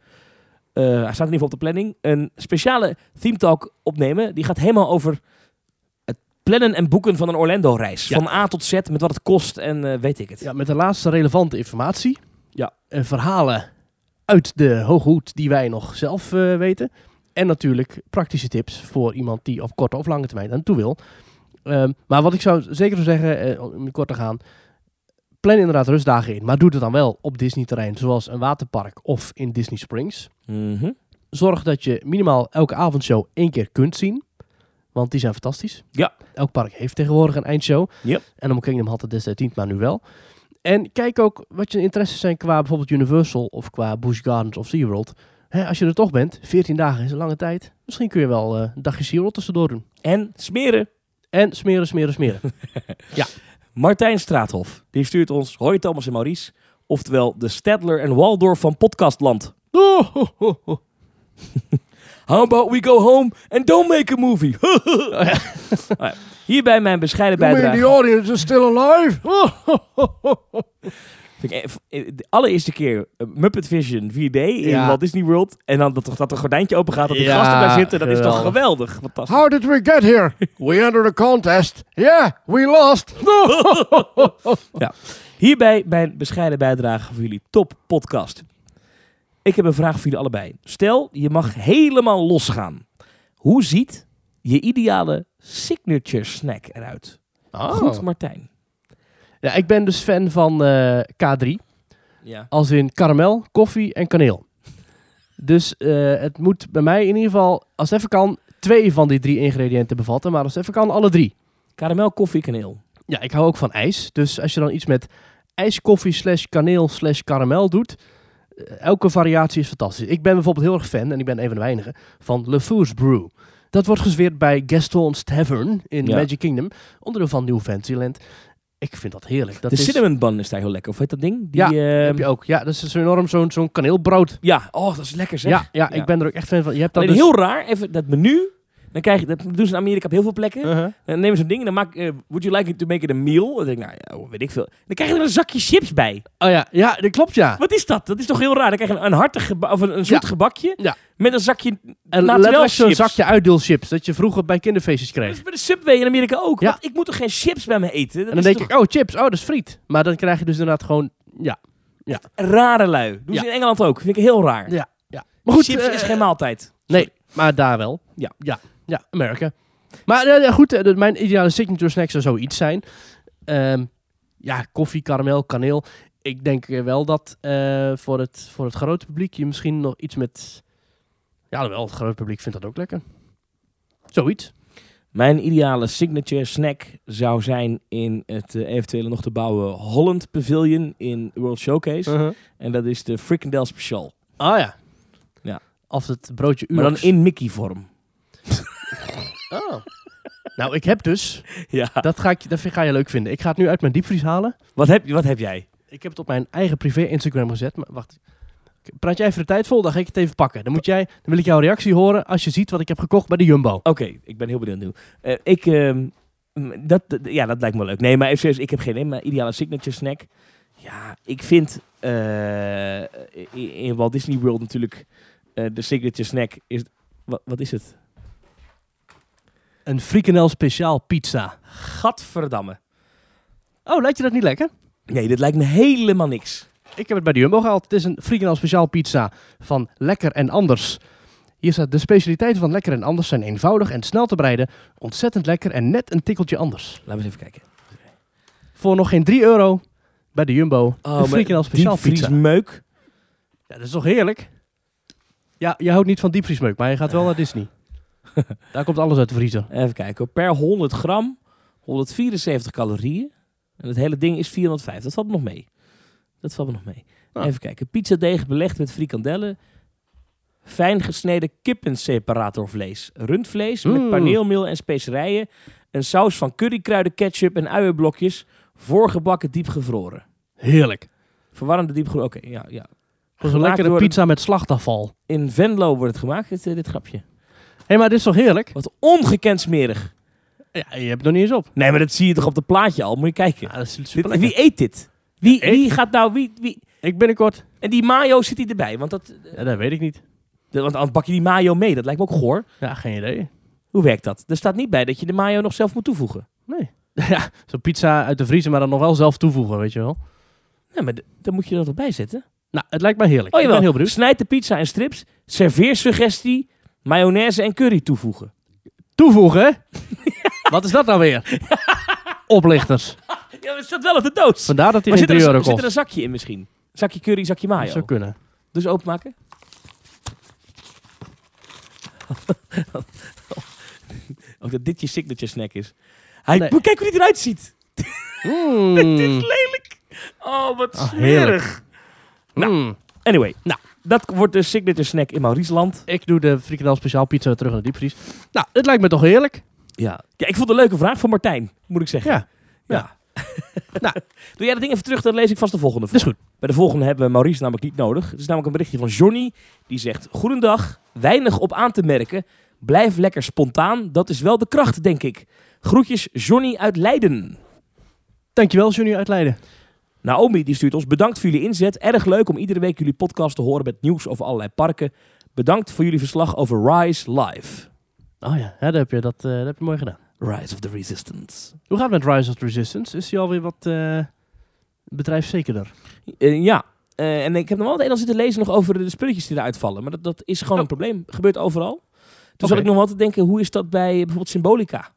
[SPEAKER 2] eh, hij staat in ieder geval op de planning. Een speciale theme talk opnemen. Die gaat helemaal over het plannen en boeken van een Orlando-reis.
[SPEAKER 1] Ja.
[SPEAKER 2] Van A tot Z, met wat het kost en eh, weet ik het.
[SPEAKER 1] Ja, met de laatste relevante informatie.
[SPEAKER 2] Ja.
[SPEAKER 1] En verhalen uit de hoge hoed die wij nog zelf eh, weten. En natuurlijk praktische tips voor iemand die op korte of lange termijn aan toe wil. Ehm, maar wat ik zou zeker zou zeggen, eh, om kort te gaan. Plan inderdaad rustdagen in. Maar doe het dan wel op Disney-terrein, zoals een waterpark of in Disney Springs.
[SPEAKER 2] Mhm.
[SPEAKER 1] zorg dat je minimaal elke avondshow één keer kunt zien. Want die zijn fantastisch.
[SPEAKER 2] Ja.
[SPEAKER 1] Elk park heeft tegenwoordig een eindshow.
[SPEAKER 2] Yep.
[SPEAKER 1] En om Kingdom had het destijds niet, maar nu wel. En kijk ook wat je interesses zijn qua bijvoorbeeld Universal of qua Busch Gardens of SeaWorld. Hè, als je er toch bent, 14 dagen is een lange tijd. Misschien kun je wel eh, een dagje SeaWorld tussendoor doen.
[SPEAKER 2] En smeren.
[SPEAKER 1] En smeren, smeren, smeren.
[SPEAKER 2] Martijn Straathof. Die stuurt ons. Hoi Thomas en Maurice. Oftewel de Stedler en Waldorf van Podcastland.
[SPEAKER 1] Oh, ho, ho, ho.
[SPEAKER 2] How about we go home and don't make a movie? Oh ja. Hierbij mijn bescheiden bijdrage.
[SPEAKER 1] audience is still alive? Oh, ho, ho, ho, ho.
[SPEAKER 2] Vind ik, eh, v- eh, De allereerste keer eh, Muppet Vision 4D in
[SPEAKER 1] Ja.
[SPEAKER 2] Walt Disney World. En dan dat, dat een gordijntje open gaat, dat die
[SPEAKER 1] Ja,
[SPEAKER 2] gasten daar zitten. Dat is toch
[SPEAKER 1] geweldig.
[SPEAKER 2] geweldig. Fantastisch.
[SPEAKER 1] How did we get here? We entered a contest. Yeah, we lost.
[SPEAKER 2] Hierbij mijn bescheiden bijdrage voor jullie top podcast. Ik heb een vraag voor jullie allebei. Stel, je mag helemaal losgaan. Hoe ziet je ideale signature snack eruit?
[SPEAKER 1] Oh. Ah.
[SPEAKER 2] Goed, Martijn.
[SPEAKER 1] Ja, ik ben dus fan van eh, K3.
[SPEAKER 2] Ja.
[SPEAKER 1] Als in karamel, koffie en kaneel. Dus eh, het moet bij mij in ieder geval, als het even kan, twee van die drie ingrediënten bevatten. Maar als het even kan, alle drie.
[SPEAKER 2] Karamel, koffie, kaneel.
[SPEAKER 1] Ja, ik hou ook van ijs. Dus als je dan iets met ijskoffie slash kaneel slash karamel doet... eh, Elke variatie is fantastisch. Ik ben bijvoorbeeld heel erg fan, en ik ben een van de weinigen, van LeFou's Brew. Dat wordt gezweerd bij Gaston's Tavern in
[SPEAKER 2] Ja.
[SPEAKER 1] Magic Kingdom, onderdeel van New Fantasyland. Ik vind dat heerlijk. Dat
[SPEAKER 2] de
[SPEAKER 1] is,
[SPEAKER 2] cinnamon bun is daar heel lekker. Of heet dat ding? Die,
[SPEAKER 1] Ja,
[SPEAKER 2] ehm,
[SPEAKER 1] heb je ook. Ja, dat is zo enorm zo'n zo'n kaneelbrood.
[SPEAKER 2] ja. oh, dat is lekker zeg.
[SPEAKER 1] Ja, ja,
[SPEAKER 2] Ja.
[SPEAKER 1] ik ben er ook echt fan van. Je hebt dat
[SPEAKER 2] Alleen
[SPEAKER 1] dus...
[SPEAKER 2] heel raar, even dat menu. Dan krijg je, dat doen ze in Amerika op heel veel plekken.
[SPEAKER 1] Uh-huh.
[SPEAKER 2] Dan nemen ze een ding en dan maak eh, would you like it to make it a meal? Dan denk ik, nou ja, weet ik veel. Dan krijg je er een zakje chips bij.
[SPEAKER 1] Oh ja, ja, dat klopt ja.
[SPEAKER 2] Wat is dat? Dat is toch heel raar. Dan krijg je een, een hartig geba- of een, een zoet
[SPEAKER 1] Ja.
[SPEAKER 2] gebakje
[SPEAKER 1] Ja.
[SPEAKER 2] met een zakje
[SPEAKER 1] En
[SPEAKER 2] naturel
[SPEAKER 1] letterlijk zo'n
[SPEAKER 2] chips.
[SPEAKER 1] zakje uitdeelchips dat je vroeger bij kinderfeestjes
[SPEAKER 2] Dat
[SPEAKER 1] kreeg.
[SPEAKER 2] is bij de Subway in Amerika ook.
[SPEAKER 1] Ja.
[SPEAKER 2] Want ik moet toch geen chips bij me eten? Dat
[SPEAKER 1] En dan
[SPEAKER 2] is
[SPEAKER 1] denk ik, oh chips, oh dat is friet. Maar dan krijg je dus inderdaad gewoon, ja.
[SPEAKER 2] toch rare lui. Doen ze
[SPEAKER 1] Ja.
[SPEAKER 2] in Engeland ook. Vind ik heel raar.
[SPEAKER 1] Ja, ja. Maar goed.
[SPEAKER 2] chips
[SPEAKER 1] eh,
[SPEAKER 2] is geen maaltijd.
[SPEAKER 1] Nee, maar daar wel.
[SPEAKER 2] Ja.
[SPEAKER 1] Ja, ja Amerika. Maar eh, ja, goed, eh, dat- mijn ideale signature snack zou zoiets zijn. Ehm, ja, koffie, karamel, kaneel. Ik denk eh, wel dat eh, voor, het, voor het grote publiek je misschien nog iets met... Ja, wel, het grote publiek vindt dat ook lekker. Zoiets.
[SPEAKER 2] Mijn ideale signature snack zou zijn in het eh, eventuele nog te bouwen Holland Pavilion in World Showcase.
[SPEAKER 1] Eh.
[SPEAKER 2] En dat is de Frikandel Special.
[SPEAKER 1] Ah ja.
[SPEAKER 2] Ja.
[SPEAKER 1] Of het broodje
[SPEAKER 2] Maar dan
[SPEAKER 1] Urox.
[SPEAKER 2] in Mickey-vorm.
[SPEAKER 1] Oh. nou, ik heb dus...
[SPEAKER 2] Ja.
[SPEAKER 1] Dat ga, ik, dat vind- ga je leuk vinden. Ik ga het nu uit mijn diepvries halen.
[SPEAKER 2] Wat heb, wat heb jij?
[SPEAKER 1] Ik heb het op mijn eigen privé Instagram gezet. Maar wacht. Praat jij even de tijd vol? Dan ga ik het even pakken. Dan, moet jij, dan wil ik jouw reactie horen als je ziet wat ik heb gekocht bij de Jumbo.
[SPEAKER 2] Oké, ik ben heel benieuwd nu. Eh, ik, ehm, m, dat, dat- ja, dat lijkt me leuk. Nee, maar even serieus, ik heb geen nee, maar ideale signature snack. Ja, ik vind eh, in, in Walt Disney World natuurlijk eh, de signature snack is... Wat, wat is het?
[SPEAKER 1] Een frikandel speciaal pizza.
[SPEAKER 2] Gadverdamme.
[SPEAKER 1] Oh, lijkt je dat niet lekker?
[SPEAKER 2] Nee, dit lijkt me helemaal niks.
[SPEAKER 1] Ik heb het bij de Jumbo gehaald. Het is een frikandel speciaal pizza van Lekker en Anders. Hier staat de specialiteiten van Lekker en Anders zijn eenvoudig en snel te bereiden. Ontzettend lekker en net een tikkeltje anders.
[SPEAKER 2] Laten we eens even kijken.
[SPEAKER 1] voor nog geen 3 euro bij de Jumbo. een frikandel speciaal pizza.
[SPEAKER 2] Oh, meuk.
[SPEAKER 1] Ja, dat is toch heerlijk? Ja, je houdt niet van diepvriesmeuk, maar je gaat wel naar Disney. Daar komt alles uit de vriezer.
[SPEAKER 2] Even kijken. Per 100 gram 174 calorieën. En het hele ding is 405. Dat valt me nog mee. Dat valt me nog mee.
[SPEAKER 1] Nou.
[SPEAKER 2] Even kijken. Pizzadeeg belegd met frikandellen. Fijn gesneden kippenseparatorvlees. Rundvlees met
[SPEAKER 1] Mm.
[SPEAKER 2] paneelmeel en specerijen. Een saus van currykruiden, ketchup en uienblokjes. Voorgebakken diepgevroren.
[SPEAKER 1] Heerlijk.
[SPEAKER 2] Verwarmde diepgevroren. Oké, ja, ja.
[SPEAKER 1] Dat is een
[SPEAKER 2] Gemaakt
[SPEAKER 1] lekkere
[SPEAKER 2] door-
[SPEAKER 1] pizza met slachtafval.
[SPEAKER 2] In Venlo wordt het gemaakt, dit, eh, dit grapje.
[SPEAKER 1] Hé, hey, maar dit is toch heerlijk?
[SPEAKER 2] Wat ongekend smerig.
[SPEAKER 1] Ja, je hebt het nog niet eens op.
[SPEAKER 2] Nee, maar dat zie je toch op het plaatje al? Moet je kijken.
[SPEAKER 1] Ja, dat is
[SPEAKER 2] Dit-
[SPEAKER 1] superlekker.
[SPEAKER 2] wie eet dit? Wie,
[SPEAKER 1] Ja,
[SPEAKER 2] wie
[SPEAKER 1] ik.
[SPEAKER 2] gaat nou... Wie, wie...
[SPEAKER 1] Ik binnenkort...
[SPEAKER 2] En die mayo zit hij erbij. Want, dat,
[SPEAKER 1] Ja, dat weet ik niet.
[SPEAKER 2] de- want anders pak je die mayo mee. Dat lijkt me ook goor.
[SPEAKER 1] Ja, geen idee.
[SPEAKER 2] Hoe werkt dat? Er staat niet bij dat je de mayo nog zelf moet toevoegen.
[SPEAKER 1] Nee. Ja, zo'n pizza uit de vriezer, maar dan nog wel zelf toevoegen, weet je wel.
[SPEAKER 2] Nee, maar d- dan moet je dat erbij zetten.
[SPEAKER 1] Nou, het lijkt mij heerlijk.
[SPEAKER 2] Oh
[SPEAKER 1] ik ben
[SPEAKER 2] jawel.
[SPEAKER 1] heel benieuwd.
[SPEAKER 2] Snijd de pizza in strips. Serveer suggestie. Mayonaise en curry toevoegen.
[SPEAKER 1] Toevoegen, hè? Wat is dat nou weer? Oplichters.
[SPEAKER 2] Ja, maar het staat wel op de doos.
[SPEAKER 1] Vandaar dat die
[SPEAKER 2] Maar
[SPEAKER 1] geen
[SPEAKER 2] zit er,
[SPEAKER 1] 3 euro
[SPEAKER 2] een, zit er
[SPEAKER 1] kost.
[SPEAKER 2] een Ah, zakje in misschien? Zakje curry, zakje
[SPEAKER 1] Dat zou
[SPEAKER 2] mayo.
[SPEAKER 1] kunnen.
[SPEAKER 2] Dus openmaken. ook dat dit je signature snack is. Hij,
[SPEAKER 1] Nee.
[SPEAKER 2] Kijk hoe die eruit ziet.
[SPEAKER 1] Mm.
[SPEAKER 2] lelijk. Oh, wat
[SPEAKER 1] Ah, heerlijk. Nou,
[SPEAKER 2] Anyway, nou, dat wordt de signature snack in Mauriesland.
[SPEAKER 1] ik doe de frikandel speciaal pizza terug naar de diepvries. Nou, het lijkt me toch heerlijk.
[SPEAKER 2] Ja. ja. Ik vond het een leuke vraag van Martijn, moet ik zeggen.
[SPEAKER 1] Ja.
[SPEAKER 2] Ja. nou, doe jij dat ding even terug, dan lees ik vast de volgende. voor.
[SPEAKER 1] Dat is goed.
[SPEAKER 2] Bij de volgende hebben we Maurice namelijk niet nodig. Het is namelijk een berichtje van Johnny. Die zegt, goedendag, weinig op aan te merken. Blijf lekker spontaan, dat is wel de kracht, denk ik. Groetjes Johnny uit Leiden.
[SPEAKER 1] Dankjewel, Johnny uit Leiden.
[SPEAKER 2] Naomi die stuurt ons bedankt voor jullie inzet. Erg leuk om iedere week jullie podcast te horen met nieuws over allerlei parken. Bedankt voor jullie verslag over Rise Live.
[SPEAKER 1] Oh ja, hè, dat, heb je, dat, eh, dat heb je mooi gedaan.
[SPEAKER 2] Rise of the Resistance.
[SPEAKER 1] Hoe gaat het met Rise of the Resistance? Is die alweer wat eh bedrijfszekerder?
[SPEAKER 2] Eh, ja, Eh, en ik heb nog wel het een en ander zitten lezen nog over de spulletjes die eruit vallen. Maar dat, dat is gewoon
[SPEAKER 1] Oh.
[SPEAKER 2] een probleem. Gebeurt overal. Toen
[SPEAKER 1] Oké.
[SPEAKER 2] zat ik nog wel te denken, hoe is dat bij bijvoorbeeld Symbolica?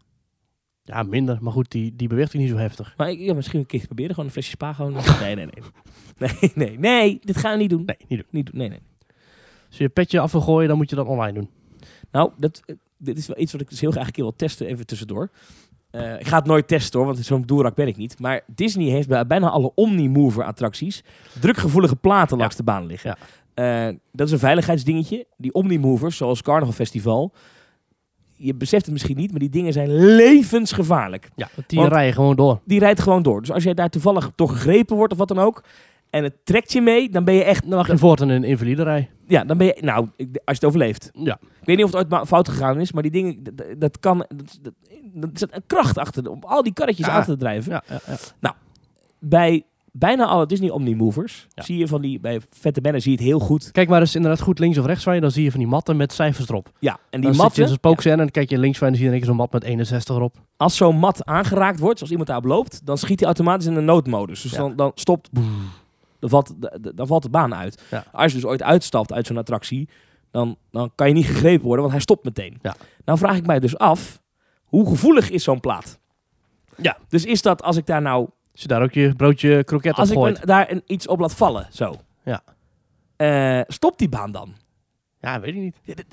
[SPEAKER 1] Ja, minder. Maar goed, die, die beweegt ik niet zo heftig.
[SPEAKER 2] Maar ik, ja, misschien een keer proberen, gewoon een flesje spa gewoon. Nee, nee, nee. Nee, nee, nee, dit gaan we niet doen.
[SPEAKER 1] Nee, niet doen.
[SPEAKER 2] Niet doen, nee, nee.
[SPEAKER 1] Als je je petje af wil gooien, dan moet je dat online doen.
[SPEAKER 2] Nou, dat, eh, dit is wel iets wat ik dus heel graag een keer wil testen, even tussendoor. Eh, ik ga het nooit testen hoor, want zo'n doerak ben ik niet. Maar Disney heeft bij bijna alle Omnimover attracties drukgevoelige platen langs de baan liggen.
[SPEAKER 1] Ja.
[SPEAKER 2] Eh, dat is een veiligheidsdingetje. Die Omnimovers, zoals Carnival Festival. Je beseft het misschien niet, maar die dingen zijn levensgevaarlijk.
[SPEAKER 1] Ja, want die
[SPEAKER 2] Want-
[SPEAKER 1] rijden gewoon door.
[SPEAKER 2] Die rijdt gewoon door. Dus als jij daar toevallig door gegrepen wordt of wat dan ook. En het trekt je mee, dan ben je echt.
[SPEAKER 1] Dan mag je voortaan een invalide rij.
[SPEAKER 2] Ja, dan ben je. Nou, ik- als je het overleeft.
[SPEAKER 1] Ja.
[SPEAKER 2] Ik weet niet of het ooit ma- fout gegaan is, maar die dingen, d- d- dat kan, dat, dat, dat zit een kracht achter om al die karretjes
[SPEAKER 1] Ja.
[SPEAKER 2] aan te drijven.
[SPEAKER 1] Ja, ja, ja.
[SPEAKER 2] Bij bijna alle Disney Omnimovers
[SPEAKER 1] Ja.
[SPEAKER 2] zie je van die, bij vette mannen zie je het heel goed.
[SPEAKER 1] Kijk maar eens inderdaad goed links of rechts van je. Dan zie je van die matten met cijfers erop.
[SPEAKER 2] Ja,
[SPEAKER 1] Dan zit
[SPEAKER 2] en die
[SPEAKER 1] je in
[SPEAKER 2] matten,
[SPEAKER 1] zo'n spookcène en dan kijk je links van je en dan zie je in één keer zo'n mat met 61 erop.
[SPEAKER 2] als zo'n mat aangeraakt wordt, zoals iemand daarop loopt, dan schiet hij automatisch in de noodmodus. Dus
[SPEAKER 1] Ja.
[SPEAKER 2] dan, dan stopt, dan valt, de- de- dan valt de baan uit.
[SPEAKER 1] Ja.
[SPEAKER 2] Als je dus ooit uitstapt uit zo'n attractie, dan, dan kan je niet gegrepen worden, want hij stopt meteen.
[SPEAKER 1] Ja.
[SPEAKER 2] Nou vraag ik mij dus af, hoe gevoelig is zo'n plaat?
[SPEAKER 1] Ja.
[SPEAKER 2] Dus is dat als ik daar nou
[SPEAKER 1] Als je daar ook je broodje kroket op
[SPEAKER 2] Als ik
[SPEAKER 1] gooit.
[SPEAKER 2] me daar een, iets op laat vallen, zo.
[SPEAKER 1] Ja.
[SPEAKER 2] Eh, stopt die baan dan?
[SPEAKER 1] Ja, weet ik niet.
[SPEAKER 2] Ja, dat,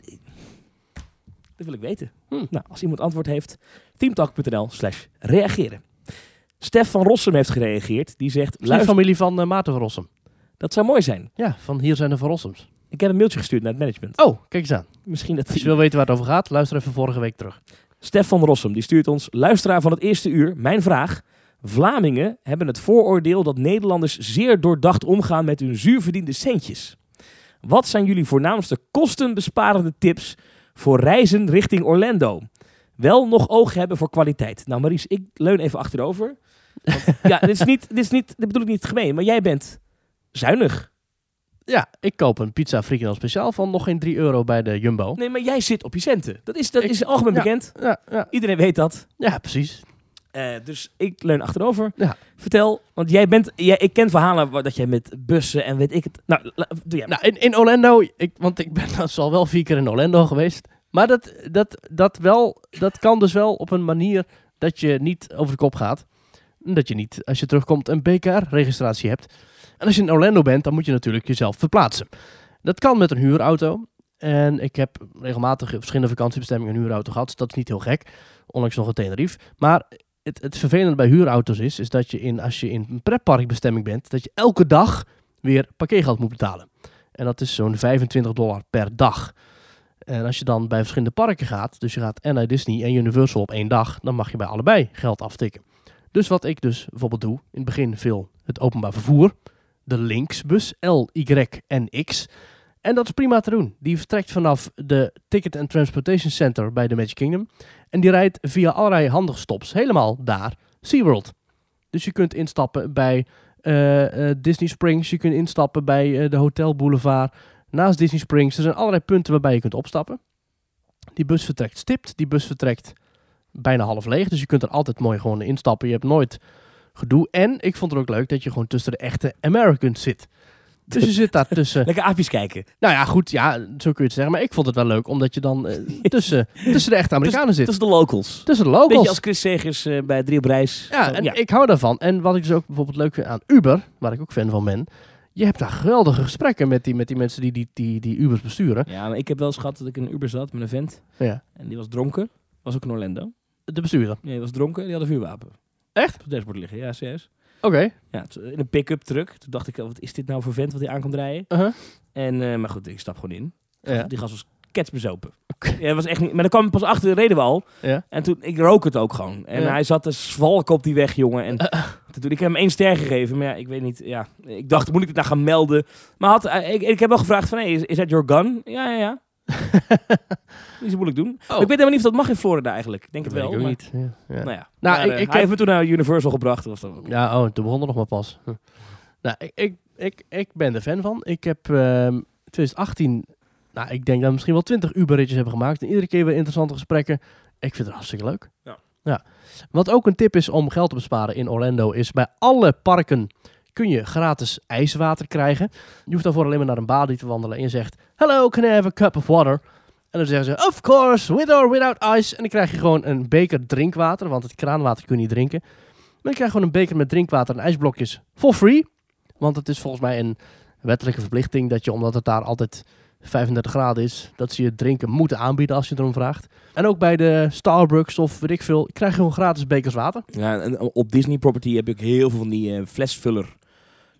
[SPEAKER 2] dat wil ik weten.
[SPEAKER 1] Hmm.
[SPEAKER 2] Nou, als iemand antwoord heeft, teamtalk.nl slash reageren. Stef van Rossum heeft gereageerd. Die zegt,
[SPEAKER 1] Is die
[SPEAKER 2] luister,
[SPEAKER 1] familie van eh, Maarten van Rossum?
[SPEAKER 2] dat zou mooi zijn.
[SPEAKER 1] Ja, van hier zijn de Van Rossums.
[SPEAKER 2] Ik heb een mailtje gestuurd naar het management.
[SPEAKER 1] Oh, kijk eens aan.
[SPEAKER 2] Misschien dat
[SPEAKER 1] Als je
[SPEAKER 2] die...
[SPEAKER 1] wil weten waar het over gaat, luister even vorige week terug.
[SPEAKER 2] Stef van Rossum, die stuurt ons, luisteraar van het eerste uur, mijn vraag. Vlamingen hebben het vooroordeel dat Nederlanders zeer doordacht omgaan met hun zuurverdiende centjes. Wat zijn jullie voornaamste kostenbesparende tips voor reizen richting Orlando? Wel nog oog hebben voor kwaliteit. Nou Maries, ik leun even achterover. Want, ja, dit is, niet, dit is niet, dit bedoel ik niet gemeen, maar jij bent zuinig.
[SPEAKER 1] Ja, ik koop een pizza frikandel speciaal van nog geen 3 euro bij de Jumbo.
[SPEAKER 2] Nee, maar jij zit op je centen. Dat is, dat
[SPEAKER 1] Ik-
[SPEAKER 2] is algemeen
[SPEAKER 1] ja.
[SPEAKER 2] bekend.
[SPEAKER 1] Ja, ja.
[SPEAKER 2] Iedereen weet dat.
[SPEAKER 1] ja precies.
[SPEAKER 2] Eh, dus ik leun achterover.
[SPEAKER 1] Ja.
[SPEAKER 2] Vertel, want jij bent, jij, ik ken verhalen waar- dat jij met bussen en weet ik het. Nou, la- doe jij.
[SPEAKER 1] Nou, in, in Orlando, ik, want ik ben dus al wel vier keer in Orlando geweest. Maar dat, dat, dat, wel, dat kan dus wel op een manier dat je niet over de kop gaat. dat je niet, als je terugkomt, een BKR-registratie hebt. En als je in Orlando bent, dan moet je natuurlijk jezelf verplaatsen. Dat kan met een huurauto. En ik heb regelmatig op verschillende vakantiebestemmingen een huurauto gehad. Dus dat is niet heel gek. Ondanks nog een Tenerife. Maar het, het vervelende bij huurauto's is, is dat je in, als je in een pretparkbestemming bent, dat je elke dag weer parkeergeld moet betalen. En dat is zo'n 25 dollar per dag. En als je dan bij verschillende parken gaat, dus je gaat en naar Disney en Universal op één dag, dan mag je bij allebei geld aftikken. Dus wat ik dus bijvoorbeeld doe, in het begin veel het openbaar vervoer, de linksbus L, Y en X. En dat is prima te doen. Die vertrekt vanaf de Ticket and Transportation Center bij de Magic Kingdom. En die rijdt via allerlei handige stops helemaal daar, SeaWorld. Dus je kunt instappen bij eh, eh, Disney Springs, je kunt instappen bij eh, de Hotel Boulevard, naast Disney Springs. Er zijn allerlei punten waarbij je kunt opstappen. Die bus vertrekt stipt, die bus vertrekt bijna half leeg. Dus je kunt er altijd mooi gewoon instappen. Je hebt nooit gedoe. En ik vond het ook leuk dat je gewoon tussen de echte Americans zit. Dus je zit daar tussen
[SPEAKER 2] Lekker aapjes kijken.
[SPEAKER 1] nou ja, goed, ja, zo kun je het zeggen. Maar ik vond het wel leuk, omdat je dan eh, tussen, tussen de echte Amerikanen
[SPEAKER 2] Dat
[SPEAKER 1] zit.
[SPEAKER 2] is de locals.
[SPEAKER 1] Tussen de
[SPEAKER 2] Beetje
[SPEAKER 1] locals.
[SPEAKER 2] als Chris Segers eh, bij Drie op Reis.
[SPEAKER 1] Ja,
[SPEAKER 2] Zo,
[SPEAKER 1] en ik hou daarvan. En wat ik dus ook bijvoorbeeld leuk vind aan Uber, waar ik ook fan van ben. Je hebt daar geweldige gesprekken met die, met die mensen die, die, die, die Ubers besturen.
[SPEAKER 2] Ja, maar ik heb wel eens gehad dat ik in een Uber zat met een vent.
[SPEAKER 1] Ja.
[SPEAKER 2] En die was dronken. Was ook in Orlando.
[SPEAKER 1] De bestuurder.
[SPEAKER 2] Nee, die was dronken en die had een vuurwapen.
[SPEAKER 1] Echt?
[SPEAKER 2] Op het dashboard liggen, ja, serieus.
[SPEAKER 1] Oké.
[SPEAKER 2] Ja, het- in een pick-up truck. Toen dacht ik, oh, wat is dit nou voor vent wat hij aan komt rijden?
[SPEAKER 1] Uh-huh.
[SPEAKER 2] En, eh, maar goed, ik stap gewoon in.
[SPEAKER 1] Ja.
[SPEAKER 2] Die gast was ketsbezopen. Ja, dat was echt niet, maar dan kwam ik pas achter, reden we al.
[SPEAKER 1] Ja.
[SPEAKER 2] En toen, ik rook het ook gewoon. En
[SPEAKER 1] Ja. Eh,
[SPEAKER 2] hij zat te zwalken op die weg, jongen. En toen, ik heb hem één ster gegeven, maar ja, ik weet niet. Ja, ik dacht, moet ik dit nou gaan melden? Maar had, eh, ik, ik heb wel gevraagd van, hey, is, is dat your gun? Ja, ja, ja. niet zo moeilijk doen. Maar Ik weet helemaal niet of dat mag in Florida eigenlijk. Ik denk
[SPEAKER 1] Oh. Dat
[SPEAKER 2] het wel.
[SPEAKER 1] weet ik ook
[SPEAKER 2] maar-
[SPEAKER 1] niet. Ja. Ja.
[SPEAKER 2] Nou ja,
[SPEAKER 1] Nou,
[SPEAKER 2] Maar,
[SPEAKER 1] ik-
[SPEAKER 2] eh,
[SPEAKER 1] ik
[SPEAKER 2] hij
[SPEAKER 1] heb-
[SPEAKER 2] heeft me toen naar Universal gebracht. Dat was dan ook.
[SPEAKER 1] Ja, oh, toen begon er nog maar pas. Hm. Nou, ik, ik, ik, ik ben er fan van. Ik heb ehm 2018, nou, ik denk dat we misschien wel 20 Uberritjes hebben gemaakt. En iedere keer weer interessante gesprekken. Ik vind het hartstikke leuk.
[SPEAKER 2] Ja.
[SPEAKER 1] ja. Wat ook een tip is om geld te besparen in Orlando is bij alle parken kun je gratis ijswater krijgen. Je hoeft daarvoor alleen maar naar een balie te wandelen en je zegt: Hello, can I have a cup of water? En dan zeggen ze: Of course, with or without ice. En dan krijg je gewoon een beker drinkwater, want het kraanwater kun je niet drinken. Maar ik krijg gewoon een beker met drinkwater en ijsblokjes for free. Want het is volgens mij een wettelijke verplichting dat je, omdat het daar altijd 35 graden is, dat ze je drinken moeten aanbieden als je erom vraagt. En ook bij de Starbucks of weet ik veel, krijg je gewoon gratis bekers water.
[SPEAKER 2] Ja, en op Disney Property heb ik heel veel van die eh, flesvuller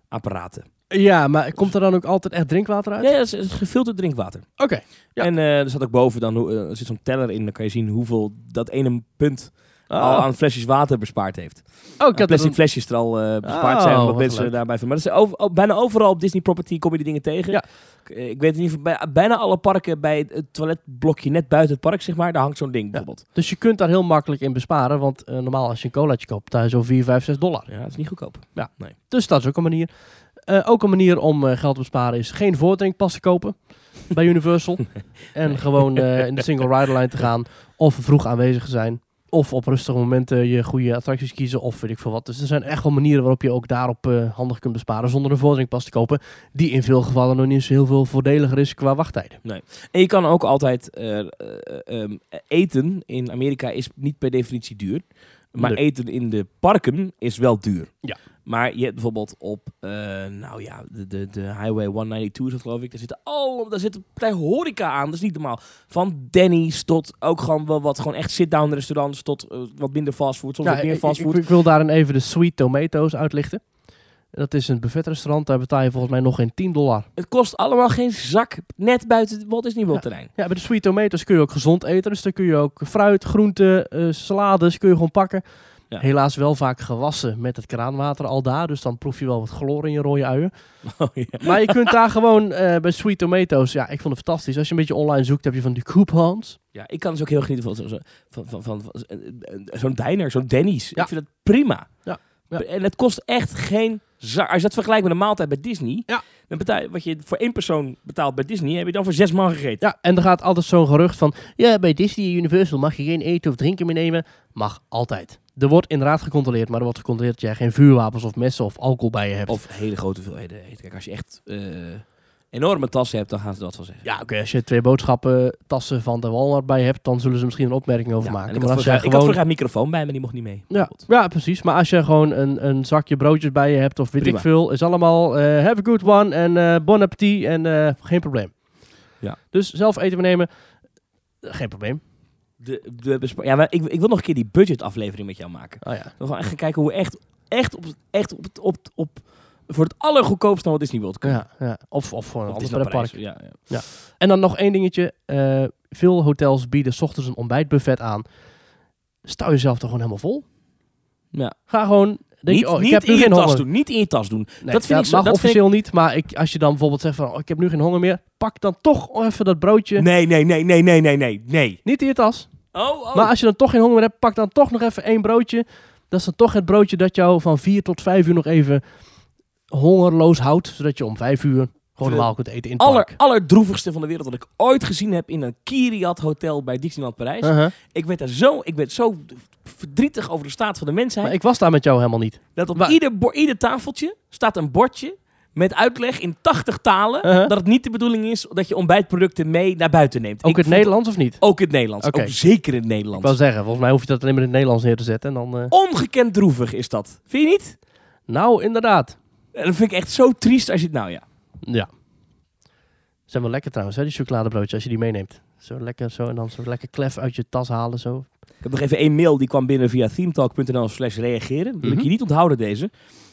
[SPEAKER 2] apparaten.
[SPEAKER 1] Ja, maar komt er dan ook altijd echt drinkwater uit?
[SPEAKER 2] Ja, dat is, dat is gefilterd drinkwater.
[SPEAKER 1] Oké. Ja.
[SPEAKER 2] En eh, er zat ook boven dan hoe- eh, er zit zo'n teller in. Dan kan je zien hoeveel dat ene punt al Oh, aan flesjes water bespaard heeft.
[SPEAKER 1] Oh, Ah. ik
[SPEAKER 2] Dat
[SPEAKER 1] had
[SPEAKER 2] plastic
[SPEAKER 1] een...
[SPEAKER 2] flesjes er al eh, bespaard zijn.
[SPEAKER 1] Oh,
[SPEAKER 2] Omdat
[SPEAKER 1] wat
[SPEAKER 2] mensen
[SPEAKER 1] leuk.
[SPEAKER 2] daarbij van. Maar dat is over- oh, bijna overal op Disney Property kom je die dingen tegen.
[SPEAKER 1] Ja.
[SPEAKER 2] Ik, eh, ik weet niet of bij bijna alle parken bij het- het toiletblokje net buiten het park zeg maar. Daar hangt zo'n ding bijvoorbeeld.
[SPEAKER 1] Dus je kunt daar heel makkelijk in besparen, want eh, normaal als je een colaatje koopt, daar is zo'n 4, 5, 6 dollar.
[SPEAKER 2] Ja, dat is niet goedkoop.
[SPEAKER 1] Dus dat is ook een manier. Eh, ook een manier om eh, geld te besparen is geen voordrinkpas te kopen bij Universal. En gewoon eh, in de single rider line te gaan. Of vroeg aanwezig te zijn. Of op rustige momenten je goede attracties kiezen. Of weet ik veel wat. Dus er zijn echt wel manieren waarop je ook daarop eh, handig kunt besparen. Zonder een voordrinkpas te kopen. Die in veel gevallen nog niet eens heel veel voordeliger is qua wachttijden.
[SPEAKER 2] En je kan ook altijd eh, eh, ehm, eten in Amerika is niet per definitie duur. Maar
[SPEAKER 1] Nee.
[SPEAKER 2] eten in de parken is wel duur.
[SPEAKER 1] Ja.
[SPEAKER 2] Maar je hebt bijvoorbeeld op, eh, nou ja, de, de, de Highway 192 is dat geloof ik. Daar zitten al, daar zit een partij horeca aan. Dat is niet normaal. Van Denny's tot ook gewoon wel wat, gewoon echt sit-down restaurants tot eh, wat minder fastfood, soms
[SPEAKER 1] Ja,
[SPEAKER 2] wat
[SPEAKER 1] ik-
[SPEAKER 2] meer
[SPEAKER 1] ik-
[SPEAKER 2] fastfood.
[SPEAKER 1] Ik, ik wil daarin even de Sweet Tomatoes uitlichten. Dat is een buffetrestaurant. Daar betaal je volgens mij nog geen 10 dollar
[SPEAKER 2] Het kost allemaal geen zak, net buiten het Walt Disney World terrein.
[SPEAKER 1] Ja, bij de sweet tomatoes kun je ook gezond eten. Dus dan kun je ook fruit, groenten, eh, salades kun je gewoon pakken.
[SPEAKER 2] Ja.
[SPEAKER 1] Helaas wel vaak gewassen met het kraanwater al daar. Dus dan proef je wel wat chloor in je rode uien.
[SPEAKER 2] Oh, ja.
[SPEAKER 1] Maar je kunt daar gewoon eh, bij sweet tomatoes... Ja, ik vond het fantastisch. Als je een beetje online zoekt, heb je van die coupons.
[SPEAKER 2] Ja, ik kan dus ook heel erg genieten van, zo- van, van, van, van eh, eh, zo'n diner, zo'n Denny's.
[SPEAKER 1] Ja.
[SPEAKER 2] Ik vind dat prima.
[SPEAKER 1] Ja, ja.
[SPEAKER 2] En het kost echt geen zak. Als je dat vergelijkt met een maaltijd bij Disney,
[SPEAKER 1] Ja.
[SPEAKER 2] dan betaal je- wat je voor één persoon betaalt bij Disney, heb je dan voor zes man gegeten.
[SPEAKER 1] Ja, en er gaat altijd zo'n gerucht van... Ja, bij Disney Universal mag je geen eten of drinken meenemen. Mag altijd. Er wordt inderdaad gecontroleerd, maar er wordt gecontroleerd dat jij geen vuurwapens of messen of alcohol bij je hebt.
[SPEAKER 2] Of hele grote hoeveelheden eten. Kijk, als je echt eh, enorme tassen hebt, dan gaan ze dat wel zeggen.
[SPEAKER 1] Ja, oké, als je twee boodschappen tassen van de Walmart bij hebt, dan zullen ze misschien een opmerking over
[SPEAKER 2] en
[SPEAKER 1] maken.
[SPEAKER 2] ik,
[SPEAKER 1] Maar
[SPEAKER 2] had
[SPEAKER 1] als
[SPEAKER 2] vorig jaar-
[SPEAKER 1] jij
[SPEAKER 2] ik had
[SPEAKER 1] gewoon...
[SPEAKER 2] vorig jaar een microfoon bij me, die mocht niet mee.
[SPEAKER 1] Ja, ja, precies. Maar als je gewoon een, een zakje broodjes bij je hebt of weet
[SPEAKER 2] Prima.
[SPEAKER 1] ik veel, is allemaal eh, have a good one en eh, bon appetit en eh, geen probleem.
[SPEAKER 2] Ja.
[SPEAKER 1] Dus zelf eten meenemen, eh, geen probleem.
[SPEAKER 2] De, de bespa- ja, maar ik, ik wil nog een keer die budgetaflevering met jou maken.
[SPEAKER 1] Oh ja.
[SPEAKER 2] We gaan echt gaan kijken hoe we echt, echt, op, echt op, het- op, op, voor het allergoedkoopst naar Walt Disney World kunnen.
[SPEAKER 1] Ja, ja. Of, of gewoon een
[SPEAKER 2] Of
[SPEAKER 1] ander
[SPEAKER 2] Disneyland
[SPEAKER 1] pretpark.
[SPEAKER 2] Parijs, Ja, ja.
[SPEAKER 1] En dan nog één dingetje. eh, veel hotels bieden 's ochtends een ontbijtbuffet aan. Stel jezelf toch gewoon helemaal vol.
[SPEAKER 2] Ja.
[SPEAKER 1] Ga gewoon... Denk,
[SPEAKER 2] niet
[SPEAKER 1] je, oh,
[SPEAKER 2] niet
[SPEAKER 1] ik heb
[SPEAKER 2] in
[SPEAKER 1] nu
[SPEAKER 2] je
[SPEAKER 1] geen
[SPEAKER 2] tas
[SPEAKER 1] honger.
[SPEAKER 2] doen. Niet in je tas doen.
[SPEAKER 1] Nee,
[SPEAKER 2] dat vind ik zo-
[SPEAKER 1] mag
[SPEAKER 2] dat vind ik-
[SPEAKER 1] officieel niet, maar ik, als je dan bijvoorbeeld zegt van... Oh, ik heb nu geen honger meer. Pak dan toch even dat broodje.
[SPEAKER 2] Nee, nee, nee, nee, nee, nee, nee. nee.
[SPEAKER 1] Niet in je tas.
[SPEAKER 2] Oh, oh.
[SPEAKER 1] Maar als je dan toch geen honger meer hebt, pak dan toch nog even één broodje. Dat is dan toch het broodje dat jou van 4 tot 5 uur nog even hongerloos houdt. Zodat je om 5 uur gewoon
[SPEAKER 2] De
[SPEAKER 1] normaal kunt eten in het
[SPEAKER 2] aller,
[SPEAKER 1] park.
[SPEAKER 2] allerdroevigste van de wereld dat ik ooit gezien heb in een Kiriat Hotel bij Disneyland Parijs.
[SPEAKER 1] Uh-huh.
[SPEAKER 2] Ik, werd daar zo, ik werd zo verdrietig over de staat van de mensheid.
[SPEAKER 1] Maar ik was daar met jou helemaal niet.
[SPEAKER 2] dat op
[SPEAKER 1] maar-
[SPEAKER 2] ieder, bo- ieder tafeltje staat een bordje met uitleg in 80 talen.
[SPEAKER 1] Uh-huh.
[SPEAKER 2] Dat het niet de bedoeling is dat je ontbijtproducten mee naar buiten neemt.
[SPEAKER 1] Ook
[SPEAKER 2] Ik
[SPEAKER 1] in het
[SPEAKER 2] vond-
[SPEAKER 1] Nederlands of niet?
[SPEAKER 2] Ook in het Nederlands.
[SPEAKER 1] Oké.
[SPEAKER 2] Ook zeker in het
[SPEAKER 1] Ik
[SPEAKER 2] Nederlands.
[SPEAKER 1] wou zeggen, volgens mij hoef je dat alleen maar in het Nederlands neer te zetten. En
[SPEAKER 2] Oh.
[SPEAKER 1] dan, eh,
[SPEAKER 2] Ongekend droevig is dat. Vind je niet?
[SPEAKER 1] Nou, inderdaad.
[SPEAKER 2] En Dat vind ik echt zo triest als je het nou ja.
[SPEAKER 1] Ja. Zijn wel lekker trouwens, hè, die chocoladebroodjes, als je die meeneemt. Zo lekker zo, en dan zo lekker klef uit je tas halen, zo.
[SPEAKER 2] Ik heb nog even één mail die kwam binnen via themetalk.nl slash reageren. Wil ik
[SPEAKER 1] Mhm.
[SPEAKER 2] je niet onthouden deze.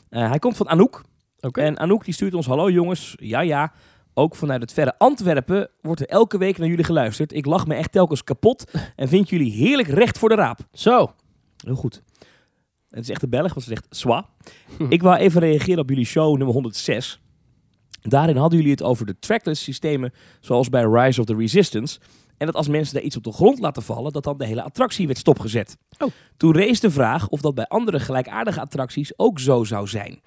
[SPEAKER 2] Eh, hij komt van Anouk.
[SPEAKER 1] Oké.
[SPEAKER 2] En Anouk die stuurt ons, hallo jongens, ja ja. Ook vanuit het verre Antwerpen wordt er elke week naar jullie geluisterd. Ik lach me echt telkens kapot en vind jullie heerlijk recht voor de raap.
[SPEAKER 1] Zo.
[SPEAKER 2] Heel goed. Het is echt een Belg, want ze zegt swa. Ik wou even reageren op jullie show nummer 106. Daarin hadden jullie het over de trackless systemen, zoals bij Rise of the Resistance. En dat als mensen daar iets op de grond laten vallen, dat dan de hele attractie werd stopgezet.
[SPEAKER 1] Oh.
[SPEAKER 2] Toen rees de vraag of dat bij andere gelijkaardige attracties ook zo zou zijn.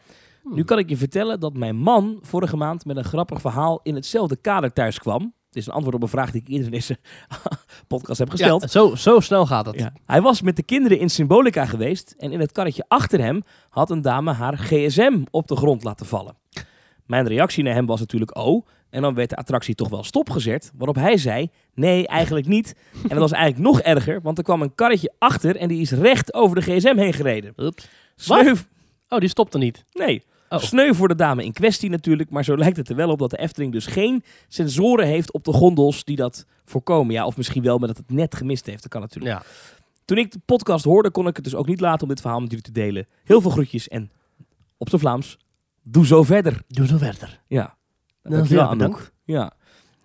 [SPEAKER 2] Nu
[SPEAKER 1] Hmm.
[SPEAKER 2] kan ik je vertellen dat mijn man vorige maand met een grappig verhaal in hetzelfde kader thuis kwam. Dit is een antwoord op een vraag die ik eerder in deze podcast heb gesteld.
[SPEAKER 1] Ja, zo, zo snel gaat dat.
[SPEAKER 2] Ja. Hij was met de kinderen in Symbolica geweest en in het karretje achter hem had een dame haar gsm op de grond laten vallen. Mijn reactie naar hem was natuurlijk oh, en dan werd de attractie toch wel stopgezet, waarop hij zei nee, eigenlijk niet. En dat was eigenlijk nog erger, want er kwam een karretje achter en die is recht over de gsm heen gereden.
[SPEAKER 1] Oeps.
[SPEAKER 2] Sneu,
[SPEAKER 1] Oh, die stopte niet.
[SPEAKER 2] nee,
[SPEAKER 1] Oh.
[SPEAKER 2] sneu voor de dame in kwestie natuurlijk, maar zo lijkt het er wel op dat de Efteling dus geen sensoren heeft op de gondels die dat voorkomen. Ja, of misschien wel, maar dat het net gemist heeft, dat kan natuurlijk.
[SPEAKER 1] Ja.
[SPEAKER 2] Toen ik de podcast hoorde, kon ik het dus ook niet laten om dit verhaal met jullie te delen. Heel veel groetjes en op zijn Vlaams, doe zo verder.
[SPEAKER 1] Doe zo verder.
[SPEAKER 2] Ja.
[SPEAKER 1] Nou,
[SPEAKER 2] Dankjewel,
[SPEAKER 1] ja, bedankt.
[SPEAKER 2] Anouk. Ja.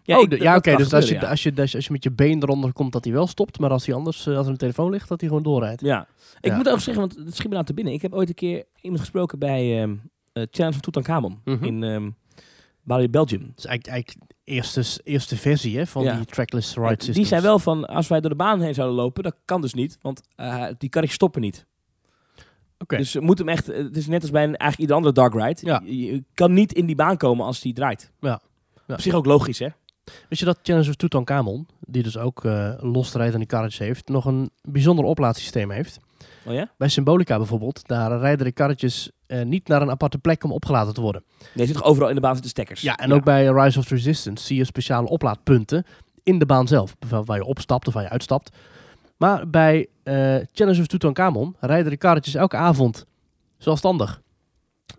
[SPEAKER 1] Ja,
[SPEAKER 2] ik-
[SPEAKER 1] oh, de- ja
[SPEAKER 2] dat
[SPEAKER 1] oké,
[SPEAKER 2] kan
[SPEAKER 1] dus als je,
[SPEAKER 2] gebeuren,
[SPEAKER 1] als, je, als, je, als je met je been eronder komt, dat hij wel stopt. Maar als hij anders, eh, als er een telefoon ligt, dat hij gewoon doorrijdt.
[SPEAKER 2] ja. Ja. Ik
[SPEAKER 1] Ja.
[SPEAKER 2] moet ook zeggen, want het schiet me nou te binnen. Ik heb ooit een keer iemand gesproken bij ehm eh Challenge van Tutankhamon
[SPEAKER 1] Mhm.
[SPEAKER 2] in ehm Bali, Belgium.
[SPEAKER 1] Dat is eigenlijk, eigenlijk eerste, eerste versie hè, van
[SPEAKER 2] Ja.
[SPEAKER 1] die trackless ride systems.
[SPEAKER 2] die zei wel van, als wij door de baan heen zouden lopen, dat kan dus niet, want eh, die karretjes stoppen niet.
[SPEAKER 1] Oké.
[SPEAKER 2] Dus je moet hem echt, het is net als bij een, eigenlijk ieder andere dark ride.
[SPEAKER 1] Ja.
[SPEAKER 2] Je, je kan niet in die baan komen als die draait.
[SPEAKER 1] Ja. Ja.
[SPEAKER 2] Op zich ook logisch, hè?
[SPEAKER 1] Weet je dat Challenge of Tutankhamon, die dus ook eh losrijdende karretjes heeft, nog een bijzonder oplaadsysteem heeft?
[SPEAKER 2] Oh ja?
[SPEAKER 1] Bij Symbolica bijvoorbeeld, daar rijden de karretjes eh, niet naar een aparte plek om opgeladen te worden.
[SPEAKER 2] Nee, zit toch overal in de baan zitten stekkers.
[SPEAKER 1] Ja, en ook bij Rise of the Resistance zie je speciale oplaadpunten in de baan zelf, bijvoorbeeld waar je opstapt of waar je uitstapt. Maar bij eh Challenge of Tutankhamon rijden de karretjes elke avond zelfstandig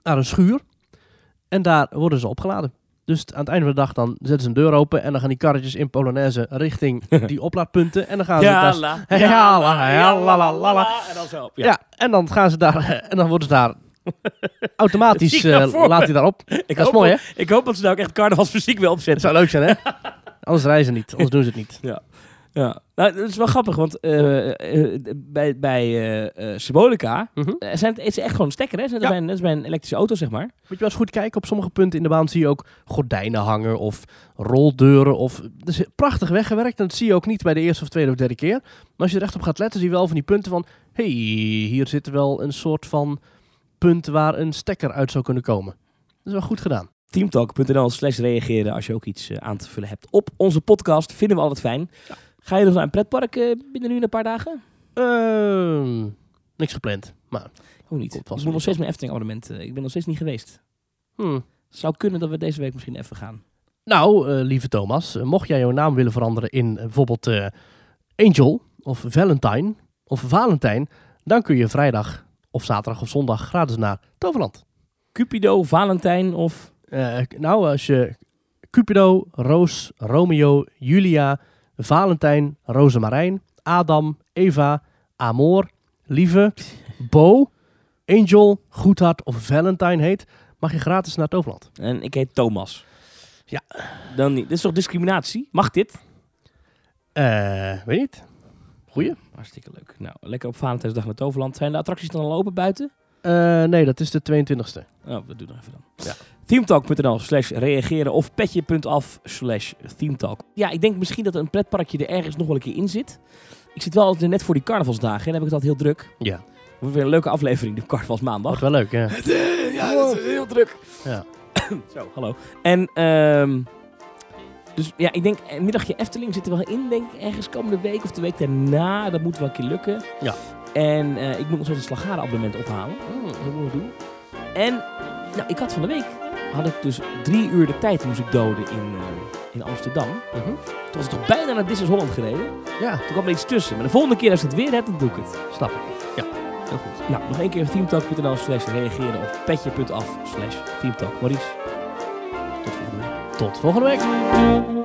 [SPEAKER 1] naar een schuur en daar worden ze opgeladen. Dus t- aan het einde van de dag dan zetten ze een deur open en dan gaan die karretjes in Polonaise richting die oplaadpunten en dan gaan ze daar
[SPEAKER 2] la,
[SPEAKER 1] Ja, la, ja, la, la, la, la.
[SPEAKER 2] En dan zo op.
[SPEAKER 1] Ja. en dan gaan ze daar en dan worden ze daar
[SPEAKER 2] Dat
[SPEAKER 1] automatisch
[SPEAKER 2] zie ik nou
[SPEAKER 1] eh,
[SPEAKER 2] voor me.
[SPEAKER 1] laat hij daarop.
[SPEAKER 2] ik
[SPEAKER 1] dat is
[SPEAKER 2] hoop
[SPEAKER 1] mooi,
[SPEAKER 2] dat- Ik hoop dat ze nou ook echt carnavalsmuziek wel
[SPEAKER 1] Het
[SPEAKER 2] opzetten.
[SPEAKER 1] zou leuk zijn, hè? Anders reizen ze niet, anders doen ze het niet.
[SPEAKER 2] Ja. Nou, dat is wel grappig, want eh, eh, eh, bij, bij eh, eh, Symbolica
[SPEAKER 1] Mhm.
[SPEAKER 2] eh, zijn het, is het echt gewoon een stekker, hè? Net als
[SPEAKER 1] Ja.
[SPEAKER 2] bij een- net als bij een elektrische auto, zeg maar.
[SPEAKER 1] Moet je wel eens goed kijken, op sommige punten in de baan zie je ook gordijnen hangen of roldeuren. Of, dat is prachtig weggewerkt en dat zie je ook niet bij de eerste of tweede of derde keer. Maar als je er echt op gaat letten, zie je wel van die punten van... hey, hier zit wel een soort van punt waar een stekker uit zou kunnen komen. Dat is wel goed gedaan.
[SPEAKER 2] teamtalk.nl slash reageren als je ook iets eh, aan te vullen hebt op onze podcast. Vinden we altijd fijn. Ga je nog naar een pretpark eh, binnen nu een paar dagen?
[SPEAKER 1] Ehm, niks gepland, maar...
[SPEAKER 2] Ook
[SPEAKER 1] Komt
[SPEAKER 2] niet.
[SPEAKER 1] vast
[SPEAKER 2] ik
[SPEAKER 1] wel
[SPEAKER 2] moet nog steeds mijn Efteling abonnement. eh, ik ben nog steeds niet geweest.
[SPEAKER 1] hmm.
[SPEAKER 2] Zou kunnen dat we deze week misschien even gaan.
[SPEAKER 1] Nou, eh, lieve Thomas, eh, mocht jij jouw naam willen veranderen in eh, bijvoorbeeld eh, Angel of Valentine of Valentijn, dan kun je vrijdag of zaterdag of zondag gratis naar Toverland.
[SPEAKER 2] Cupido, Valentijn of...
[SPEAKER 1] Eh, k- nou, als je Cupido, Roos, Romeo, Julia, Valentijn, Rozemarijn, Adam, Eva, Amor, Lieve, Bo, Angel, Goedhart of Valentine heet, mag je gratis naar Toverland.
[SPEAKER 2] En ik heet Thomas.
[SPEAKER 1] Ja.
[SPEAKER 2] Dan niet. Dit is toch discriminatie? Mag dit?
[SPEAKER 1] Eh, weet niet. Goeie.
[SPEAKER 2] Hartstikke leuk. Nou, lekker op Valentijnsdag naar Toverland. Zijn de attracties dan al open buiten?
[SPEAKER 1] Eh, nee, dat is de 22e.
[SPEAKER 2] Oh, dat doe dan even dan.
[SPEAKER 1] Ja.
[SPEAKER 2] Themetalk.nl slash reageren of petje.af slash themetalk. Ja, ik denk misschien dat een pretparkje er ergens nog wel een keer in zit. Ik zit wel altijd net voor die carnavalsdagen en dan heb ik het altijd heel druk.
[SPEAKER 1] Ja.
[SPEAKER 2] We hebben weer een leuke aflevering, de carnavalsmaandag.
[SPEAKER 1] Wordt wel leuk, ja.
[SPEAKER 2] Ja, dat is heel druk.
[SPEAKER 1] Ja.
[SPEAKER 2] Zo, hallo. En ehm dus ja, ik denk een middagje Efteling zit er wel in, denk ik, ergens komende week of de week daarna. Dat moet wel een keer lukken.
[SPEAKER 1] Ja.
[SPEAKER 2] En eh, ik moet nog zo'n een slagharen-abonnement ophalen.
[SPEAKER 1] Hmm,
[SPEAKER 2] Dat moet ik doen. En nou, ik had van de week had ik dus drie uur de tijd moest ik doden in, eh, in Amsterdam.
[SPEAKER 1] Mhm.
[SPEAKER 2] Toen was ik toch bijna naar Disney's Holland gereden.
[SPEAKER 1] Ja,
[SPEAKER 2] Toen kwam er iets tussen. Maar de volgende keer als ik het weer heb, dan doe ik het.
[SPEAKER 1] snap ik.
[SPEAKER 2] Heel goed. Nou, nog één keer teamtalk.nl slash reageren of petje.af slash teamtalk. Maurice, tot volgende week.
[SPEAKER 1] Tot volgende week.